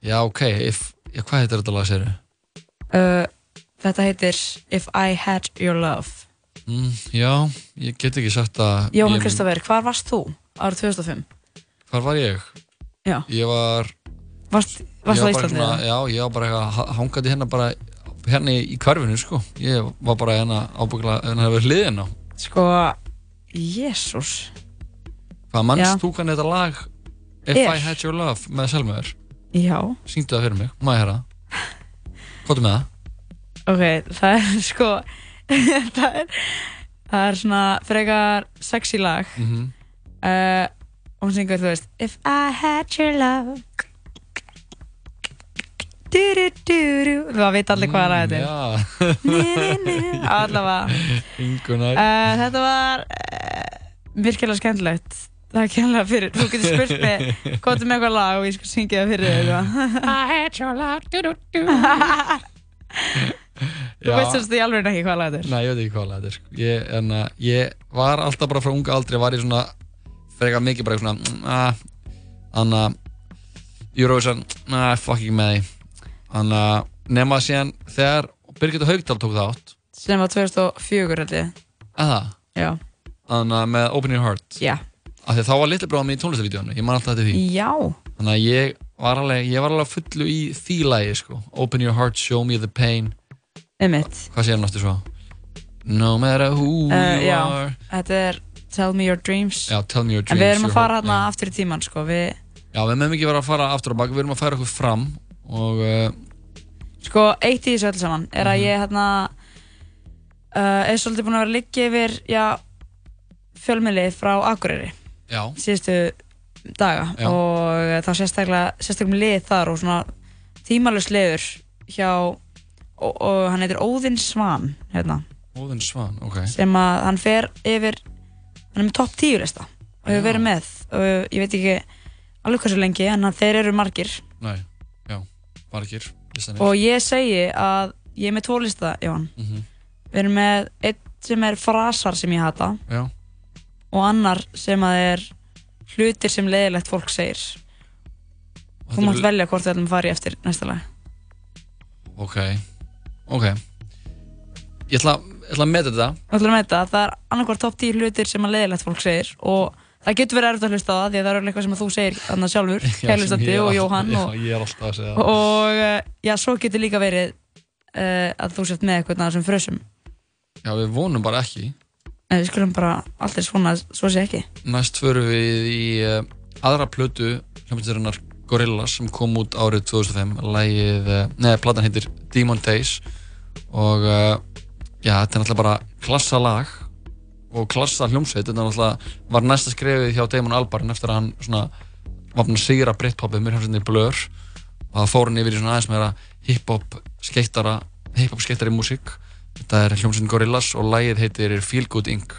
Já, ok, if, já, hvað heitir þetta lag, segirðu? uh, Þetta heitir If I Had Your Love Mm, já, ég get ekki sagt að Jóhann ég- Kristoffer, hvar varst þú árið 2005? Hvar var ég? Já. Ég var... Varst, ég var varst bara á Íslandi, svona- eða? Já, ég var bara eitthvað hangandi hérna bara hérna í hverfinu, sko. Ég var bara hérna ábyggla, hérna hefur hliðin á. Sko, jésús Hvað Já. mannst þú hvernig þetta lag If Er. I Had Your Love með Selmaður? Já, Syngdu það fyrir mig, má ég herra. Hvort með það? ok, það er sko það, er, það er svona frekar sexy lag Mhm. uh, og hún syngur, þú veist If I had your love Du-du-du-du Það veit allir hvað það er Já. Ni-ni-ni. Allavega Mm, Ingunar. Uh, þetta var uh, virkilega skemmtilegt Það er kemlega fyrir, þú getur spurt mig hvað er með eitthvað lag og ég skal syngja það fyrir þig eitthvað. I had your love do, do, do. Þú veist þess að ég alveg ekki hvað lag þetta er Nei, ég veit ekki hvað lag þetta er sko. ég, en, uh, ég var alltaf bara frá unga aldri var ég svona frekar mikið bara svona mm, Þannig að Eurovision, næ, fuck ekki með því Þannig að eh, nema síðan þegar Birgitta Haugdal tók það átt Sem var 2004 held ég Eða? Já. Þannig að eh, með Open Your Heart Já af því að þá var litli bráðum í tónlistavídeónu ég man alltaf þetta því Já. þannig að ég var alveg, ég var alveg á fullu í því lagi sko. open your heart, show me the pain Einmitt. hvað segir hann aftur svo no matter who Uh, you já, are þetta er Tell Me Your Dreams. já, tell me your dreams en við erum að your fara heart- hérna aftur í tíman, sko. Við, já, við meðum ekki vera að fara aftur á bak við erum að færa okkur fram og uh, sko, eitt í þessu öll saman er Mhm. að ég hérna uh, er svolítið búin að vera liggja yfir, já, fjölmiðli frá Akureyri já, síðustu daga Já. og þá sérstaklega, sérstaklega lið þar og svona tímalus liður hjá og, og hann heitir Óðinn Svan hérna, Óðinn Svan, ok sem að hann fer yfir hann er með topp 10 lista og hefur verið með og ég veit ekki alveg hversu lengi en hann, þeir eru margir nei, já, margir listanir. og ég segi að ég er með tvo lista Jón Mhm. við erum með einn sem er frasar sem ég hata já, og annar sem að er hlutir sem leiðilegt fólk segir Þetta þú mátt eru- velja hvort við ætlum að fara í eftir næsta lag ok ok ég ætla, ég ætla að meta þetta Við ætlum að þetta, það er annarkvar topp 10 hlutir sem að leiðilegt fólk segir og það getur verið erfitt að hlusta á það því að það eru eitthvað sem að þú segir annars sjálfur, Já, sem kælustandi ég er og all- Jóhann já, og, ég er alltaf að segja það. og eh, já, svo getur líka verið uh, að þú sért með eitthvað sem frösum já, við vonum bara ekki en við skulum bara alltaf svona, svo sé ekki Næst förum við í uh, aðra plötu hljómsveitarinnar Gorillaz sem kom út árið 2005 Lægið, uh, neða, platan heitir Demon Days og uh, já, þetta er náttúrulega bara klassa lag og klassa hljómsveit þetta er náttúrulega var næsta skrefið hjá Damon Albarn eftir að hann svona var búinn að sigra Britpopið mér hljómsveitinni Blur og það fór hann yfir í svona aðeins meira hiphop skeittara hiphop skeittari músík þetta er hljómsveitin Gorillaz og lægið heitir Feel Good Inc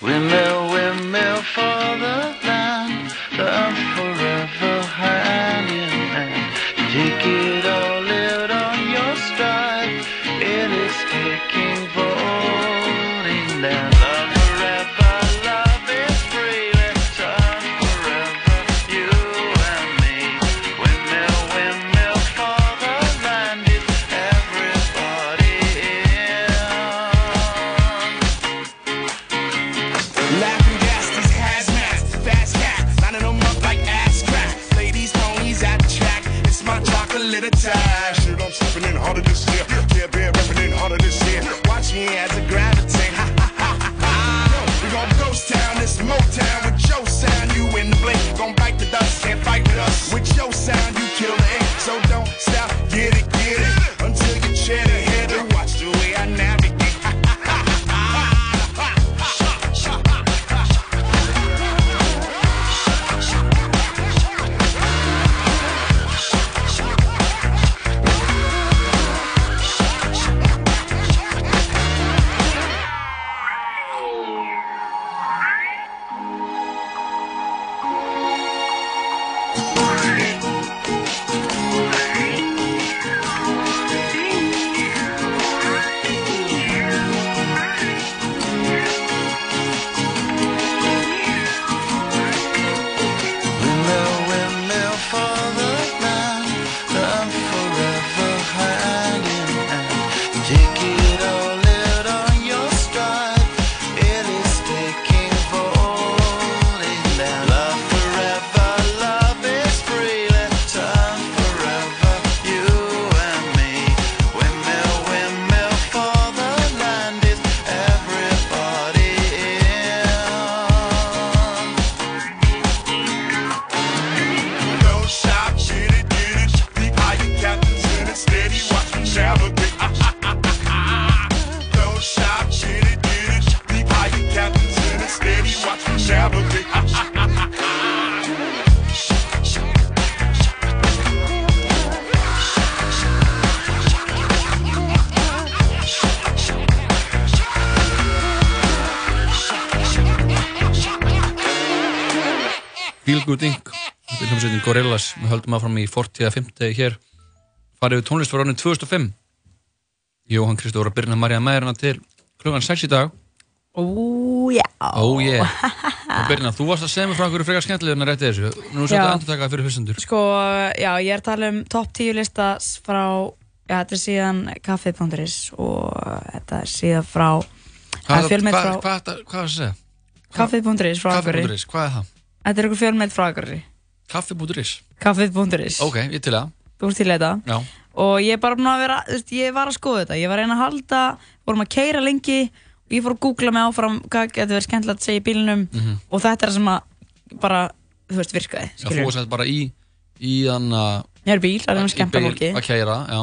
Windmill, windmill for the land, love forever hand in hand. Take it all out on your stride, it is taking falling down. Love forever, love is free, let's turn forever, you and me. Windmill, windmill for the land, it's everybody in. Laughing gas, these hazmats, fast cat, lining them up like ass crack. Ladies, ponies at the track, it's my chocolate attack. Shit, I'm stepping in harder this year. Yeah, bear repping in harder this year. Watch me as I gravitate. Ha ha ha ha ha. We gon' ghost town, this Motown with your sound. You in the blink, gon' bite the dust, can't fight with us. With your sound, you kill the ink, so don't stop. Get it, get it, until you chat ahead and watch the way I navigate. Disco Dink Þetta er hljómsveitin Gorillaz Við höldum áfram í 40. að 50. hér Farið við tónlist var ánum 2005 Jóhann Kristóra Birna Marja Mæðurna til klugan 6 í dag Ó, já. Ó oh, yeah Og Birna, þú varst að segja mig frá einhverju frekar skemmtilega en að rétti þessu Nú er Já. þetta að endur taka það fyrir hlustendur Sko, já, ég er að tala um topp 10 lista frá, já, þetta er síðan kaffi.is og þetta er síðan frá, það Hvað er fjölmeitt hvað- frá hvað- hvað- Hvað var það að segja? kaffi.is frá Akureyri. Kaffi.is, hvað er það? Þetta er einhver fjölmeitt frá Akureyri. Kaffi.is Kaffi.is. Ok, ég til það Þú ert til í þetta. Já, og ég er bara búin að vera, þú veist, ég var að skoða þetta, ég var að reyna að halda, vorum að keira lengi og ég fór að googla mig áfram hvað getur verið skemmtilegt að segja í bílinum Mhm. og þetta er það sem að bara, þú veist, virkaði, Já, þú skilur. varst þetta bara í í hann að Ég er í bíl, það er um í skemmta bíl fólki. að kæra já,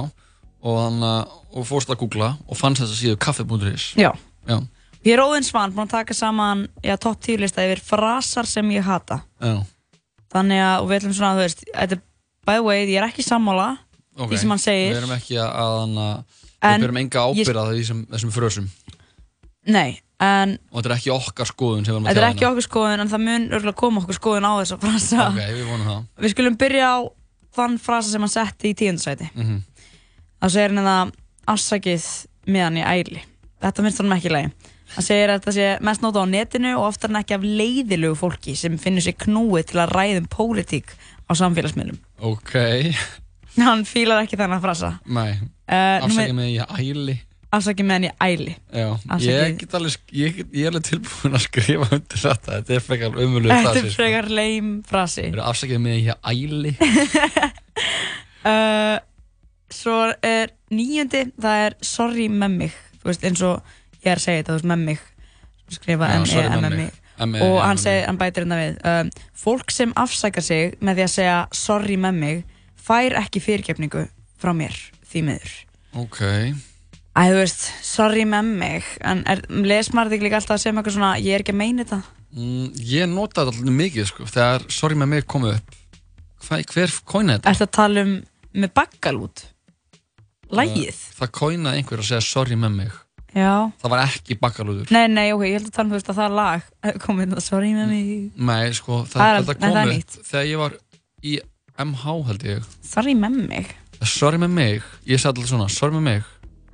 og, hann, uh, og fórst að googla og fannst þess að síðu kaffi.is Já. já, Ég er óðins vann, búin að taka saman, já, topp 10 lista yfir frasar sem ég hata. já, Þannig að, og við ætlum svona, þú veist, þetta er, by the way, ég er ekki sammála ok því sem hann segir. við erum ekki að, að hann að En við berum enga ábyrða ég... þessum, þessum frösum Nei, en og þetta er ekki okkar skoðun sem við erum að þetta er tjá hérna. ekki okkur skoðun, en það mun örgulega koma okkur skoðun á þessa frasa. ok, við vonum það Við skulum byrja á þann frasa sem hann setti í tíundasæti. mm -hmm. Það segir hann að afsakið meðan ég æli. Þetta finnst hann ekki lægi. Hann segir að þetta sé mest nota á netinu og oftar en ekki af leiðilegu fólki sem finnur sér knúið til að ræðum pólitík á samfélagsmiðlum. ok, Hann fílar ekki þennan frasa. mæ Uh, afsækja mig, ég æli Afsakið meðan ég æli. já, Afsakið. ég, get alveg, sk- ég, get- ég er alveg tilbúin að skrifa undir þetta þetta er sko. frekar umölu Þetta er frekar leim frasi. afsækja mig, ég æli Uh, svo er nýjöndi, það er sorry með mig. Þú veist, eins og ég er að segja þetta, þú veist, með mig. Skrifa E, Já, sorry, með M-E-M-M-I. mig. E, M-E-M-M-I. og hann, seg, hann bætir hérna við um, fólk sem afsakar sig með því að segja sorry með mig fær ekki fyrirgefningu frá mér því miður ok, Æ, þú veist, sorry með mig en er, les maður þig líka alltaf að segja með eitthvað svona ég er ekki að meina þetta mm, ég nota þetta alltaf mikið sko, þegar sorry með mig komið upp Hva, hver kóina þetta? Ertu að tala um með baggalút? Lægið? Það- það kóinaði einhver að segja sorry með mig Já það var ekki bakkalúður Nei, nei, ok, ég held að tala um þú veist að það er lag Eh, komið þetta sorry með mig nei, sko, það, Það er al- þetta nei, það er kom nýtt. upp þegar ég var í MH held ég Eh, Sorry með mig sorry með mig, ég sagði alltaf svona sorry með mig,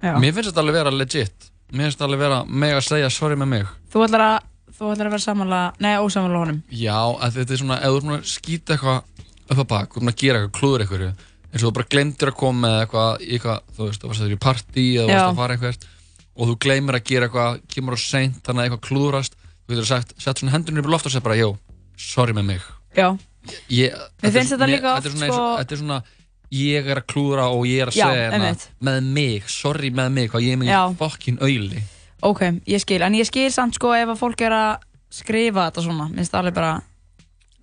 Já. mér finnst þetta alveg vera legit mér finnst þetta alveg vera meg að segja sorry með mig Þú ætlar að, þú ætlar að vera samanla Nei, ósamanla honum já, að þetta er svona, ef þú erum að skýta eitthvað upp að bak, þú erum að gera eitthvað, klúður eitthvað eins og þú bara glemtir að koma með eitthvað, í eitthvað þú veist, þú varst að þetta í partí eða þú Já. varst að fara eitthvað og þú gleymir að gera eitthvað, kemur á seint þannig að eitthvað klúðrast, þú getur sagt sett svona hendurinn upp í loft og segja bara, jó, sorry með mig Já, ég, er finnst þetta svona- líka er oft, svona eins og- sko- þetta er svona, ég er að klúðra og ég er að Já, segja hérna, einmitt. með mig, sorry með mig hvað ég er Já. mig fokkin auðli ok, ég skil En ég skil samt sko ef að fólk er að skrifa þetta svona Minnst það alveg bara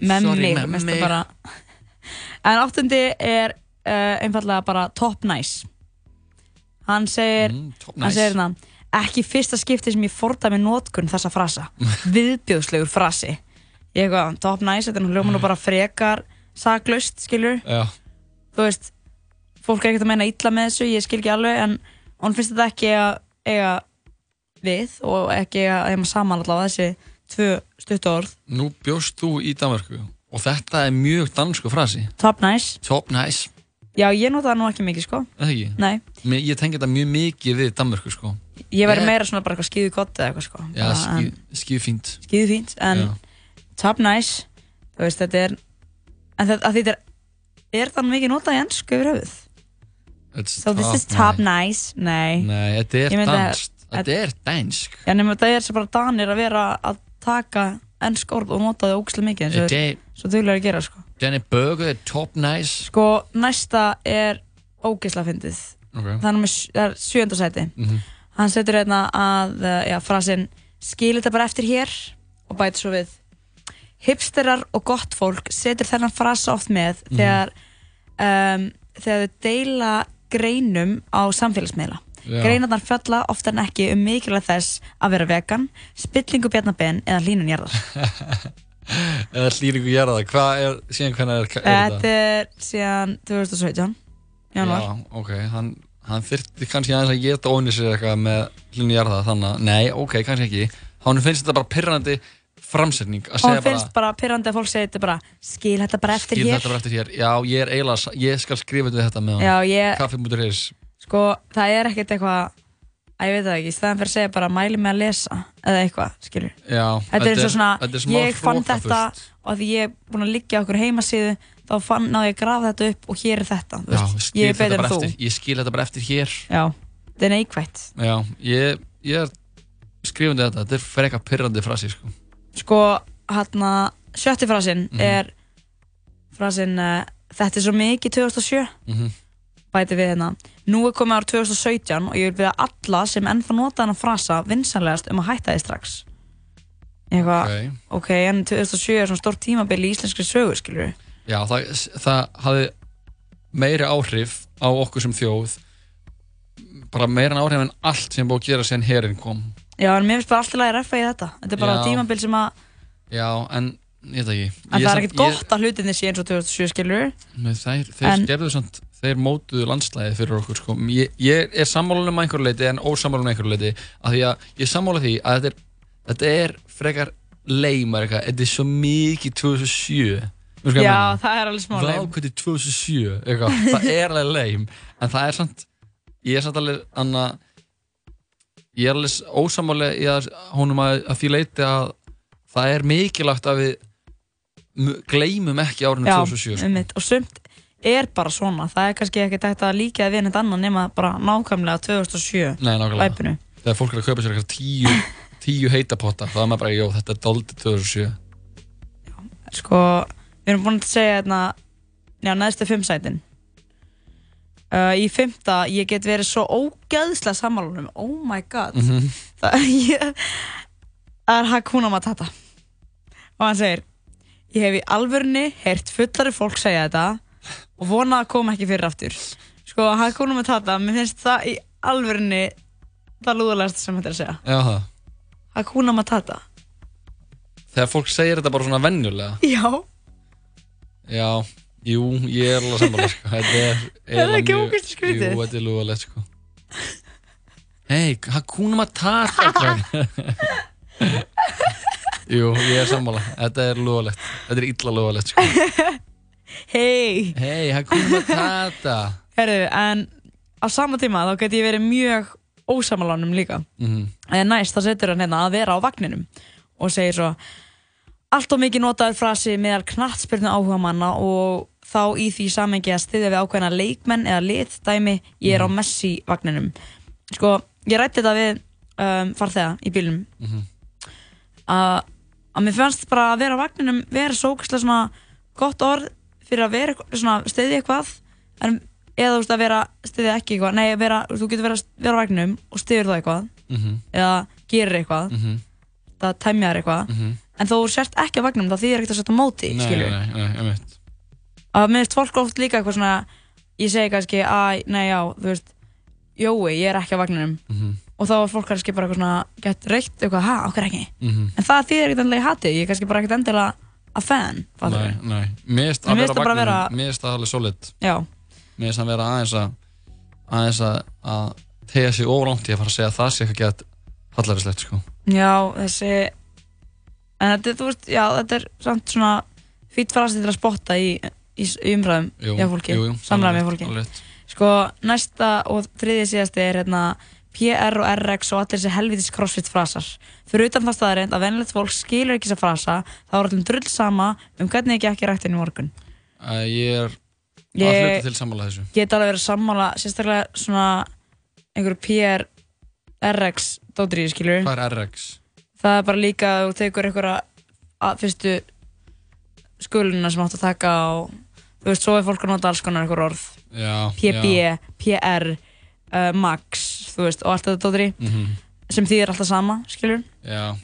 Með Sorry, mig, með minnst mig. það bara En áttundi er uh, einfallega bara top nice Hann segir Hann Mm, nice. segir hérna Ekki í fyrsta skipti sem ég fordæmi notkun þessa frasa Viðbjóðslegur frasi Ég eitthvað, top nice, þetta er nú hljóman og bara frekar saklaust, skilur já, þú veist fólk er ekkert að meina illa með þessu, ég skil ekki alveg en hún finnst þetta ekki að eiga við og ekki eiga að heima saman allavega þessi tvö stutt orð, nú bjóst þú í Danmarku og þetta er mjög dansku frasi top nice top nice, já ég nota það nú ekki mikið sko eða ekki? nei, Mér, ég tengi þetta mjög mikið við Danmarku sko. ég væri Ég- meira svona bara eitthvað skýðu gott eða eitthvað sko Já, Bara, ský, en- skýðu fínt skýðu fínt en Já. top nice þú veist þetta er en þetta, að þetta er, er þannig mikið notað í ennsku yfir höfuð It's so this is top nice, nei Nei, þetta er Ég myndi að- dansk Þetta er dansk Já, nema það er sem bara danir að vera að taka ennsk orð og nota það ógæslega mikið eins og Þetta er- þeir- svo þau að gera sko. Danny Burger er top nice Sko, næsta er ógæslega fyndið. Ok. Það er númer sj- það er sjönda sæti. Mhm. Hann setur hérna að, uh, já, frasinn skil þetta bara eftir hér og bætir svo við. Hipsterar og gott fólk setur þennan frasa oft með Mhm. þegar, um, þegar þau deila greinum á samfélagsmiðla. Já. Greinarnar fjalla oftar en ekki um mikilvæg þess að vera vegan, spillingu bjarnabenn eða hlínun jarðar. Eða hlýringu gera það Hvað er, síðan hvernig er, er Þetta er síðan 2017, januar. Já, ok, hann, hann þyrfti kannski aðeins að geta óni sér eitthvað með hlunni jarða þannig að, nei, ok, kannski ekki Hann finnst þetta bara pyrrandi framsetning að og hann segja bara finnst bara pyrrandi að fólk segja þetta bara skil þetta bara eftir skil hér þetta bara eftir hér, já ég er eiginlega sa- ég skal skrifa þetta þetta með Já, hann ég- kaffi.is sko það er ekkert eitthvað að ég veit það ekki, í staðan fyrir að segja bara mæli mig að lesa eða eitthvað, skilur já, þetta er eins og þetta er svona, smá ég fann hroka þetta fullt. og því ég er búin að liggja okkur heimasíðu þá fann, náði ég að grafa þetta upp og hér er þetta, þú já, veist, skil ég er þetta betur en bara þú eftir ég skil þetta bara eftir hér já, þetta er neikvætt já, ég, ég er skrifandi þetta, þetta er freka pyrrandi frasi sko. sko, hérna, sjötti frasinn Mhm. er frasinn, uh, þetta er svo mikið 2007 Mhm. bæti við hérna nú er komið ár 2017 og ég vil byrja alla sem ennþá nota hann að frasa vinsanlegast um að hætta því strax eitthvað, Ok. ok, en 2007 er svona stórt tímabil í íslenskri sögu, skilur við já, það, það hafði meiri áhrif á okkur sem þjóð bara meira en áhrif en allt sem er búið að gera síðan herinn kom já, en mér finnst bara alltaf lægir reffa í þetta þetta er bara Já. tímabil sem að já, en ég veit ekki en Ég það er samt- ekkert ég- gott að hlutinni sé eins og 2007, skilur við Nei, þeir, þeir En- gerðu samt, þeir mótuðu landslæði fyrir okkur sko. ég, ég er sammálan um einhverju leiti en ósammálan um einhverju leiti af því að ég er sammála því að þetta er, þetta er frekar leimar eitthvað, þetta er svo mikið 2007 Veistu hvað ég já, meina? það er alveg smá leim Vá, hvernig 2007, eitthvað, það er alveg leim en það er samt ég er samt alveg anna, ég er alveg ósamálega í að honum að, að því leiti að það er mikilvægt að við mu- gleymum ekki árinu 2007 sko. einmitt. og sumt er bara svona það er kannski ekkert hægt að líka við einhvern annan nema bara nákvæmlega 2007 Nei, nákvæmlega Væpinu. Þegar fólk er að kaupa sér eitthvað tíu, tíu heitapotta þá er maður bara, jó, þetta er doldi 2007 sko, við erum búin að segja hérna, já, neðstu fimm sætin uh, í fimmta ég get verið svo ógæðslega sammálunum, oh my god Mhm. það, ég, það er Hakuna Matata og hann segir ég hef í alvörni heyrt fullari fólk segja þetta og vona að koma ekki fyrir aftur sko Hakuna Matata, mér finnst það í alvörni það lúðalegast sem þetta er að segja Já, það Hakuna Matata, Þegar fólk segir þetta bara svona venjulega já Já, jú, ég er alveg sammála sko. Þetta er Er það eiginlega ekki mjög- ógeðslega skrítið? Jú, þetta er lúðalegt sko. Hei, Hakuna Matata krakkar. um. Jú, ég er sammála Þetta er lúðalegt, þetta er illa lúðalegt sko. hei Hei, Hakuna Matata Herru, en á sama tíma þá get ég verið mjög ósamalánum líka. Mhm. En næst þá setur hann hérna að vera á vagninum og segir svo Allt og mikið notaður frasi meðal knattspyrnu áhuga manna og þá í því samengi að styðja við ákveðna leikmenn eða lit dæmi Mhm. ég er á Messi vagninum. Sko, ég rætti þetta við um, farþega í bílnum Mhm. að að mér fannst bara að vera á vagninum vera svo ógeðslega svona gott orð fyrir að vera eitthvað- svona stiðja eitthvað en eða þú veist að vera stiðja ekki eitthvað nei vera, þú getur verið að vera á vagninum og stiður það eitthvað Mhm. eða gerir eitthvað Mhm. það tæmjar eitthvað Mhm. en þó þú sért ekki á vagninum þá þýðir ekkert að setja á móti Nei, skilur nei, nei, nei, einmitt að mér finnst fólk oft líka eitthvað svona ég segi kannski að nei já þú veist Jói ég er ekki á vagninum Mhm. og þá er fólk kannski bara eitthvað svona gett reykt eitthvað ha okkur ekki Mhm. en það þýðir ekkert endilega í hati ég er kannski bara ekkert endilega að fan fattarðu? Nei, nei, mér finnst En að vera mér finnst það bara vagninum, vera- mér finnst það alveg solid Já. Mér finnst það vera aðeins að aðeins að, að tegja sig ólangt í að fara að segja að það sé eitthvað gett hallarinslegt sko Já, þessi En þetta, er, þú veist, já, þetta er samt svona fýtt frasi til að spotta í, í, í umræðum Jú, hjá fólki, jú, jú, samræðum alveg hjá rétt, fólki alveg rétt. Sko, næsta og þriðja síðasti er hérna PR og RX og allir þessi helvitis crossfit frasar Fyrir utan það staðarind að venilegt fólk skilur ekki þessa frasa þá er allir drull sama um hvernig ég gekk í rættinu í morgun að Ég er Ég- að hluta til sammála þessu Geta alveg verið sammála, sérstaklega svona einhverju PR RX dótriði skilur Hvað er RX? það er bara líka að þú tekur einhverja að fyrstu skuluna sem átt að taka og þú veist, svo er fólk að nota alls konar einhver orð Já, PB, já. PR, uh, Max þú veist, og allt þetta dótri Mhm. sem þýðir alltaf sama, skilur Já,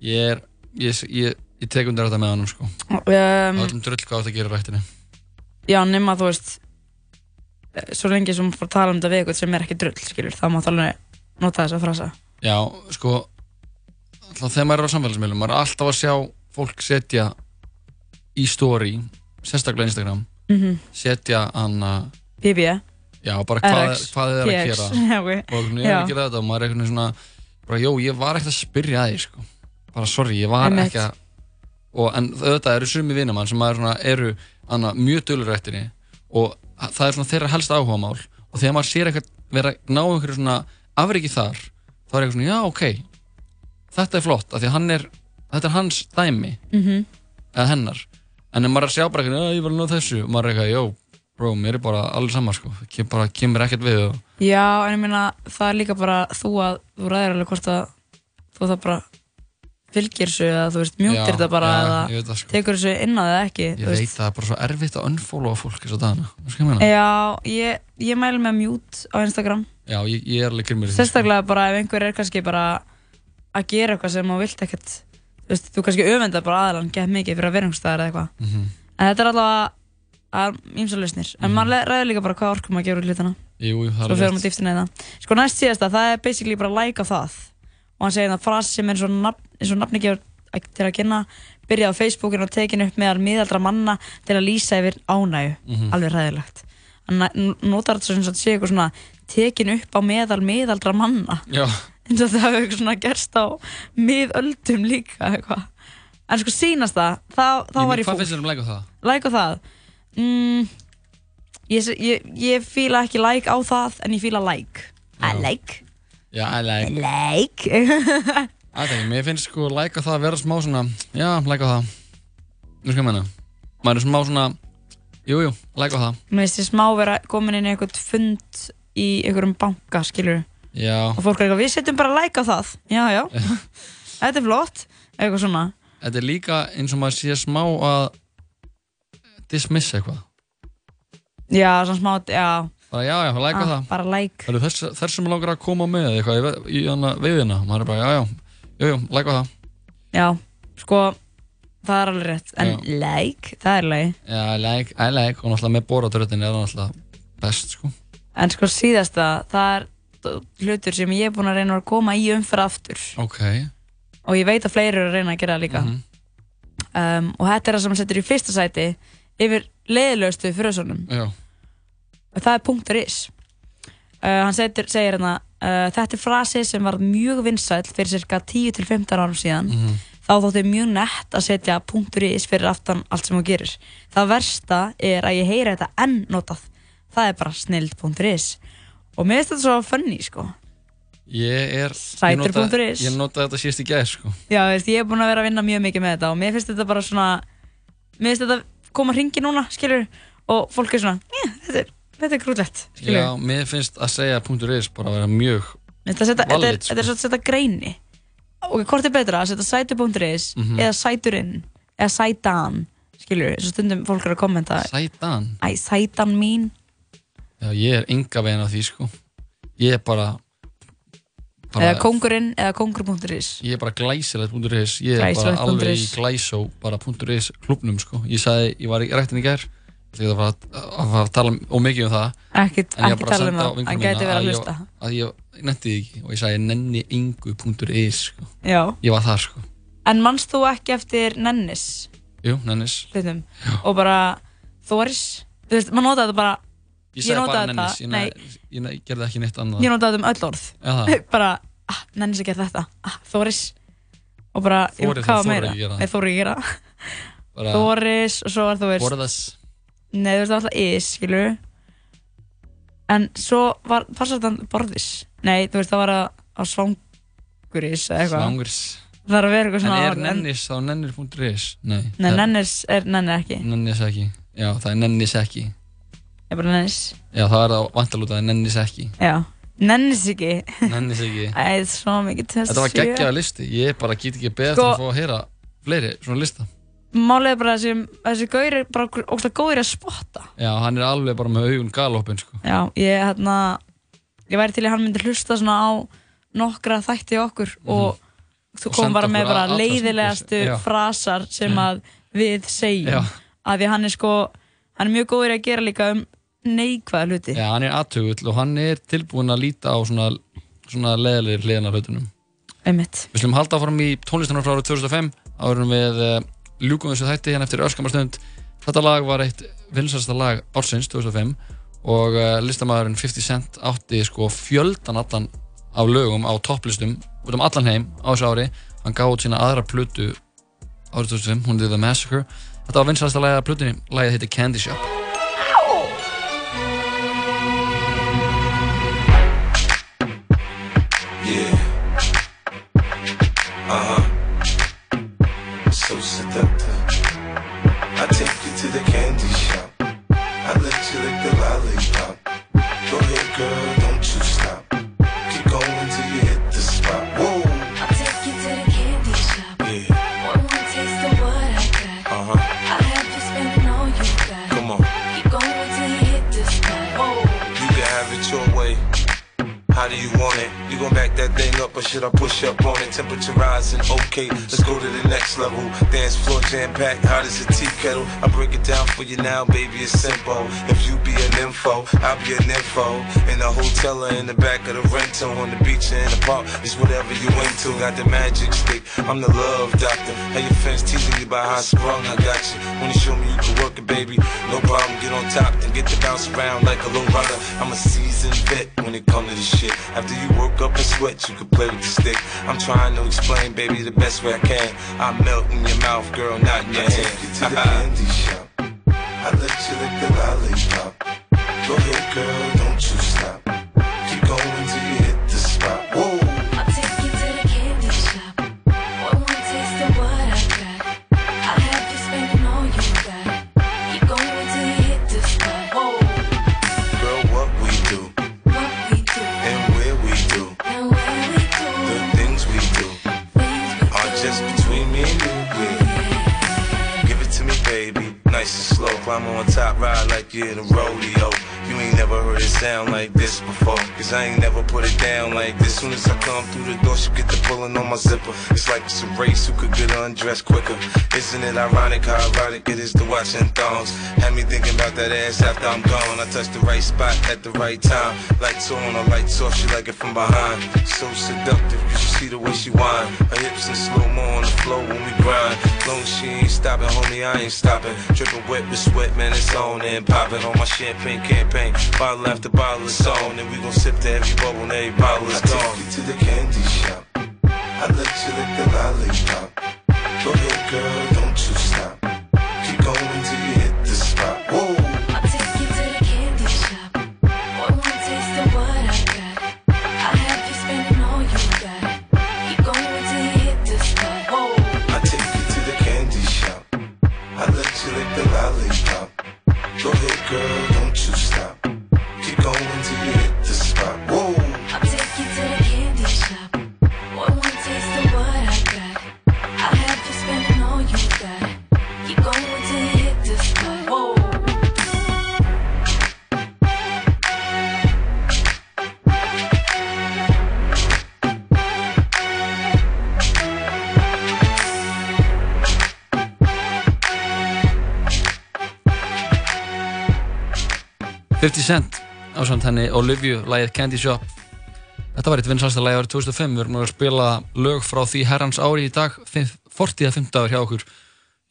ég er ég, ég, ég tek undir þetta með honum sko um, Öllum drull hvað þetta gerir rættinni já, nema þú veist eh, svo lengi sem maður fór að tala um þetta við eitthvað sem er ekki drull, skilur, þá má það alveg nota þessa frasa Já, sko alltaf þegar maður er á samfélagsmiðlum maður er alltaf að sjá fólk setja í story, sérstaklega Instagram Mhm. setja hann að PB, Já, bara hvað, RX, hvað þið er að PX, gera já, ok. og hvernig er Já. að gera þetta og maður er einhvern veginn svona bara, jó, ég var ekkert að spyrja að því sko. bara sorry, ég var Einmitt. ekki að og, en auðvitað eru sumi vinnum hann sem maður svona, eru anna, mjög dölur eftir því og það er svona þeirra helst áhuga mál og þegar maður sér eitthvað vera að ná einhverju svona afriki þar þá er eitthvað svona, já ok þetta er flott, af því að hann er þetta er hans dæmi Mhm. eða hennar en ef maður er að sjá bara eitthvað, "Já, ég vil ná þessu og maður er eitthvað, já, bro, mér er bara allir saman sko, Kem, bara kemur ekkert við og Já, en ég meina, það er líka bara þú að, þú ræðir alveg hvort að þú það bara fylgir þessu eða þú veist, mjútir Já, þetta bara já, ég eða veit það, sko. tekur þessu inn á það ekki ég þú veit það er bara svo erfitt að unfollowa fólk þess að dana, veist hvað ég meina? Já, ég, ég mælu með mute á Instagram Já, ég, ég er alveg grimmur í því, sko. Sérstaklega bara ef einhver er kannski bara að gera eitthvað sem þú vilt ekkert þú veist, þú kannski öfenda bara aðlan gett mikið fyrir að vera einhvers staðar eða eitthvað Mhm. En þetta er allavega ímsa lausnir En maður le- ræður líka bara hvað orkum að gera úr hlutina sko. Jú, jú, það er Svo alveg fyrir hún rétt. dýftina í það Sko næst síðasta, það er basically bara að læka það Og hann segir það fras sem er eins og nafn, eins og nafni gefur til að kynna Byrja á Facebookinu og tekin upp meðal miðaldra manna Til að lýsa yfir ánægju Mhm. Alveg ræðilegt Hann n- notar þetta sem að segja eitthvað svona Tekin upp á meðal miðaldra manna Já, eins og það hefur eitthvað svona gerst á miðöldum líka eitthvað en sko sínast það, þá, þá Ég- var ég Hvað fúl finnst þér um læka það? like á það mm, ég, se- ég, ég fíla ekki like á það en ég fíla like I like, Já, I like like Það er ekki, mér finnst sko læka það að vera smá svona Já, læka það Þú veist hvað ég meina? Maður er smá svona Jú, jú, læka það mér finnst ég smá vera komin inn í eitthvað fund í einhverjum banka skilur Já og fólk er eitthvað, við setjum bara like á það já, já, þetta er flott eitthvað svona Þetta er líka eins og maður sé smá að Dismissa eitthvað já, svona smá, já, Bara já, já, læka Ah, það bara like. Það eru þess, þess sem langar að koma með eitthvað í, ve- í hana veiðina Maður er bara, já, já, jú, jú, læka það já sko, það er alveg rétt en like, það er lagi Já, I like, I like Og náttúrulega með boratröðin er það náttúrulega best sko En sko síðasta, það er hlutur sem ég er búin að reyna að koma í umfyrir aftur Ok, og ég veit að fleiri eru að reyna að gera það líka um, og þetta er það sem hann setur í fyrsta sæti yfir leiðilegustu frösunum já og það er punktur is uh, hann setur, segir hérna uh, þetta er frasi sem var mjög vinsæll fyrir cirka 10-15 árum síðan þá þótti mjög nett að setja punktur is fyrir aftan allt sem þú gerir það versta er að ég heyri þetta enn notað það er bara snild punktur is og mér finnst þetta svo funny sko Ég er ég Sætur nota- punktur is. Ég nota þetta síðast í gæð sko já veist ég er búin að vera að vinna mjög mikið með þetta og mér finnst þetta bara svona mér finnst þetta koma hringi núna skilur og fólk er svona "Eh, þetta er, þetta er grútlegt skilur Já, mér finnst að segja punktur .is bara að vera mjög Þetta setja, þetta er, valid, sko. þetta er svolítið að setja greini og hvort er betra að setja sætu.is Mhm. eða sæturinn eða sætan, skilur við, svo stundum fólk er að kommenta Sætan? Æ, sætan mín Já, ég er enga veginn að því, sko Ég er bara, bara eða kongurinn eða kongur.is Ég er bara glæsilegt punktur .is Ég er bara Glæsilegt punktur alveg í is. glæsó bara punktur .is klubnum, sko Ég sagði, ég var í rættin í gær Þegar það var að, að, að tala ómikið um það Ekkert- En ég var ekki bara að tala um senda það, á vinkonuna hann gæti verið að ég- hlusta. Að ég netti því ekki og ég sagði nenni engu punktur .is, sko Já. Ég var þar, sko en manst þú ekki eftir nennis Jú, nennis hlutum og bara þoris þú veist, maður notaði þetta bara Ég sagði bara notaði nennis, ég, þetta, ne, nei, ég, ne, ég gerði ekki neitt annað ég notaði þetta um öll orð Já, það. bara, ah, nennis að gera þetta ah, þoris og bara, jú, Þorið, hvað þú var þorir meira? ekki gera það. Nei, þorir ekki gera það. Bara- Þoris og svo var þú veist Borðas Nei, þú veist það var alltaf is, skilu En svo var Passar þetta borðis Nei, þú veist það var að, að svanguris eða eitthvað Svanguris Það er að vera eitthvað svona En er orð, nennis á nennir.is? Nei Nei, nennis er nenni ekki Nennis ekki Já, það er nennis ekki Ég bara nennis Já, það er það vantalútað nennis ekki Já, nennis ekki Nennis ekki Æ, það er svo mikið til Þetta var sjö. geggjaða listi Ég bara get ekki beðið Sko- eftir að fá að heyra fleiri svona lista Málið er bara þessi, þessi gaur er bara ógst að góðir að spotta Já, hann er alveg bara með augun galopin sko. Já, ég hérna Ég væri til í að hann myndi hlusta svona á nokkra þætti okkur og þú Mhm. Og kom senda bara með okkur bara að- leiðilegastu athugasemdir, já. Mhm. frasar sem að við segjum Já. að því hann er sko hann er mjög góður í að gera líka um neikvæða hluti Já, hann er aðtögull og hann er tilbúin að líta á svona, svona leðilegir hliðan af hlutunum Einmitt. Við slum halda áfram í tónlistunar frá árið 2005 árum við uh, ljúkum þessu þætti hérna eftir öskamarstund Þetta lag var eitt vinsælsta lag ársins 2005 og uh, listamæðurinn 50 Cent átti sko fjöldan allan af lögum á topplistum út um allan heim á þessu ári hann hann gaf út sína aðra plötu árið 2005, hún hefði The Massacre þetta var vinsalasta lagið að plötunni, lagið heitir Candy Shop Uh-huh. So seductive. I take you to the candy shop. I let you lick the lollipop. Go ahead, girl, don't you stop. Keep going till you hit the spot. Whoa. I'll take you to the candy shop. One more taste of what I got. Uh-huh. I'll have you spending all you got. Come on. Keep going till you hit the spot. Whoa. You can have it your way. How do you want it? You gon' back that thing up or should I push up on it? Temperature rising, okay, let's go to the next level. Dance floor jam packed, hot as a tea kettle. I break it down for you now, baby, it's simple. If you be an info, I'll be an info. In the hotel or in the back of the rental, on the beach or in the park, it's whatever you into. Got the magic stick, I'm the love doctor. How your fans teasing you about how I sprung, I got you. When you show me you can work it, baby, no problem. Get on top, then get to bounce around like a low rider. I'm a seasoned vet when it comes to this shit. After you work up and sweat, you can play with the stick. I'm trying to explain, baby, the best way I can. I melt in your mouth, girl, not in your hand. To the candy shop. I let you lick the lollipop. Go ahead, girl, don't you stop. Keep going till you hit the spot. Whoa. I'll take you to the candy shop. One more taste of what I got. I'll have you spending all you got. Keep going till you hit the spot. Whoa. Girl, what we do What we do and where we do, and where we do. the things we do are just between me and you. baby. Give it to me, baby, nice and slow. Climb on top, ride like you're in a rodeo. You ain't never heard it sound like this before. Cause I ain't never put it down like this. Soon as I come through the door, she get the pulling on my zipper. It's like it's a race who could get undressed quicker. Isn't it ironic how ironic it is to watch in thongs? Had me thinking about that ass after I'm gone. I touch the right spot at the right time. Lights on, or lights off, she like it from behind. So seductive, you should see the way she whine. Her hips in slow mo on the floor when we grind. Long as she ain't stopping, homie, I ain't stopping. Dripping wet with sweat, man, it's on and popping on my champagne campaign. Bottle after bottle, it's on, and we gon' sip to every bubble and every bottle is gone. take you to the candy shop. I let you lick the lollipop. Go ahead, girl, don't you stop. Keep going till you hit the spot. Whoa. I'll take you to the candy shop. One more taste of what I got. I'll have you spending all you got. Keep going till you hit the spot. Whoa. I take you to the candy shop. I let you lick the lollipop. Go ahead, girl, don't you stop. Keep going till you hit the spot. Whoa. I'll take you to the candy shop. One more taste of what I got. I'll have you spending all you got. Keep going till you hit the spot. Whoa. Shop 50 Cent ásamt henni Olivia, lagið Candy Shop þetta var eitt vinsalasta lagið árið 2005 við erum að spila lög frá því herrans ári í dag 40 að 50 hjá okkur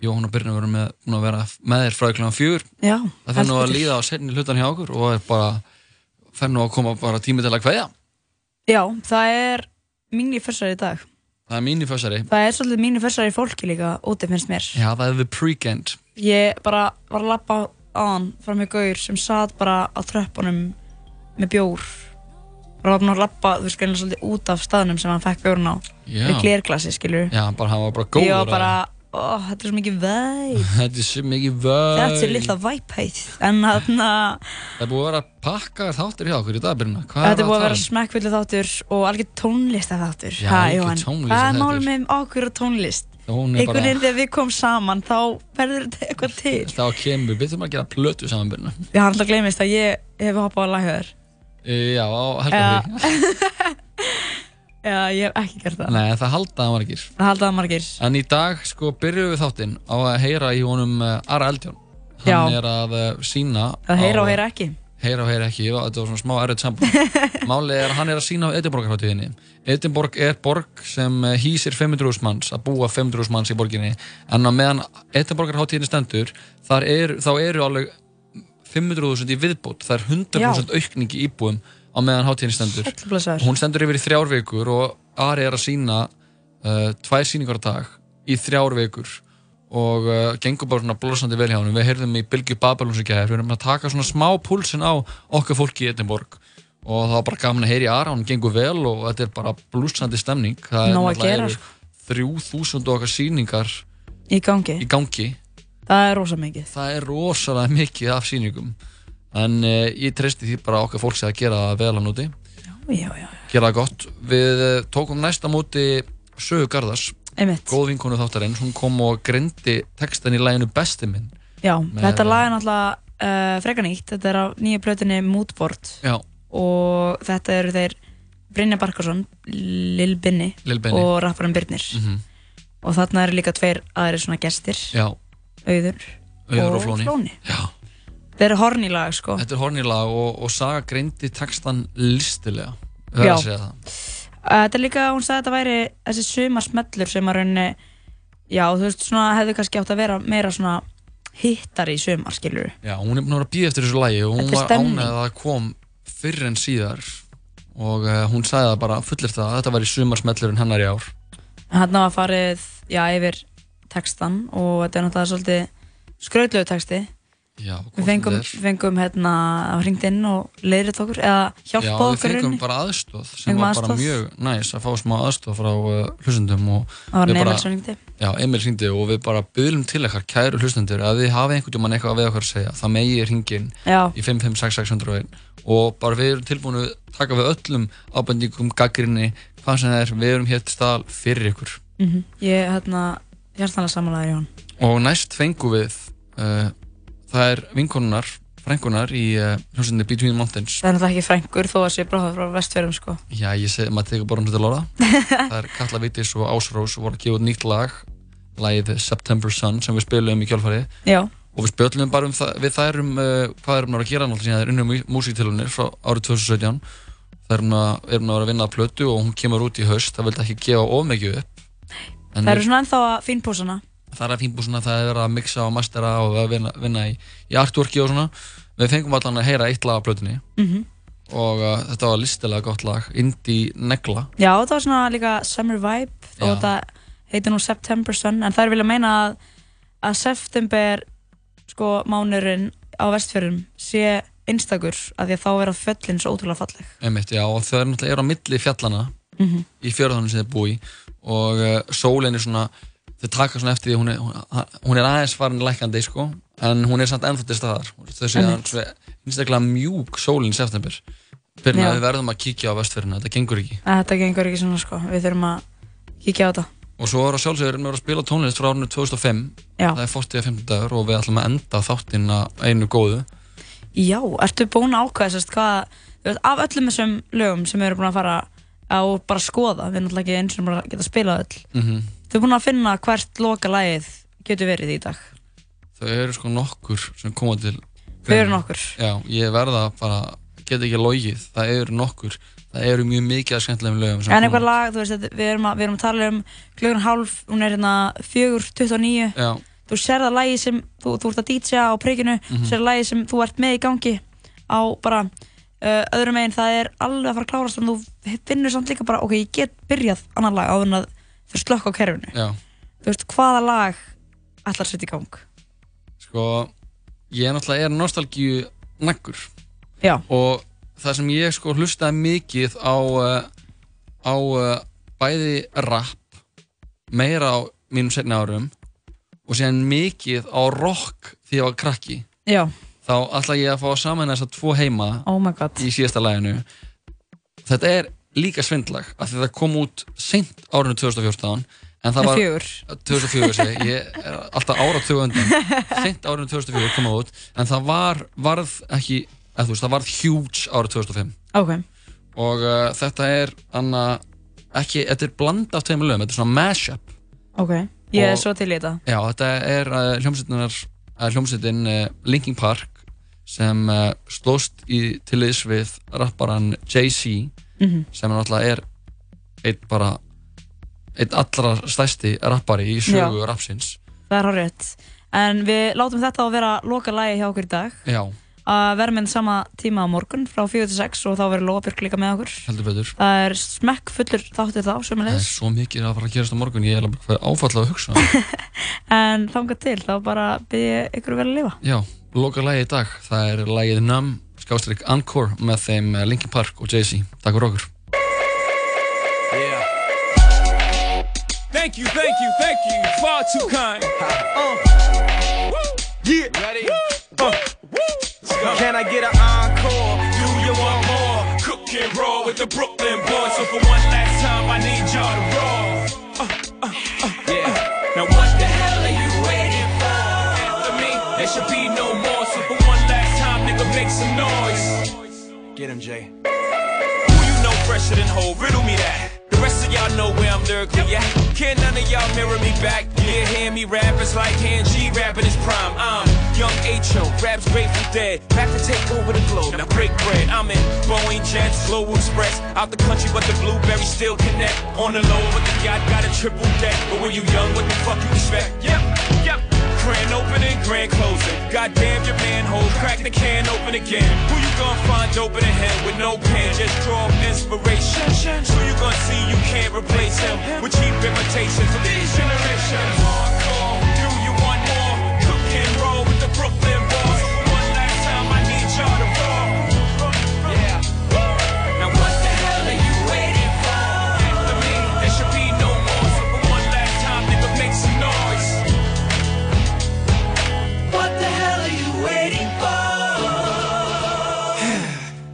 Jón og Birna voru með, búin að vera með þér frá ykkurlega fjör Já, það fer nú að heldur betur. líða á setni hlutan hjá okkur og er bara, fer nú að koma bara tími til að kveðja Já, það er mínir fessari í dag. það er mínifössari, Það er svolítið mínir fessari fólki líka úti finnst mér. já það er the pre-gent Ég bara var að lappa á hann fram með gaur sem satt bara á tröppunum með bjór. Bara var búinn að lappa, þú veist, greinlega svolítið út af staðnum sem hann fekk bjórn á. Já. Með glerglasi, skilur. já, bara hann var bara góður Ég var að- bara, ó, þetta er svo mikið væp. þetta er svo mikið völd Þetta er litla væphæð. En þarna, Það er búið að vera pakkaðar þáttir hjá okkur í dag, Birna. Hvað þetta er búið að vera tala um? smekkfullu þáttur og algjör tónlista þáttur. Já, algjör tónlistarþáttur. Hvað er málum með okkur og tónlist? Hún er Einhvern veginn bara, þegar við komum saman, þá verður þetta eitthvað til. þá kemur, við þurfum að gera plötu saman, Birna. Ég hann alltaf gleymist að ég hef hoppað á laghjöður. E, Já, á Já. helgafrí. Já, ég hef ekki gert það. Nei, það haldaði margir. Það haldaði margir. En í dag, sko, byrjuðum við þáttinn á að heyra í honum uh, Ara Eldjón. Hann Já. er að uh, sína Að heyra og heyra ekki. heyra og heyra ekki, þetta var svona smá errið samband Málið er að hann er að sína á Edinborgarháttíðinni Edinborg er borg sem eh, hýsir 500.000 manns, að búa 500.000 manns í borginni, en á meðan Edinborgarháttíðinni stendur, þar er, þá eru alveg 500.000 í viðbót, það er 100% aukning í íbúum á meðan háttíðinni stendur Blessaður. Hún stendur yfir í þrjár vikur og Ari er að sína uh, tvær sýningar á dag í þrjár vikur og uh, gengur bara svona blósandi vel hjá hann við heyrðum í Bilgi Babelons í gæðir við erum að taka svona smá púlsinn á okkar fólki í Edinborg og það var bara gaman að heyra í Ara hann gengur vel og þetta er bara blúsandi stemning það Nóg að náttúrulega gera, sko. eru 3000 og okkar sýningar í gangi í gangi það er rosa mikið það er rosalega mikið af sýningum en uh, ég treysti því bara okkar fólk sé að gera það vel að núti já, já. gera það gott við eh, tókum næsta móti Sögu Garðars Einmitt. góð vinkonu þáttarins, hún kom og greindi textan í læginu Besti minn Já, Með- þetta lag er náttúrulega uh, frekar nýtt, þetta er á nýju plötunni Moodboard Já. og þetta eru þeir Brynja Barkarsson, Lil Binni, Lil Binni. og rapparinn Byrnir Mhm. og þarna eru líka tveir aðri svona gestir, Já, Auður, Auður og Flóni. Já. Þetta eru horni lag sko þetta er hornilag og, og Saga greindi textan listilega Ég verð Já. að segja það. Eh, Þetta er líka, hún sagði að þetta væri þessi sumarsmellur sem að rauninni já, þú veist, svona hefðu kannski átt að vera meira svona hittar í sumar, skilur Já, hún er búin að vera að býða eftir þessu lagi og hún Þetta er var stemning. ánægð að það kom fyrr en síðar og uh, hún sagði það bara fullir það að þetta var í sumarsmellurinn hennar í ár Hanna var farið, já, yfir textan og þetta er náttúrulega svolítið skrautlegu texti Já, Við fengum, er. fengum hérna, það var hringt inn og leiðrætt okkur eða Já, hjálpað við okkur í fengum rauninni. bara aðstóð sem Fengum var bara aðstoð. mjög næs að fá smá aðstóð frá uh, hlustendum og Það var við hann bara- Emil sem hringdi. Já, Emil hringdi og við bara byðlum til ekkar kæru hlustendur að þið hafið einhvern tímann eitthvað við okkar að segja það megi hringin Já. í 55661 og bara við erum tilbúin að taka við öllum ábendingum, gaggrinni hvað sem það er, við erum hér til staðal fyrir ykkur Mm Ég, hérna, hjartanlega samanlæður Jón og næst fengum við uh, það er vinkonunar, frænkunar í uh, hlustendum Between Mountains Það er náttúrulega ekki frængur þó að sé bráðað frá vestfjörðum, sko Já, ég segi, maður tekur bara um þetta lóra Það er Katla Vitis og Ásrós og voru að gefa út nýtt lag Lagið September Sun sem við spilum í kjálfari Já. Og við spilum bara um það, við þær um uh, hvað erum að gera náttúrulega síðan Það er unnum músíktilunir frá árið 2017 Það erum að, erum að vera að vinna að plötu og hún kemur út í haust Það vildi ekki gefa of mikið upp En Það eru svona ennþá að fínpósana það er að fínbúsuna, það er verið að mixa og mastera og að vinna, vinna í, í artworki og svona Við fengum allan að heyra eitt lag af plötunni Mhm. Og uh, þetta var listilega gott lag, Indie Negla Já, þetta var svona líka summer vibe Já. og þetta heitir nú September Sun en þær vilja meina að, að september sko mánurinn á vestfjörðum sé einstakur af því að þá vera föllin svo ótrúlega falleg Einmitt, já, og þau eru náttúrulega eru á milli fjallana Mhm. í fjörðunum sem þau búi í og uh, sólin er svona þau taka svona eftir því, hún er, hún, hún er aðeins farin lækandi, sko, en hún er samt ennþá til staðar, þau séu Einmitt. hann svo einstaklega mjúk sólin í september fyrir Já. að við verðum að kíkja á vestfjörðina, þetta gengur ekki að þetta gengur ekki svona sko, við þurfum að kíkja á þetta og svo er að sjálfsögur erum við að spila tónlist frá árinu 2005 Já. það er 40 að 50 dagur og við ætlum að enda þáttinn að einu góðu Já, ertu búin að ákvæða sérst hvað þú veist, af öllum þessum lögum sem við erum búin að fara á bara skoða, við erum alltaf ekki eins og bara geta að spila öll Mhm. Þau erum búin að finna hvert loka lagið getur verið í dag þau eru sko nokkur sem koma til Þau eru nokkur. já, ég verða bara, get ekki logið það eru nokkur, það eru mjög mikið að skemmtilegum lögum sem koma- En eitthvað lag, þú veist, þetta- við erum að, við erum að tala um klukkan hálf, hún er hérna 4.29 já, Þú serð að lagi sem, þú, þú ert að DJ á prikinu, mm Mhm. -hmm. serð lagi sem þú ert með í gangi á bara uh, öðrum megin, það er alveg að fara að klárast en þú finnur samt líka bara, ok, ég get byrjað annar lag áður en að þau slökk á kerfinu já, Þú veist, hvaða lag ætlar að setja í gang? sko ég er náttúrulega er nostalgíu nakkur Já. og það sem ég sko hlustaði mikið á uh, á uh, bæði rap meira á mínum setna árum og síðan mikið á rock því ég var krakki Já, þá ætla ég að fá að samanlega þess að tvo heima oh my god í síðasta laginu þetta er líka svindlag af því það kom út seint árinu 2014 en það var Fjögur. 2004 segi, ég. ég er alltaf ára undan seint árinu 2004 kom það út en það var, varð ekki eða, þú veist, það varð huge ára 2005 ok, og uh, þetta er anna, ekki, þetta er blanda af tveimur lögum, þetta er svona mashup ok, ég er Og- svo til í þetta Já, þetta er uh, hljómsveitinar uh, hljómsveitin uh, Linkin Park sem uh, slóst í tilliðs við rapparan Jay-Z Mhm. sem er náttúrulega er einn bara einn allra stæsti rappari í sögu Já. rapsins Það er hár rétt En við látum þetta að vera loka lagi hjá okkur í dag Já, að vera með sama tíma á morgun frá 4 til 6 og þá verður Lóabjörg líka með okkur heldur betur það er smekk fullur þáttir þá það er sömulegis svo mikið að fara að gerast á morgun ég er alveg áfallað að hugsa en þangað til þá bara byrja ykkur vel að lifa já, loka lagi í dag það er lagið Numb skástrík Encore með þeim eh, Linkin Park og Jay-Z takk fyrir okkur Yeah. Thank you, thank you, thank you. You're far too kind. Uh. Yeah. Ready? Uh. Can I get an encore? Do you want more? Cook and roll with the Brooklyn boys. So for one last time, I need y'all to roll. Uh, uh, uh, yeah. Now what the hell are you waiting for? After me, there should be no more. So for one last time, nigga, make some noise. Get him, Jay. Who you know fresher than whole? Riddle me that. The rest of y'all know where I'm lyrically at. Can none of y'all mirror me back? Yeah, hear me rap, it's like hand G rapping his prime. I'm young H.O., raps grateful dead. Back to take over the globe, now break bread. I'm in Boeing Jets, Global Express. Out the country, but the blueberries still connect. On the low, with the yacht, got a triple deck. But when you young, what the fuck you expect? Yep, yep. Grand opening, grand closing. Goddamn your manhole, crack the can open again. Who you gonna find open in him with no pen? Just draw inspiration. Who you gonna see you can't replace him with cheap imitations of these generations? Hardcore, do you want more? Cook and roll with the Brooklyn boys. One last time, I need y'all to roll. Yeah. Now what the hell are you waiting for? After me, there should be no more. So for one last time, nigga, make some noise. What the hell are you waiting for?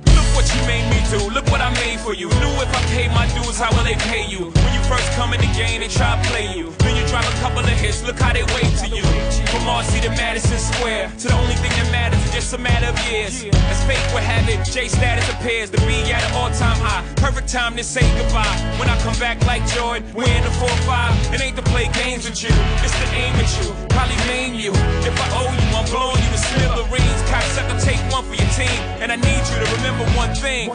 look what you made me do, look what I made for you. Knew if I paid my dues, how will they pay you? When you first come in the game, they try to play you. Then you drive a couple of hits, look how they wait to you. From Marcy to Madison Square, to the only thing that matters is just a matter of years. As fate would have it, J status appears to be at an all-time high. Perfect time to say goodbye. When I come back like Jordan, we're in the 4-5. It ain't to play games with you, it's to aim at you. Probably maim you. If I owe you, I'm blowing you to smithereens. Cocksucker, take one for your team. And I need you to remember one thing.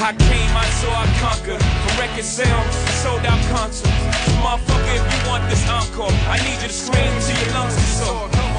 I came, I saw, I conquered. From record sales, sold out concerts. So motherfucker, if you want this encore, I need you to scream till your lungs are sore.